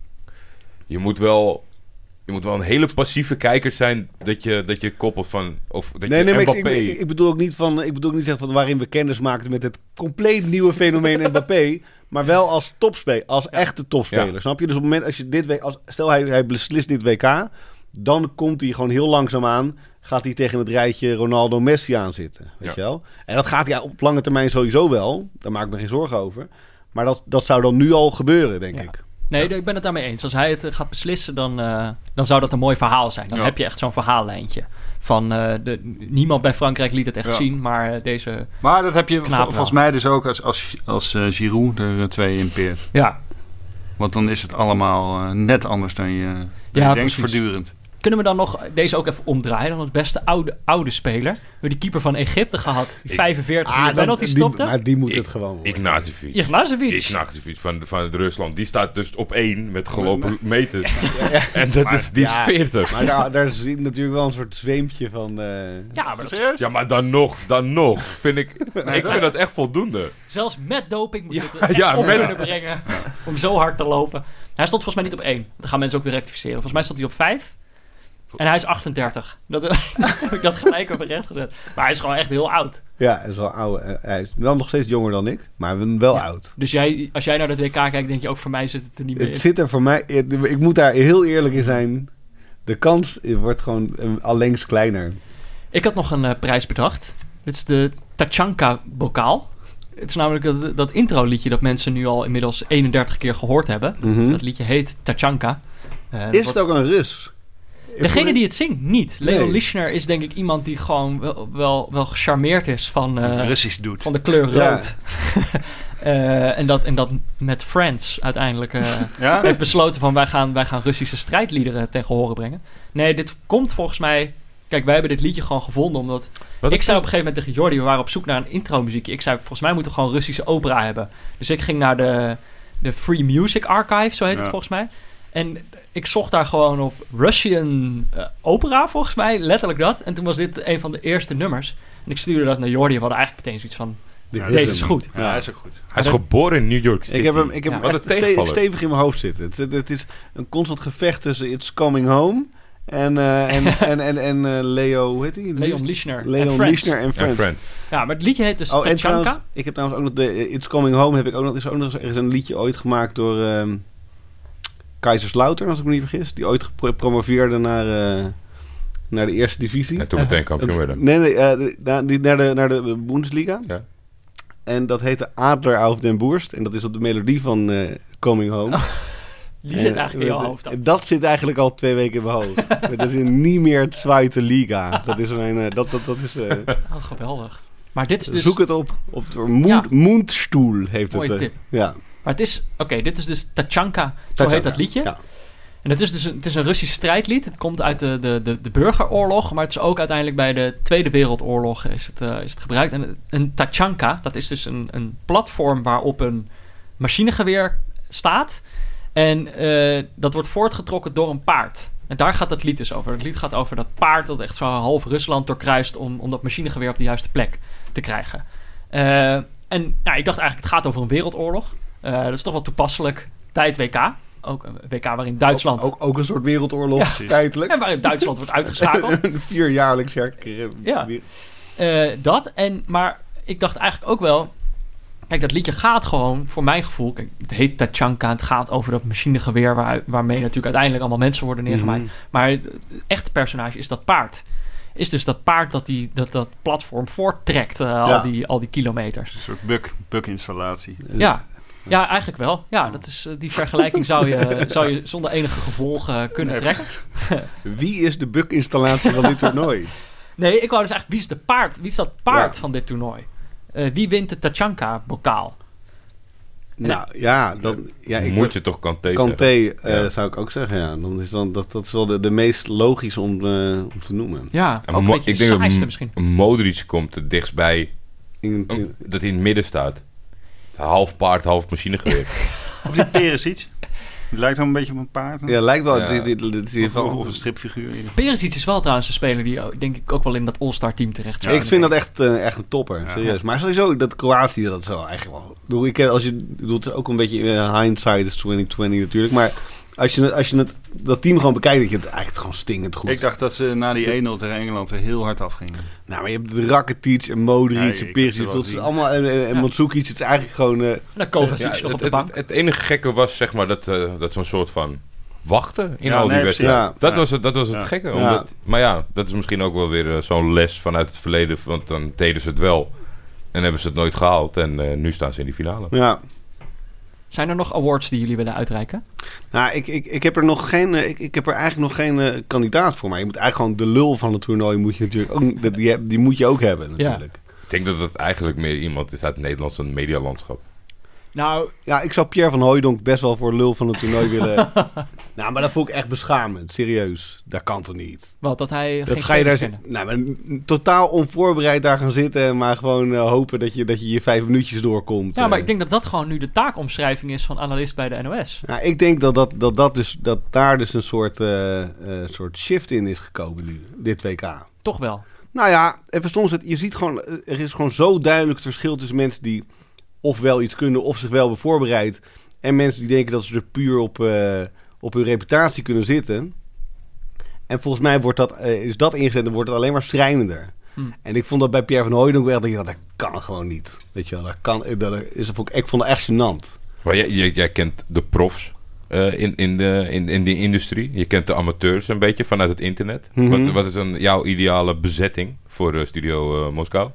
[SPEAKER 4] je moet wel... Je moet wel een hele passieve kijker zijn dat je, dat je koppelt van... Of dat
[SPEAKER 5] nee,
[SPEAKER 4] je
[SPEAKER 5] nee maar ik,
[SPEAKER 4] Mbappé...
[SPEAKER 5] ik, ik bedoel ook niet van, ik bedoel ook niet zeggen van waarin we kennis maakten met het compleet nieuwe
[SPEAKER 4] <laughs>
[SPEAKER 5] fenomeen Mbappé. Maar wel als topspeler, als echte topspeler.
[SPEAKER 4] Ja.
[SPEAKER 5] Snap je? Dus op het moment als je dit week, als, stel hij, hij beslist dit WK, dan komt hij gewoon heel langzaam aan. Gaat hij tegen het rijtje Ronaldo Messi aan zitten. Weet
[SPEAKER 4] Ja.
[SPEAKER 5] je wel? En dat gaat hij op lange termijn sowieso wel. Daar maak ik me geen zorgen over. Maar dat, dat zou dan nu al gebeuren, denk
[SPEAKER 1] Ja.
[SPEAKER 5] ik.
[SPEAKER 1] Nee, ik ben het daarmee eens. Als hij het eh, gaat beslissen, dan, eh, dan zou dat een mooi verhaal zijn. Dan
[SPEAKER 3] Ja.
[SPEAKER 1] heb je echt zo'n verhaallijntje. Van, eh, de, niemand bij Frankrijk liet het echt
[SPEAKER 3] Ja.
[SPEAKER 1] zien, maar eh, deze...
[SPEAKER 3] Maar dat heb je
[SPEAKER 1] Knaap
[SPEAKER 3] vol-
[SPEAKER 1] wel.
[SPEAKER 3] volgens mij dus ook als, als, als eh, Giroud er eh, twee in peert.
[SPEAKER 1] Ja.
[SPEAKER 3] Want dan is het allemaal eh, net anders dan je, dan je
[SPEAKER 1] Ja,
[SPEAKER 3] denkt
[SPEAKER 1] precies.
[SPEAKER 3] voortdurend.
[SPEAKER 1] Kunnen we dan nog deze ook even omdraaien? Dan het beste oude, oude speler. We hebben die keeper van Egypte gehad. Die 45 uur penalty
[SPEAKER 5] Ah, die,
[SPEAKER 1] Ah, stopte.
[SPEAKER 5] maar die moet
[SPEAKER 4] Ah, Ik-
[SPEAKER 5] het gewoon worden.
[SPEAKER 4] Ignacevic.
[SPEAKER 1] Ignacevic.
[SPEAKER 4] Ignacevic van, van Rusland. Die staat dus op één met gelopen meters.
[SPEAKER 5] <laughs>
[SPEAKER 4] <laughs> En dat is, die is
[SPEAKER 5] ja.
[SPEAKER 4] 40.
[SPEAKER 5] Maar daar, daar zit natuurlijk wel een soort zweempje van... eh,
[SPEAKER 1] Ja, maar dat is-
[SPEAKER 3] Serieus?
[SPEAKER 4] Ja, maar dan nog, dan nog. Vind
[SPEAKER 5] <laughs>
[SPEAKER 4] ik, ik
[SPEAKER 3] dat-
[SPEAKER 4] vind dat echt voldoende.
[SPEAKER 1] zelfs met doping moet je het
[SPEAKER 4] Ja,
[SPEAKER 1] er echt
[SPEAKER 4] ja,
[SPEAKER 1] op
[SPEAKER 4] met-
[SPEAKER 1] kunnen brengen. Om zo hard te lopen. Hij stond volgens mij niet op 1. Dan gaan mensen ook weer rectificeren. Volgens mij stond hij op 5. En hij is 38. Dat <laughs> heb ik dat gelijk op recht gezet. Maar hij is gewoon echt heel oud.
[SPEAKER 5] Ja, hij is wel oude. eh, Hij is wel nog steeds jonger dan ik, maar wel oud.
[SPEAKER 1] Dus jij, als jij naar de WK kijkt, denk je ook voor mij zit het er niet meer
[SPEAKER 5] Het
[SPEAKER 1] in.
[SPEAKER 5] zit er voor mij... het- ik moet daar heel eerlijk in zijn. De kans wordt gewoon eh, allengs kleiner.
[SPEAKER 1] Ik had nog een eh, prijs bedacht. Dit is de Tachanka-bokaal. Het is namelijk dat, dat intro-liedje dat mensen nu al inmiddels 31 keer gehoord hebben.
[SPEAKER 5] Mhm.
[SPEAKER 1] Dat liedje heet Tachanka. Eh,
[SPEAKER 5] Is
[SPEAKER 1] wat-
[SPEAKER 5] het ook een Rus?
[SPEAKER 1] Degene die het zingt, niet. Leon
[SPEAKER 5] Nee.
[SPEAKER 1] Lischner is denk ik iemand die gewoon wel, wel, wel gecharmeerd is van, eh,
[SPEAKER 3] Russisch doet.
[SPEAKER 1] van de kleur
[SPEAKER 5] Ja.
[SPEAKER 1] rood. <laughs> Eh, en, dat, en dat met Friends uiteindelijk
[SPEAKER 5] <laughs>
[SPEAKER 1] eh,
[SPEAKER 3] Ja?
[SPEAKER 1] heeft besloten van wij gaan, wij gaan Russische strijdliederen tegen horen brengen. Nee, dit komt volgens mij... Kijk, wij hebben dit liedje gewoon gevonden omdat
[SPEAKER 4] Wat
[SPEAKER 1] ik zei op een gegeven moment tegen Jordi, we waren op zoek naar een intro-muziekje. Ik zei, volgens mij moeten we gewoon Russische opera hebben. Dus ik ging naar de, de Free Music Archive, zo heet het
[SPEAKER 3] Ja.
[SPEAKER 1] volgens mij. En ik zocht daar gewoon op Russian eh, opera, volgens mij, letterlijk dat. En toen was dit een van de eerste nummers. En ik stuurde dat naar Jordi en we hadden eigenlijk meteen zoiets van,
[SPEAKER 5] Dit
[SPEAKER 3] Ja,
[SPEAKER 5] is
[SPEAKER 1] deze
[SPEAKER 5] hem.
[SPEAKER 1] is goed.
[SPEAKER 3] Ja, hij is ook goed.
[SPEAKER 4] Hij is geboren in New York City.
[SPEAKER 5] Ik heb hem, ik heb
[SPEAKER 1] Ja.
[SPEAKER 5] hem
[SPEAKER 4] Wat
[SPEAKER 5] echt
[SPEAKER 4] een tegenvaller.
[SPEAKER 5] ste- stevig in mijn hoofd zitten. Het, het, het is een constant gevecht tussen It's Coming Home en, eh,
[SPEAKER 1] <laughs>
[SPEAKER 5] en, en, en, en eh, Leo, hoe heet die?
[SPEAKER 1] Leon Lischner en
[SPEAKER 5] Leon
[SPEAKER 1] Friends.
[SPEAKER 5] Lischner en
[SPEAKER 4] Ja,
[SPEAKER 5] Friends.
[SPEAKER 4] friend.
[SPEAKER 1] Ja, maar het liedje heet dus
[SPEAKER 5] Oh, en
[SPEAKER 1] Tachanka.
[SPEAKER 5] trouwens, ik heb trouwens ook nog de eh, It's Coming Home heb ik ook nog, is ook nog eens ergens een liedje ooit gemaakt door ehm Kaiserslautern, als ik me niet vergis, die ooit gepromoveerde naar, eh, naar de eerste divisie.
[SPEAKER 4] En toen meteen kampioen werden.
[SPEAKER 5] Nee, nee, eh, de- na- die- naar de, naar de Bundesliga.
[SPEAKER 4] Ja.
[SPEAKER 5] En dat heette Adler auf den Boerst. En dat is op de melodie van eh, Coming Home.
[SPEAKER 1] Oh, Die zit
[SPEAKER 5] Eh,
[SPEAKER 1] eigenlijk in jouw
[SPEAKER 5] dat-
[SPEAKER 1] hoofd. dan.
[SPEAKER 5] Dat zit eigenlijk al twee weken in mijn
[SPEAKER 1] <laughs>
[SPEAKER 5] hoofd. dat is niet meer het Zweite Liga. Dat is mijn... eh, dat, dat, dat is, eh,
[SPEAKER 1] Oh, geweldig. Maar dit is dus...
[SPEAKER 5] Zoek het op. op de Moend,
[SPEAKER 1] Ja.
[SPEAKER 5] Moendstoel heeft het.
[SPEAKER 1] Mooie
[SPEAKER 5] eh,
[SPEAKER 1] tip.
[SPEAKER 5] Ja.
[SPEAKER 1] Maar het is... Oké, dit is dus Tachanka. Zo heet
[SPEAKER 5] Tachanka.
[SPEAKER 1] dat liedje.
[SPEAKER 5] Ja.
[SPEAKER 1] En het is dus een, het is een Russisch strijdlied. Het komt uit de, de, de, de burgeroorlog, maar het is ook uiteindelijk bij de Tweede Wereldoorlog is het, eh, is het gebruikt. En een tachanka, dat is dus een, een platform waarop een machinegeweer staat. En eh, dat wordt voortgetrokken door een paard. En daar gaat dat lied dus over. Het lied gaat over dat paard dat echt zo half Rusland doorkruist om, om dat machinegeweer op de juiste plek te krijgen. Eh, en nou, ik dacht eigenlijk, het gaat over een wereldoorlog. Eh, dat is toch wel toepasselijk bij het WK. Ook een WK waarin Duitsland...
[SPEAKER 5] Ook, ook een soort wereldoorlog, feitelijk. <laughs>
[SPEAKER 1] En <laughs> waarin Duitsland wordt uitgeschakeld.
[SPEAKER 5] Vierjaarlijks herkeren.
[SPEAKER 1] Ja. Eh, dat en, maar ik dacht eigenlijk ook wel. Kijk, dat liedje gaat gewoon, voor mijn gevoel. Kijk, het heet Tachanka. Het gaat over dat machinegeweer waar, waarmee natuurlijk uiteindelijk allemaal mensen worden
[SPEAKER 5] Mhm.
[SPEAKER 1] neergemaaid. Maar het echte personage is dat paard. Is dus dat paard dat die, dat, dat platform voorttrekt, eh,
[SPEAKER 5] Ja.
[SPEAKER 1] al, die, al die kilometers.
[SPEAKER 3] Een soort bug, bug-installatie.
[SPEAKER 5] Dus
[SPEAKER 1] Ja.
[SPEAKER 5] eh,
[SPEAKER 1] ja, eigenlijk wel. Ja, dat is, eh, die vergelijking zou
[SPEAKER 5] <laughs>
[SPEAKER 1] je, eh, zou je zonder enige gevolgen eh, kunnen
[SPEAKER 3] Nee.
[SPEAKER 1] trekken.
[SPEAKER 5] Wie is de bug-installatie van dit toernooi?
[SPEAKER 1] <laughs> Nee, ik wou dus eigenlijk, wie is, de paard, wie is dat paard
[SPEAKER 5] Ja.
[SPEAKER 1] van dit toernooi? Eh, wie wint de Tachanka-bokaal?
[SPEAKER 5] nou ja, dan, ja ik
[SPEAKER 4] Moet je toch Kanté
[SPEAKER 5] Kanté
[SPEAKER 4] zeggen.
[SPEAKER 5] eh,
[SPEAKER 4] Ja.
[SPEAKER 5] zou ik ook zeggen. Ja. Dan is dan, dat, dat is wel de, de meest logische om, eh, om te noemen.
[SPEAKER 1] Ja,
[SPEAKER 4] En
[SPEAKER 1] ook een
[SPEAKER 4] Mo-
[SPEAKER 1] beetje
[SPEAKER 4] ik
[SPEAKER 1] de
[SPEAKER 4] denk dat
[SPEAKER 1] saaiste
[SPEAKER 4] M-
[SPEAKER 1] misschien.
[SPEAKER 4] Modric komt het dichtstbij
[SPEAKER 5] In-
[SPEAKER 4] eh,
[SPEAKER 5] in-
[SPEAKER 4] dat hij in het midden staat. Het is Half paard, half
[SPEAKER 5] <laughs>
[SPEAKER 4] machinegeweer.
[SPEAKER 3] Of die Perisic. Die lijkt wel een beetje op een paard. hè?
[SPEAKER 5] ja, lijkt wel.
[SPEAKER 4] Ja. Oh.
[SPEAKER 5] Dit, dit, dit, dit is in ieder
[SPEAKER 3] Of,
[SPEAKER 5] geval-
[SPEAKER 3] of een stripfiguur. in ieder
[SPEAKER 1] Perisic is wel trouwens een speler die oh, denk ik ook wel in dat All-Star team terecht zou
[SPEAKER 5] ik vind
[SPEAKER 1] kunnen.
[SPEAKER 5] dat echt, eh, echt een topper,
[SPEAKER 3] Ja.
[SPEAKER 5] serieus. Maar sowieso, dat Kroatië, dat is wel eigenlijk wel... ik bedoel, Ik, ken- als je, ik bedoel, het is ook een beetje eh, hindsight is 2020 natuurlijk. Maar als je, het- als je het, dat team gewoon bekijkt, dat je het eigenlijk gewoon stinkend goed...
[SPEAKER 3] geval. Ik dacht dat ze na die 1-0 tegen Engeland er heel hard afgingen.
[SPEAKER 5] Nou, maar je hebt de Rakitic en Modric
[SPEAKER 3] Ja, ik
[SPEAKER 5] en
[SPEAKER 3] heb
[SPEAKER 5] Perisic,
[SPEAKER 3] ze wel
[SPEAKER 5] dat is
[SPEAKER 3] gezien.
[SPEAKER 5] allemaal... En, en, en
[SPEAKER 1] Ja.
[SPEAKER 5] Mandzukic, het is eigenlijk gewoon... eh,
[SPEAKER 1] En dan Kovacic
[SPEAKER 4] Ja,
[SPEAKER 1] nog op
[SPEAKER 4] het,
[SPEAKER 1] de bank.
[SPEAKER 4] het, het enige gekke was zeg maar dat, eh, dat zo'n soort van wachten in
[SPEAKER 3] Ja,
[SPEAKER 4] al die
[SPEAKER 3] nee,
[SPEAKER 4] wedstrijden.
[SPEAKER 5] precies.
[SPEAKER 3] Ja.
[SPEAKER 4] Dat, was het, dat was het
[SPEAKER 3] Ja.
[SPEAKER 4] gekke.
[SPEAKER 5] Ja.
[SPEAKER 4] Omdat, Maar ja, dat is misschien ook wel weer eh, zo'n les vanuit het verleden. Want dan deden ze het wel en hebben ze het nooit gehaald. En eh, nu staan ze in die finale.
[SPEAKER 5] ja,
[SPEAKER 1] Zijn er nog awards die jullie willen uitreiken?
[SPEAKER 5] Nou, ik, ik, ik heb er nog geen. eh, Ik, ik heb er eigenlijk nog geen eh, kandidaat voor. Maar je moet eigenlijk gewoon de lul van het toernooi moet je natuurlijk ook. dat- Die, heb- die moet je ook hebben, natuurlijk. Ja.
[SPEAKER 4] Ik denk dat het eigenlijk meer iemand is uit het Nederlandse medialandschap.
[SPEAKER 1] Nou,
[SPEAKER 5] ik zou Pierre van Hooijdonk best wel voor lul van het
[SPEAKER 1] <laughs>
[SPEAKER 5] toernooi willen. Nou, maar dat vond ik echt beschamend. Serieus. Dat kan toch niet?
[SPEAKER 1] wat, dat hij geen
[SPEAKER 5] Dat ga je daar
[SPEAKER 1] spelers
[SPEAKER 5] zitten. Nou, maar n- totaal onvoorbereid daar gaan zitten. Maar gewoon eh, hopen dat je, dat je je vijf minuutjes doorkomt.
[SPEAKER 1] Ja, Nou, maar
[SPEAKER 5] eh.
[SPEAKER 1] ik denk dat dat gewoon nu de taakomschrijving is van analist bij de NOS.
[SPEAKER 5] Nou, ik denk dat, dat, dat, dat, dus, dat daar dus een soort, eh, eh, soort shift in is gekomen nu, dit WK.
[SPEAKER 1] Toch wel.
[SPEAKER 5] Nou ja, even soms, het, je ziet gewoon, eh, er is gewoon zo duidelijk het verschil tussen mensen die ofwel iets kunnen of zich wel hebben voorbereid. En mensen die denken dat ze er puur op, eh, op hun reputatie kunnen zitten. En volgens mij wordt dat, eh, is dat ingezet en wordt het alleen maar schrijnender.
[SPEAKER 1] Hmm.
[SPEAKER 5] En ik vond dat bij Pierre van Hooijdonk wel, dat, dat kan gewoon niet. Weet je wel, dat kan, eh, dat is, ik vond het echt gênant.
[SPEAKER 4] Maar jij, jij, jij kent de profs eh, in, in, de, in, in die industrie. Je kent de amateurs een beetje vanuit het internet.
[SPEAKER 5] Mhm.
[SPEAKER 4] Wat, wat is een, jouw ideale bezetting voor eh, Studio eh, Moskou?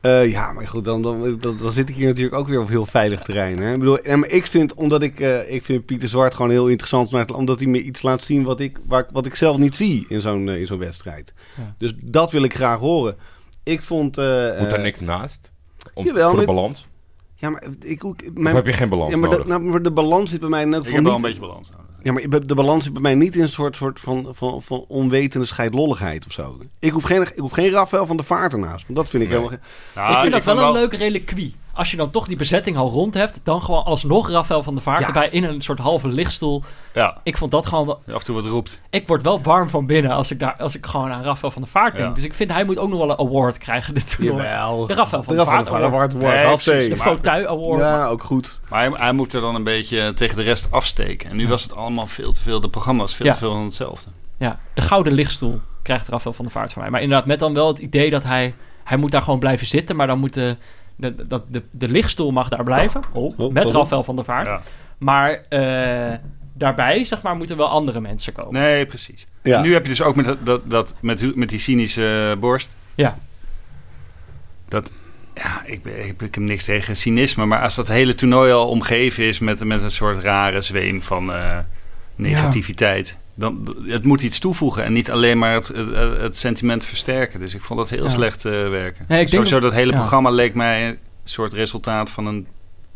[SPEAKER 5] Eh, ja, maar goed, dan, dan, dan, dan zit ik hier natuurlijk ook weer op heel veilig terrein. Hè? Ik bedoel, en, maar ik vind, omdat ik, eh, ik vind Pieter Zwart gewoon heel interessant, maar omdat hij me iets laat zien wat ik, waar, ik- wat ik zelf niet zie in zo'n eh, in zo'n wedstrijd.
[SPEAKER 1] Ja.
[SPEAKER 5] Dus dat wil ik graag horen. Ik vond... eh,
[SPEAKER 4] Moet daar
[SPEAKER 5] eh,
[SPEAKER 4] niks naast? Om,
[SPEAKER 5] jawel,
[SPEAKER 4] voor de
[SPEAKER 5] maar-
[SPEAKER 4] balans?
[SPEAKER 5] Ja, maar ik, ik,
[SPEAKER 4] Of
[SPEAKER 5] mijn,
[SPEAKER 4] heb je geen balans
[SPEAKER 5] ja, maar, dat,
[SPEAKER 4] nodig?
[SPEAKER 5] nou, maar de balans zit bij mij in elk
[SPEAKER 3] Ik
[SPEAKER 5] geval
[SPEAKER 3] heb wel een
[SPEAKER 5] niet...
[SPEAKER 3] beetje balans nodig.
[SPEAKER 5] Ja, maar de balans zit bij mij niet in een soort, soort van, van, van onwetende scheidlolligheid of zo. Ik hoef geen, ik hoef geen Rafael van de Vaart ernaast, want dat vind ik
[SPEAKER 4] Nee.
[SPEAKER 5] helemaal... ge-
[SPEAKER 3] Ja,
[SPEAKER 1] ik vind dat
[SPEAKER 3] vind
[SPEAKER 1] wel een leuk reliquie. Als je dan toch die bezetting al rond hebt, dan gewoon alsnog Rafael van der Vaart
[SPEAKER 5] Ja.
[SPEAKER 1] erbij in een soort halve lichtstoel.
[SPEAKER 3] Ja,
[SPEAKER 1] Ik vond dat gewoon... wel-
[SPEAKER 3] af en toe wat roept.
[SPEAKER 1] Ik word wel warm van binnen als ik, daar, als ik gewoon aan Rafael van der Vaart denk.
[SPEAKER 3] Ja.
[SPEAKER 1] Dus ik vind hij moet ook nog wel een award krijgen dit toernooi.
[SPEAKER 5] Jawel.
[SPEAKER 1] De Rafael van der
[SPEAKER 5] de Rafael
[SPEAKER 1] Vaart
[SPEAKER 5] van de
[SPEAKER 1] Award.
[SPEAKER 5] Vaart wordt
[SPEAKER 3] Nee,
[SPEAKER 5] afzee.
[SPEAKER 1] De
[SPEAKER 3] precies.
[SPEAKER 1] Fauteuil Award.
[SPEAKER 5] Ja, ook goed.
[SPEAKER 3] Maar hij, hij moet er dan een beetje tegen de rest afsteken. En nu was het allemaal veel te veel. De programma was veel
[SPEAKER 1] Ja.
[SPEAKER 3] te veel van hetzelfde.
[SPEAKER 1] Ja, de gouden lichtstoel krijgt Rafael van der Vaart van mij. Maar inderdaad, met dan wel het idee dat hij... Hij moet daar gewoon blijven zitten, maar dan moet de... de, dat de, de lichtstoel mag daar blijven.
[SPEAKER 5] oh,
[SPEAKER 1] met
[SPEAKER 5] pas op.
[SPEAKER 1] Rafael van der Vaart.
[SPEAKER 3] Ja.
[SPEAKER 1] Maar eh, daarbij, zeg maar, moeten wel andere mensen komen.
[SPEAKER 3] Nee, precies.
[SPEAKER 5] Ja.
[SPEAKER 3] En nu heb je dus ook met, dat, dat, dat, met, hu- met die cynische eh, borst.
[SPEAKER 1] Ja.
[SPEAKER 3] Dat, ja, ik, ben- ik, ik heb niks tegen cynisme. Maar als dat hele toernooi al omgeven is met, met een soort rare zweem van eh, negativiteit. Dan, d- het moet iets toevoegen en niet alleen maar het, het, het sentiment versterken. Dus ik vond dat heel
[SPEAKER 1] Ja.
[SPEAKER 3] slecht eh, werken.
[SPEAKER 1] Nee, ik denk
[SPEAKER 3] Sowieso
[SPEAKER 1] dat-
[SPEAKER 3] dat, hele
[SPEAKER 1] ja.
[SPEAKER 3] programma leek mij een soort resultaat van een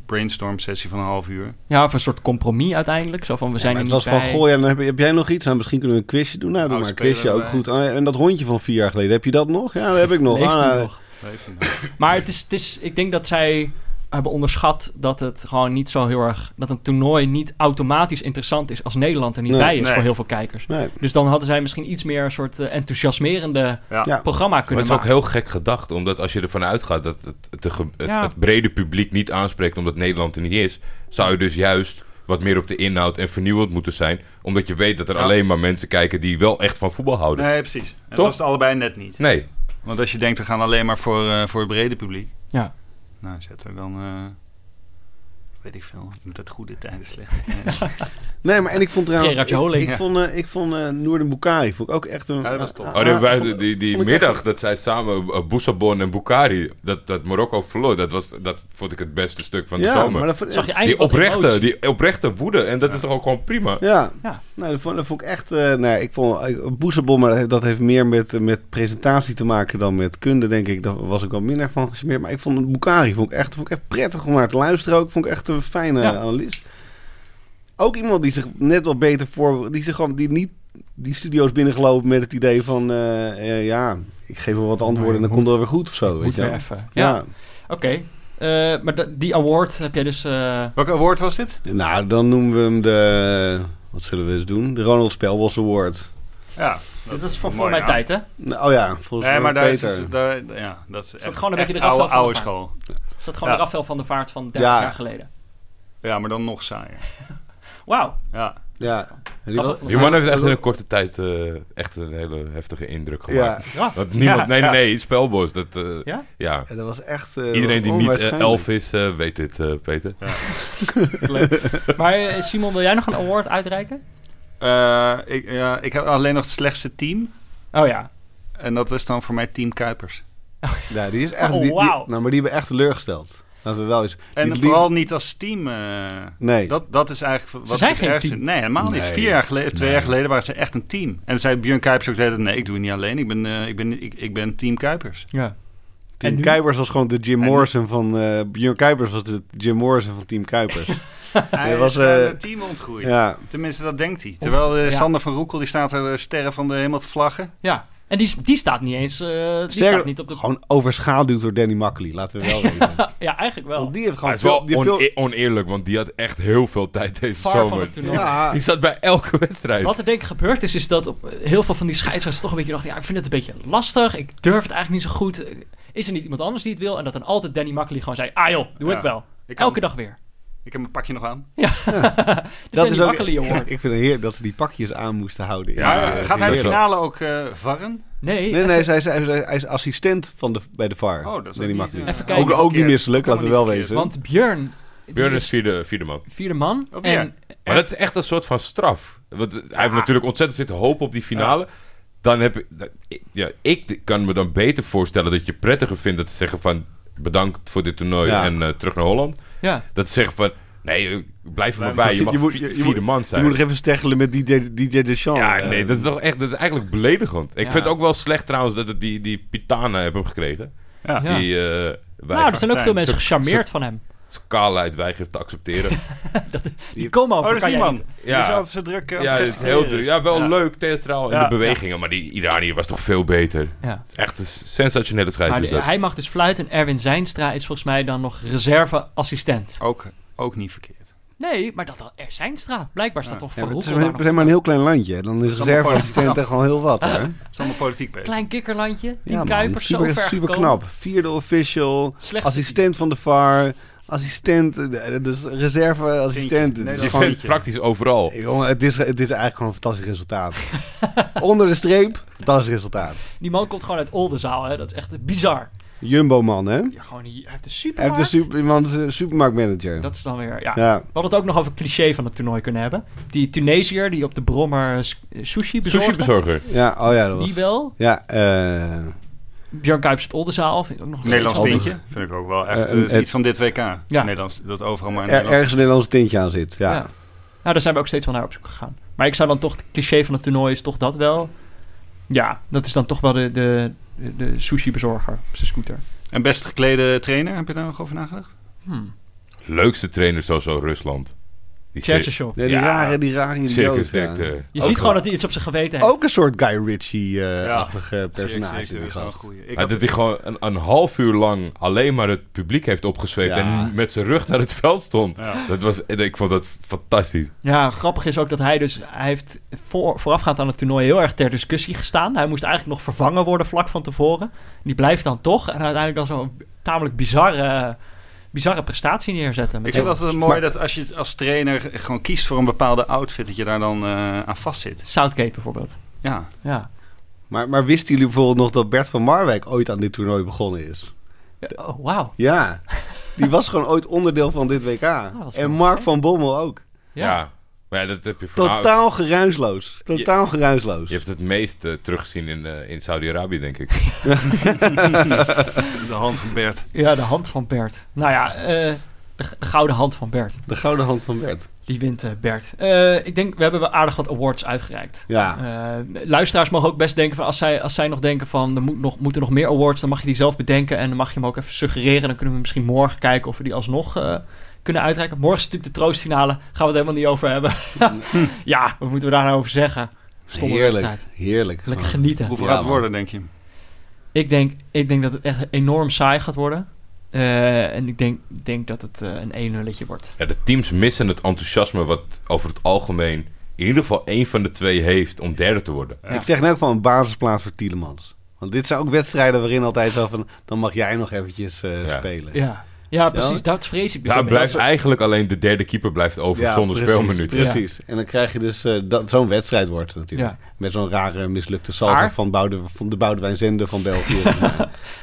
[SPEAKER 3] brainstorm sessie van een half uur.
[SPEAKER 1] Ja, of een soort compromis uiteindelijk. Zo van, we zijn
[SPEAKER 5] Ja,
[SPEAKER 1] er
[SPEAKER 5] maar
[SPEAKER 1] niet
[SPEAKER 5] het was
[SPEAKER 1] bij. Oh,
[SPEAKER 5] van, goh, ja, dan heb, heb jij nog iets? Nou, misschien kunnen we een quizje doen. Nou, doe
[SPEAKER 3] Oud
[SPEAKER 5] maar een quizje,
[SPEAKER 3] speler
[SPEAKER 5] ook
[SPEAKER 3] erbij.
[SPEAKER 5] goed. Ah, ja, en dat hondje van vier jaar geleden, heb je dat nog? Ja, dat heb ik nog.
[SPEAKER 1] Leeft
[SPEAKER 5] Ah,
[SPEAKER 1] hij
[SPEAKER 5] nou,
[SPEAKER 1] nog?
[SPEAKER 3] Leeft hij nog?
[SPEAKER 1] Maar het is, het is, ik denk dat zij hebben onderschat dat het gewoon niet zo heel erg... dat een toernooi niet automatisch interessant is als Nederland er niet
[SPEAKER 5] Nee.
[SPEAKER 1] bij is
[SPEAKER 3] Nee.
[SPEAKER 1] voor heel veel kijkers.
[SPEAKER 5] nee.
[SPEAKER 1] Dus dan hadden zij misschien iets meer een soort eh, enthousiasmerende
[SPEAKER 5] Ja.
[SPEAKER 1] programma
[SPEAKER 4] Maar
[SPEAKER 1] kunnen
[SPEAKER 4] het is ook
[SPEAKER 1] maken.
[SPEAKER 4] heel gek gedacht, omdat als je ervan uitgaat dat het, het, de ge- het-
[SPEAKER 1] Ja.
[SPEAKER 4] het brede publiek niet aanspreekt omdat Nederland er niet is, zou je dus juist wat meer op de inhoud en vernieuwend moeten zijn, omdat je weet dat er
[SPEAKER 3] Ja.
[SPEAKER 4] alleen maar mensen kijken die wel echt van voetbal houden.
[SPEAKER 3] Nee, precies. En dat
[SPEAKER 4] Toch?
[SPEAKER 3] was het allebei net niet.
[SPEAKER 4] Nee,
[SPEAKER 3] Want als je denkt, we gaan alleen maar voor, eh, voor het brede publiek.
[SPEAKER 1] Ja.
[SPEAKER 3] Nou, zet er dan... eh, weet ik veel. Met het goede tijden, slechte
[SPEAKER 1] <laughs>
[SPEAKER 3] tijden.
[SPEAKER 5] nee, maar en ik vond trouwens...
[SPEAKER 1] Gerard
[SPEAKER 5] ik-
[SPEAKER 1] Joling,
[SPEAKER 5] Ik,
[SPEAKER 3] ja.
[SPEAKER 5] vond, eh, ik vond eh Noorden Bukari vond ik ook echt een...
[SPEAKER 3] Ja, dat was top.
[SPEAKER 5] ah,
[SPEAKER 4] Oh, die,
[SPEAKER 5] ah,
[SPEAKER 4] wij-
[SPEAKER 5] vond-
[SPEAKER 4] die, die
[SPEAKER 5] vond ik
[SPEAKER 4] middag
[SPEAKER 5] echt-
[SPEAKER 4] dat zij samen eh, Boussabon en Bukhari, dat, dat Marokko verloor, dat, was, dat vond ik het beste stuk van de
[SPEAKER 5] ja,
[SPEAKER 4] zomer.
[SPEAKER 5] maar dat vond,
[SPEAKER 1] Zag je
[SPEAKER 4] Die
[SPEAKER 1] eigenlijk wat
[SPEAKER 4] oprechte,
[SPEAKER 1] emotie?
[SPEAKER 4] die oprechte woede, en dat is toch ook gewoon prima?
[SPEAKER 5] Ja,
[SPEAKER 1] Ja.
[SPEAKER 5] Nou, dat, vond, dat vond ik echt... eh nee, ik vond eh, Boezebom, maar dat heeft, dat heeft meer met, eh, met presentatie te maken dan met kunde, denk ik. Daar was ik wel minder van gesmeerd. Maar ik vond Bukari vond ik echt, vond ik echt prettig om naar te luisteren ook. Vond ik echt een fijne
[SPEAKER 1] Ja.
[SPEAKER 5] analist. Ook iemand die zich net wat beter voor... Die zich gewoon die niet die studio's binnengelopen met het idee van... eh, eh, ja, ik geef wel wat antwoorden en dan
[SPEAKER 1] moet-
[SPEAKER 5] komt het wel weer goed of zo. Weet
[SPEAKER 1] Moet
[SPEAKER 5] je
[SPEAKER 1] weer
[SPEAKER 5] wel.
[SPEAKER 1] even. Ja,
[SPEAKER 5] Ja.
[SPEAKER 1] oké. Eh, maar da- die award heb jij dus... eh,
[SPEAKER 3] Welk award was dit?
[SPEAKER 5] nou dan noemen we hem de... Wat zullen we eens doen? De Ronald Spelbos Award.
[SPEAKER 3] Ja.
[SPEAKER 1] dit is voor,
[SPEAKER 3] mooi,
[SPEAKER 1] voor mijn
[SPEAKER 3] ja.
[SPEAKER 1] tijd, hè?
[SPEAKER 5] Nou, oh ja, volgens
[SPEAKER 3] Nee,
[SPEAKER 5] mij
[SPEAKER 3] maar daar is,
[SPEAKER 5] Peter.
[SPEAKER 3] dus- daar, ja, dat is,
[SPEAKER 1] dat
[SPEAKER 3] echt,
[SPEAKER 1] gewoon een beetje
[SPEAKER 3] echt
[SPEAKER 1] de Rafael
[SPEAKER 3] oude,
[SPEAKER 1] van
[SPEAKER 3] oude
[SPEAKER 1] der Vaart?
[SPEAKER 3] school.
[SPEAKER 1] Is dat gewoon
[SPEAKER 3] Ja.
[SPEAKER 1] de Rafael van der Vaart van 30
[SPEAKER 5] Ja.
[SPEAKER 1] jaar geleden?
[SPEAKER 3] Ja, maar dan nog saaier.
[SPEAKER 1] Wauw.
[SPEAKER 3] Ja.
[SPEAKER 5] Ja.
[SPEAKER 1] Rafael
[SPEAKER 5] Die was-
[SPEAKER 1] van der
[SPEAKER 4] Die
[SPEAKER 1] Vaart.
[SPEAKER 4] man heeft echt in een korte tijd eh, echt een hele heftige indruk
[SPEAKER 5] Ja,
[SPEAKER 4] gemaakt. Dat niemand, nee, nee, nee, Spelbos. Dat, eh,
[SPEAKER 1] Ja?
[SPEAKER 4] ja?
[SPEAKER 5] en dat was echt... eh,
[SPEAKER 4] Iedereen die niet eh,
[SPEAKER 5] onwaarschijnlijk.
[SPEAKER 4] elf is, eh, weet dit, eh, Peter.
[SPEAKER 1] Maar eh, Simon, wil jij nog een award uitreiken?
[SPEAKER 3] Eh, ik, ja, ik heb alleen nog het slechtste team.
[SPEAKER 1] Oh ja.
[SPEAKER 3] En dat is dan voor mij Team Kuipers.
[SPEAKER 5] Ja, die is echt...
[SPEAKER 1] Oh,
[SPEAKER 5] die, die-
[SPEAKER 1] wauw.
[SPEAKER 5] nou, maar die hebben echt teleurgesteld. Laten we wel eens...
[SPEAKER 3] En
[SPEAKER 5] die-
[SPEAKER 3] vooral niet als team. eh,
[SPEAKER 5] Nee.
[SPEAKER 3] Dat, dat is eigenlijk wat
[SPEAKER 1] zijn
[SPEAKER 3] het
[SPEAKER 1] geen
[SPEAKER 3] ergste-
[SPEAKER 1] team.
[SPEAKER 3] Nee, helemaal niet.
[SPEAKER 5] Nee.
[SPEAKER 3] Vier jaar geleden, twee
[SPEAKER 5] Nee.
[SPEAKER 3] jaar geleden waren ze echt een team. En zei Björn Kuipers ook de hele tijd, nee, ik doe het niet alleen. Ik ben, eh, ik ben, ik, ik ben team Kuipers.
[SPEAKER 1] Ja. En
[SPEAKER 5] Team
[SPEAKER 1] nu?
[SPEAKER 5] Kuipers was gewoon de Jim
[SPEAKER 3] nu?
[SPEAKER 5] Morrison van... eh Björn Kuipers was de Jim Morrison van Team
[SPEAKER 3] <laughs>
[SPEAKER 5] Kuipers.
[SPEAKER 3] Hij
[SPEAKER 5] was,
[SPEAKER 3] was een
[SPEAKER 5] eh,
[SPEAKER 3] team ontgroeid.
[SPEAKER 5] ja.
[SPEAKER 3] Tenminste, dat denkt hij. Terwijl eh,
[SPEAKER 1] Ja.
[SPEAKER 3] Sander van Roekel, die staat er eh, sterren van de hemel te vlaggen.
[SPEAKER 1] ja. En die, die staat niet eens eh, die staat
[SPEAKER 5] Sterker,
[SPEAKER 1] niet op de... Nou,
[SPEAKER 5] gewoon overschaduwd door Danny Makkely.
[SPEAKER 1] <laughs>
[SPEAKER 5] Laten we wel weten.
[SPEAKER 1] Ja, eigenlijk wel.
[SPEAKER 5] Want die heeft
[SPEAKER 4] Maar
[SPEAKER 5] gewoon
[SPEAKER 4] het is wel
[SPEAKER 5] veel... Die heeft veel-
[SPEAKER 4] oneer- eh, oneerlijk, want die had echt heel veel tijd deze
[SPEAKER 1] Var van
[SPEAKER 4] zomer.
[SPEAKER 1] het toernooi.
[SPEAKER 5] ja,
[SPEAKER 4] Die zat bij elke wedstrijd.
[SPEAKER 1] Wat er denk ik gebeurd is, is dat op eh, heel veel van die scheidsrechters toch een beetje dachten... ja, ik vind het een beetje lastig, ik durf het eigenlijk niet zo goed. Eh, Is er niet iemand anders die het wil? En dat dan altijd Danny Makkely gewoon zei... ah joh, doe
[SPEAKER 3] Ja.
[SPEAKER 1] ik wel.
[SPEAKER 3] Ik kan-
[SPEAKER 1] Elke dag weer.
[SPEAKER 3] Ik heb mijn pakje nog aan.
[SPEAKER 1] De Danny
[SPEAKER 5] <laughs>
[SPEAKER 1] Makkely Award.
[SPEAKER 5] ik vind het heerlijk dat ze die pakjes aan moesten houden. eh,
[SPEAKER 3] Ja,
[SPEAKER 5] Ja,
[SPEAKER 3] gaat hij de
[SPEAKER 5] heerlijk.
[SPEAKER 3] finale ook eh, varren?
[SPEAKER 1] Nee,
[SPEAKER 5] Nee, nee,
[SPEAKER 1] even-
[SPEAKER 5] hij is, hij is- hij is assistent van de, bij de VAR.
[SPEAKER 3] Oh, dat is ook
[SPEAKER 5] Danny
[SPEAKER 3] niet,
[SPEAKER 5] Makkely.
[SPEAKER 3] eh,
[SPEAKER 1] Even kijken.
[SPEAKER 5] Ook, ook niet misselijk, laten we wel
[SPEAKER 3] Helemaal niet
[SPEAKER 5] wezen.
[SPEAKER 1] want Björn... die
[SPEAKER 4] Björn is
[SPEAKER 1] is
[SPEAKER 4] vierde, vierde man.
[SPEAKER 1] vierde man.
[SPEAKER 3] Oh, Björn.
[SPEAKER 1] en
[SPEAKER 4] Maar dat is echt een soort van straf. Want hij heeft natuurlijk ontzettend zitten hopen op die finale. Dan heb ik, dat- ik- ja, ik kan me dan beter voorstellen dat je prettiger vindt dat te zeggen van bedankt voor dit toernooi
[SPEAKER 5] Ja.
[SPEAKER 4] en eh, terug naar Holland.
[SPEAKER 1] ja.
[SPEAKER 4] Dat ze zeggen van nee, eh, blijf er maar bij.
[SPEAKER 5] maar
[SPEAKER 4] Je mag
[SPEAKER 5] je moet-
[SPEAKER 4] vi-
[SPEAKER 5] je- je
[SPEAKER 4] vierde
[SPEAKER 5] moet-
[SPEAKER 4] man
[SPEAKER 5] Je
[SPEAKER 4] zijn.
[SPEAKER 5] moet nog even steggelen met DJ, DJ Deschamps.
[SPEAKER 4] ja,
[SPEAKER 5] eh.
[SPEAKER 4] nee, dat is toch echt, dat is eigenlijk beledigend. Ik
[SPEAKER 1] Ja.
[SPEAKER 4] vind het ook wel slecht trouwens dat het die, die Pitana heb hem gekregen.
[SPEAKER 3] Ja.
[SPEAKER 1] Ja.
[SPEAKER 4] Die eh wij
[SPEAKER 1] Nou, er zijn ook veel
[SPEAKER 3] Zo-
[SPEAKER 1] mensen gecharmeerd van hem.
[SPEAKER 4] kaalheid weigert te
[SPEAKER 5] <laughs>
[SPEAKER 4] accepteren.
[SPEAKER 1] Die komen
[SPEAKER 3] Oh,
[SPEAKER 1] over,
[SPEAKER 3] dat is
[SPEAKER 1] kan
[SPEAKER 3] die
[SPEAKER 1] jij
[SPEAKER 3] man.
[SPEAKER 1] niet.
[SPEAKER 3] Die is altijd zo druk. eh, aan
[SPEAKER 4] Ja,
[SPEAKER 3] het
[SPEAKER 4] het is heel
[SPEAKER 3] gesticuleren.
[SPEAKER 4] druk. Ja, wel
[SPEAKER 3] Ja.
[SPEAKER 4] leuk, theatraal in
[SPEAKER 3] Ja.
[SPEAKER 4] de bewegingen. Maar die Iranier was toch veel beter.
[SPEAKER 1] Ja.
[SPEAKER 4] Het is echt een sensationele
[SPEAKER 1] Maar
[SPEAKER 4] scheids. is
[SPEAKER 1] die-
[SPEAKER 4] dat.
[SPEAKER 1] hij mag dus fluiten en Erwin Zijnstra is volgens mij dan nog reserveassistent.
[SPEAKER 3] Ook, ook niet verkeerd.
[SPEAKER 1] Nee, maar dat dan er Zijnstra. Blijkbaar staat toch
[SPEAKER 5] Ja,
[SPEAKER 1] voor
[SPEAKER 5] maar het is
[SPEAKER 1] Roekel
[SPEAKER 5] maar,
[SPEAKER 1] daar
[SPEAKER 5] we
[SPEAKER 1] nog
[SPEAKER 5] zijn maar een heel klein landje. Dan is
[SPEAKER 3] allemaal
[SPEAKER 5] reserveassistent echt gewoon heel wat. Hè? Ja,
[SPEAKER 3] Het is allemaal politiek bezig.
[SPEAKER 1] Klein kikkerlandje, Team
[SPEAKER 5] man,
[SPEAKER 1] Kuipers,
[SPEAKER 5] super,
[SPEAKER 1] zo ver
[SPEAKER 5] super
[SPEAKER 1] gekomen.
[SPEAKER 5] knap. Vierde official,
[SPEAKER 1] Slechtste
[SPEAKER 5] assistent van de VAR, assistent, eh, eh, dus reserveassistent.
[SPEAKER 3] Nee, dat-
[SPEAKER 5] Het is
[SPEAKER 4] Dus je
[SPEAKER 5] gewoon,
[SPEAKER 4] vindt het praktisch overal.
[SPEAKER 5] Hey, jongen, het is, het is eigenlijk gewoon een fantastisch resultaat.
[SPEAKER 1] <laughs>
[SPEAKER 5] Onder de streep, fantastisch resultaat.
[SPEAKER 1] Die man komt gewoon uit Oldenzaal, hè. dat is echt bizar.
[SPEAKER 5] Jumbo-man, hè?
[SPEAKER 1] Ja, gewoon, hij heeft een
[SPEAKER 5] Hij heeft
[SPEAKER 1] supermarkt.
[SPEAKER 5] de super, iemand is een supermarktmanager.
[SPEAKER 1] Dat is dan weer, ja.
[SPEAKER 5] ja.
[SPEAKER 1] We hadden het ook nog over cliché van het toernooi kunnen hebben. Die Tunesiër die op de Brommer eh, s- eh, sushi bezorgde.
[SPEAKER 4] Sushi bezorger.
[SPEAKER 5] ja, oh ja, dat was...
[SPEAKER 1] Die wel.
[SPEAKER 5] Ja, eh
[SPEAKER 1] Björn Kuipers uit Oldenzaal. Vind ik ook nog een
[SPEAKER 3] Nederlands
[SPEAKER 5] Altijd.
[SPEAKER 3] tintje. Vind ik ook wel echt
[SPEAKER 5] Eh,
[SPEAKER 3] eh,
[SPEAKER 5] een- het-
[SPEAKER 3] iets van dit WK. Nederlands, dat overal maar
[SPEAKER 5] er,
[SPEAKER 3] Nederlands.
[SPEAKER 5] ergens een Nederlands tintje aan zit. Ja.
[SPEAKER 1] Ja. Nou, daar zijn we ook steeds wel naar op zoek gegaan. Maar ik zou dan toch, het cliché van het toernooi is toch dat wel. Ja, dat is dan toch wel de, de, de sushi-bezorger op zijn scooter.
[SPEAKER 3] En best geklede trainer, heb je daar nog over nagedacht?
[SPEAKER 1] Hmm.
[SPEAKER 4] Leukste trainer sowieso Rusland. Die cir-
[SPEAKER 1] Tjertjeshow.
[SPEAKER 5] Nee, die
[SPEAKER 4] Ja.
[SPEAKER 5] rare, die rare idioot. ja.
[SPEAKER 4] circusdirecteur.
[SPEAKER 1] Je ziet gewoon dat hij iets op zijn geweten heeft.
[SPEAKER 5] Ook een soort Guy Ritchie-achtig personage, die gast.
[SPEAKER 3] Ik
[SPEAKER 4] Maar
[SPEAKER 3] had,
[SPEAKER 4] dat hij gewoon een, een half uur lang alleen maar het publiek heeft opgezweept
[SPEAKER 5] Ja.
[SPEAKER 4] en met zijn rug naar het veld stond.
[SPEAKER 3] ja.
[SPEAKER 4] Dat was, ik vond dat fantastisch.
[SPEAKER 1] Ja, grappig is ook dat hij dus... Hij heeft voor, voorafgaand aan het toernooi heel erg ter discussie gestaan. Hij moest eigenlijk nog vervangen worden vlak van tevoren. Die blijft dan toch. En uiteindelijk dan zo'n tamelijk bizarre, bizarre prestatie neerzetten. Met
[SPEAKER 3] ik vind
[SPEAKER 1] zo'n
[SPEAKER 3] dat het mooi dat als je als trainer gewoon kiest voor een bepaalde outfit, dat je daar dan eh, aan vastzit.
[SPEAKER 1] Southgate bijvoorbeeld.
[SPEAKER 3] Ja.
[SPEAKER 1] Ja.
[SPEAKER 5] Maar, maar wisten jullie bijvoorbeeld nog dat Bert van Marwijk ooit aan dit toernooi begonnen is?
[SPEAKER 1] Oh, wauw.
[SPEAKER 5] Ja, die was gewoon ooit onderdeel van
[SPEAKER 1] <laughs>
[SPEAKER 5] dit WK.
[SPEAKER 1] Ah, dat is
[SPEAKER 5] en
[SPEAKER 1] wel
[SPEAKER 5] Mark
[SPEAKER 1] gek.
[SPEAKER 5] van Bommel ook.
[SPEAKER 4] Ja. Maar ja, dat heb je vooral-
[SPEAKER 5] Totaal geruisloos. Totaal geruisloos.
[SPEAKER 4] Je hebt het meest eh, teruggezien in, eh, in Saudi-Arabië, denk ik.
[SPEAKER 3] De hand van Bert.
[SPEAKER 1] Ja, de hand van Bert. Nou ja, eh, de, g- de gouden hand van Bert.
[SPEAKER 5] De gouden hand van Bert.
[SPEAKER 1] Die wint eh, Bert. Eh, ik denk, we hebben wel aardig wat awards uitgereikt.
[SPEAKER 5] Ja.
[SPEAKER 1] Eh, luisteraars mogen ook best denken van als zij, als zij nog denken van er moet nog, moeten nog meer awards, dan mag je die zelf bedenken en dan mag je hem ook even suggereren. Dan kunnen we misschien morgen kijken of we die alsnog eh, kunnen uitreiken. Morgen is natuurlijk de troostfinale, gaan we het helemaal niet over hebben. <laughs> ja, wat moeten we daar nou over zeggen? Stomme
[SPEAKER 5] heerlijk.
[SPEAKER 1] wedstrijd.
[SPEAKER 5] Heerlijk.
[SPEAKER 1] Lekker genieten.
[SPEAKER 3] Hoeveel
[SPEAKER 5] Ja,
[SPEAKER 3] gaat het
[SPEAKER 5] man.
[SPEAKER 3] worden, denk je?
[SPEAKER 1] Ik denk, ik denk dat het echt enorm saai gaat worden. Eh, en ik denk, denk dat het eh, een 1-nulletje wordt.
[SPEAKER 4] Ja, de teams missen het enthousiasme wat over het algemeen in ieder geval één van de twee heeft om derde te worden.
[SPEAKER 5] Ik zeg nou ook van een basisplaats voor Tielemans. Want dit zijn ook wedstrijden waarin altijd zo van... dan mag jij nog eventjes eh,
[SPEAKER 4] Ja.
[SPEAKER 5] spelen.
[SPEAKER 1] Ja, ja precies. Dat vrees ik dus
[SPEAKER 4] Ja,
[SPEAKER 1] een
[SPEAKER 4] blijft
[SPEAKER 1] beetje.
[SPEAKER 4] eigenlijk alleen de derde keeper blijft over
[SPEAKER 5] Ja,
[SPEAKER 4] zonder
[SPEAKER 5] precies,
[SPEAKER 4] speelminuten.
[SPEAKER 5] Precies. En dan krijg je dus eh, dat zo'n wedstrijd wordt het natuurlijk. Met zo'n rare mislukte salto
[SPEAKER 1] Maar-
[SPEAKER 5] van, Boude, van de Boudewijn Zende van
[SPEAKER 1] <laughs>
[SPEAKER 5] België.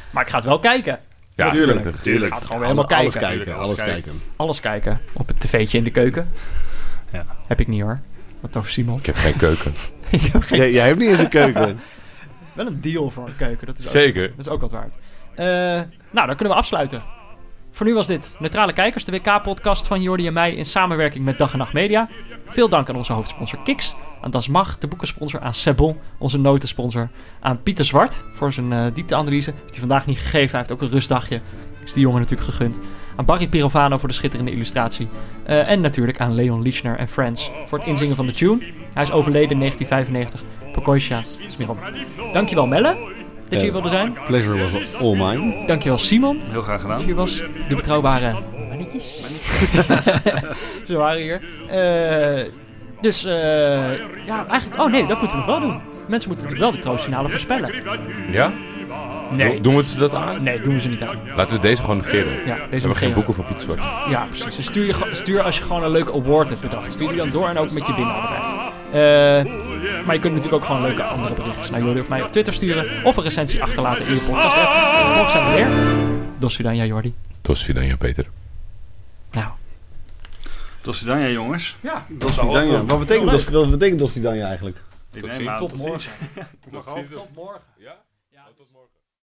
[SPEAKER 1] Maar ik ga het wel kijken.
[SPEAKER 4] Ja,
[SPEAKER 1] Natuurlijk.
[SPEAKER 4] natuurlijk.
[SPEAKER 1] Ik ga het gewoon helemaal
[SPEAKER 5] Alle- alles
[SPEAKER 1] kijken.
[SPEAKER 5] kijken. Alles kijken.
[SPEAKER 1] Alles kijken. Op het tv'tje in de keuken.
[SPEAKER 3] Ja.
[SPEAKER 1] Heb ik niet hoor. Wat over Simon. <laughs>
[SPEAKER 4] Ik heb geen keuken.
[SPEAKER 1] ik heb geen,
[SPEAKER 5] Jij, jij hebt niet eens een keuken.
[SPEAKER 1] wel een deal voor een keuken. Dat is ook,
[SPEAKER 4] Zeker.
[SPEAKER 1] dat is ook wat waard. Eh, nou, dan kunnen we afsluiten. Voor nu was dit Neutrale Kijkers, de WK-podcast van Jordi en mij in samenwerking met Dag en Nacht Media. Veel dank aan onze hoofdsponsor Kiks, aan Das Mag, de boekensponsor, aan Sebon, onze notensponsor, aan Pieter Zwart voor zijn eh, diepteanalyse. Heeft hij vandaag niet gegeven, hij heeft ook een rustdagje. Is die jongen natuurlijk gegund. Aan Barry Pirovano voor de schitterende illustratie. Eh, en natuurlijk aan Leon Lichner en Friends voor het inzingen van de tune. Hij is overleden in 1995. Pokoisha is meer op. Dankjewel Melle, dat je hier wilde zijn.
[SPEAKER 5] Pleasure was all mine.
[SPEAKER 1] Dankjewel Simon.
[SPEAKER 3] Heel graag gedaan.
[SPEAKER 1] Hier was de betrouwbare mannetjes. Ze waren hier. Eh, dus eh, ja, eigenlijk. Oh nee, dat moeten we nog wel doen. Mensen moeten natuurlijk wel de troostfinale voorspellen.
[SPEAKER 4] Ja?
[SPEAKER 1] Nee,
[SPEAKER 4] Doen we ze dat aan?
[SPEAKER 1] nee, doen we ze niet aan.
[SPEAKER 4] Laten we deze gewoon negeren.
[SPEAKER 1] Ja, deze
[SPEAKER 4] we hebben
[SPEAKER 1] negeren.
[SPEAKER 4] geen boeken van Piet Zwart.
[SPEAKER 1] Ja, precies. Dus stuur, je, ge- stuur als je gewoon een leuke award hebt bedacht. Stuur die dan door en ook met je winnaar erbij. Eh, maar je kunt natuurlijk ook gewoon leuke andere berichtjes naar Jordi of mij op Twitter sturen. Of een recensie achterlaten in je podcast app. Morgen zijn we weer. Dos Vidania, Jordi.
[SPEAKER 4] Tot dan, ja, Peter.
[SPEAKER 1] Nou,
[SPEAKER 3] Tot dan, ja, jongens.
[SPEAKER 1] ja,
[SPEAKER 5] Vidania. Wat betekent,
[SPEAKER 1] Leuk.
[SPEAKER 5] dat, wat betekent Dolph Vidania eigenlijk?
[SPEAKER 3] Ik
[SPEAKER 4] Tot
[SPEAKER 3] neem
[SPEAKER 4] ziens.
[SPEAKER 3] aan-
[SPEAKER 1] tot morgen.
[SPEAKER 4] Tot ziens.
[SPEAKER 1] Tot morgen.
[SPEAKER 4] Ja?
[SPEAKER 1] Ja,
[SPEAKER 4] Tot morgen.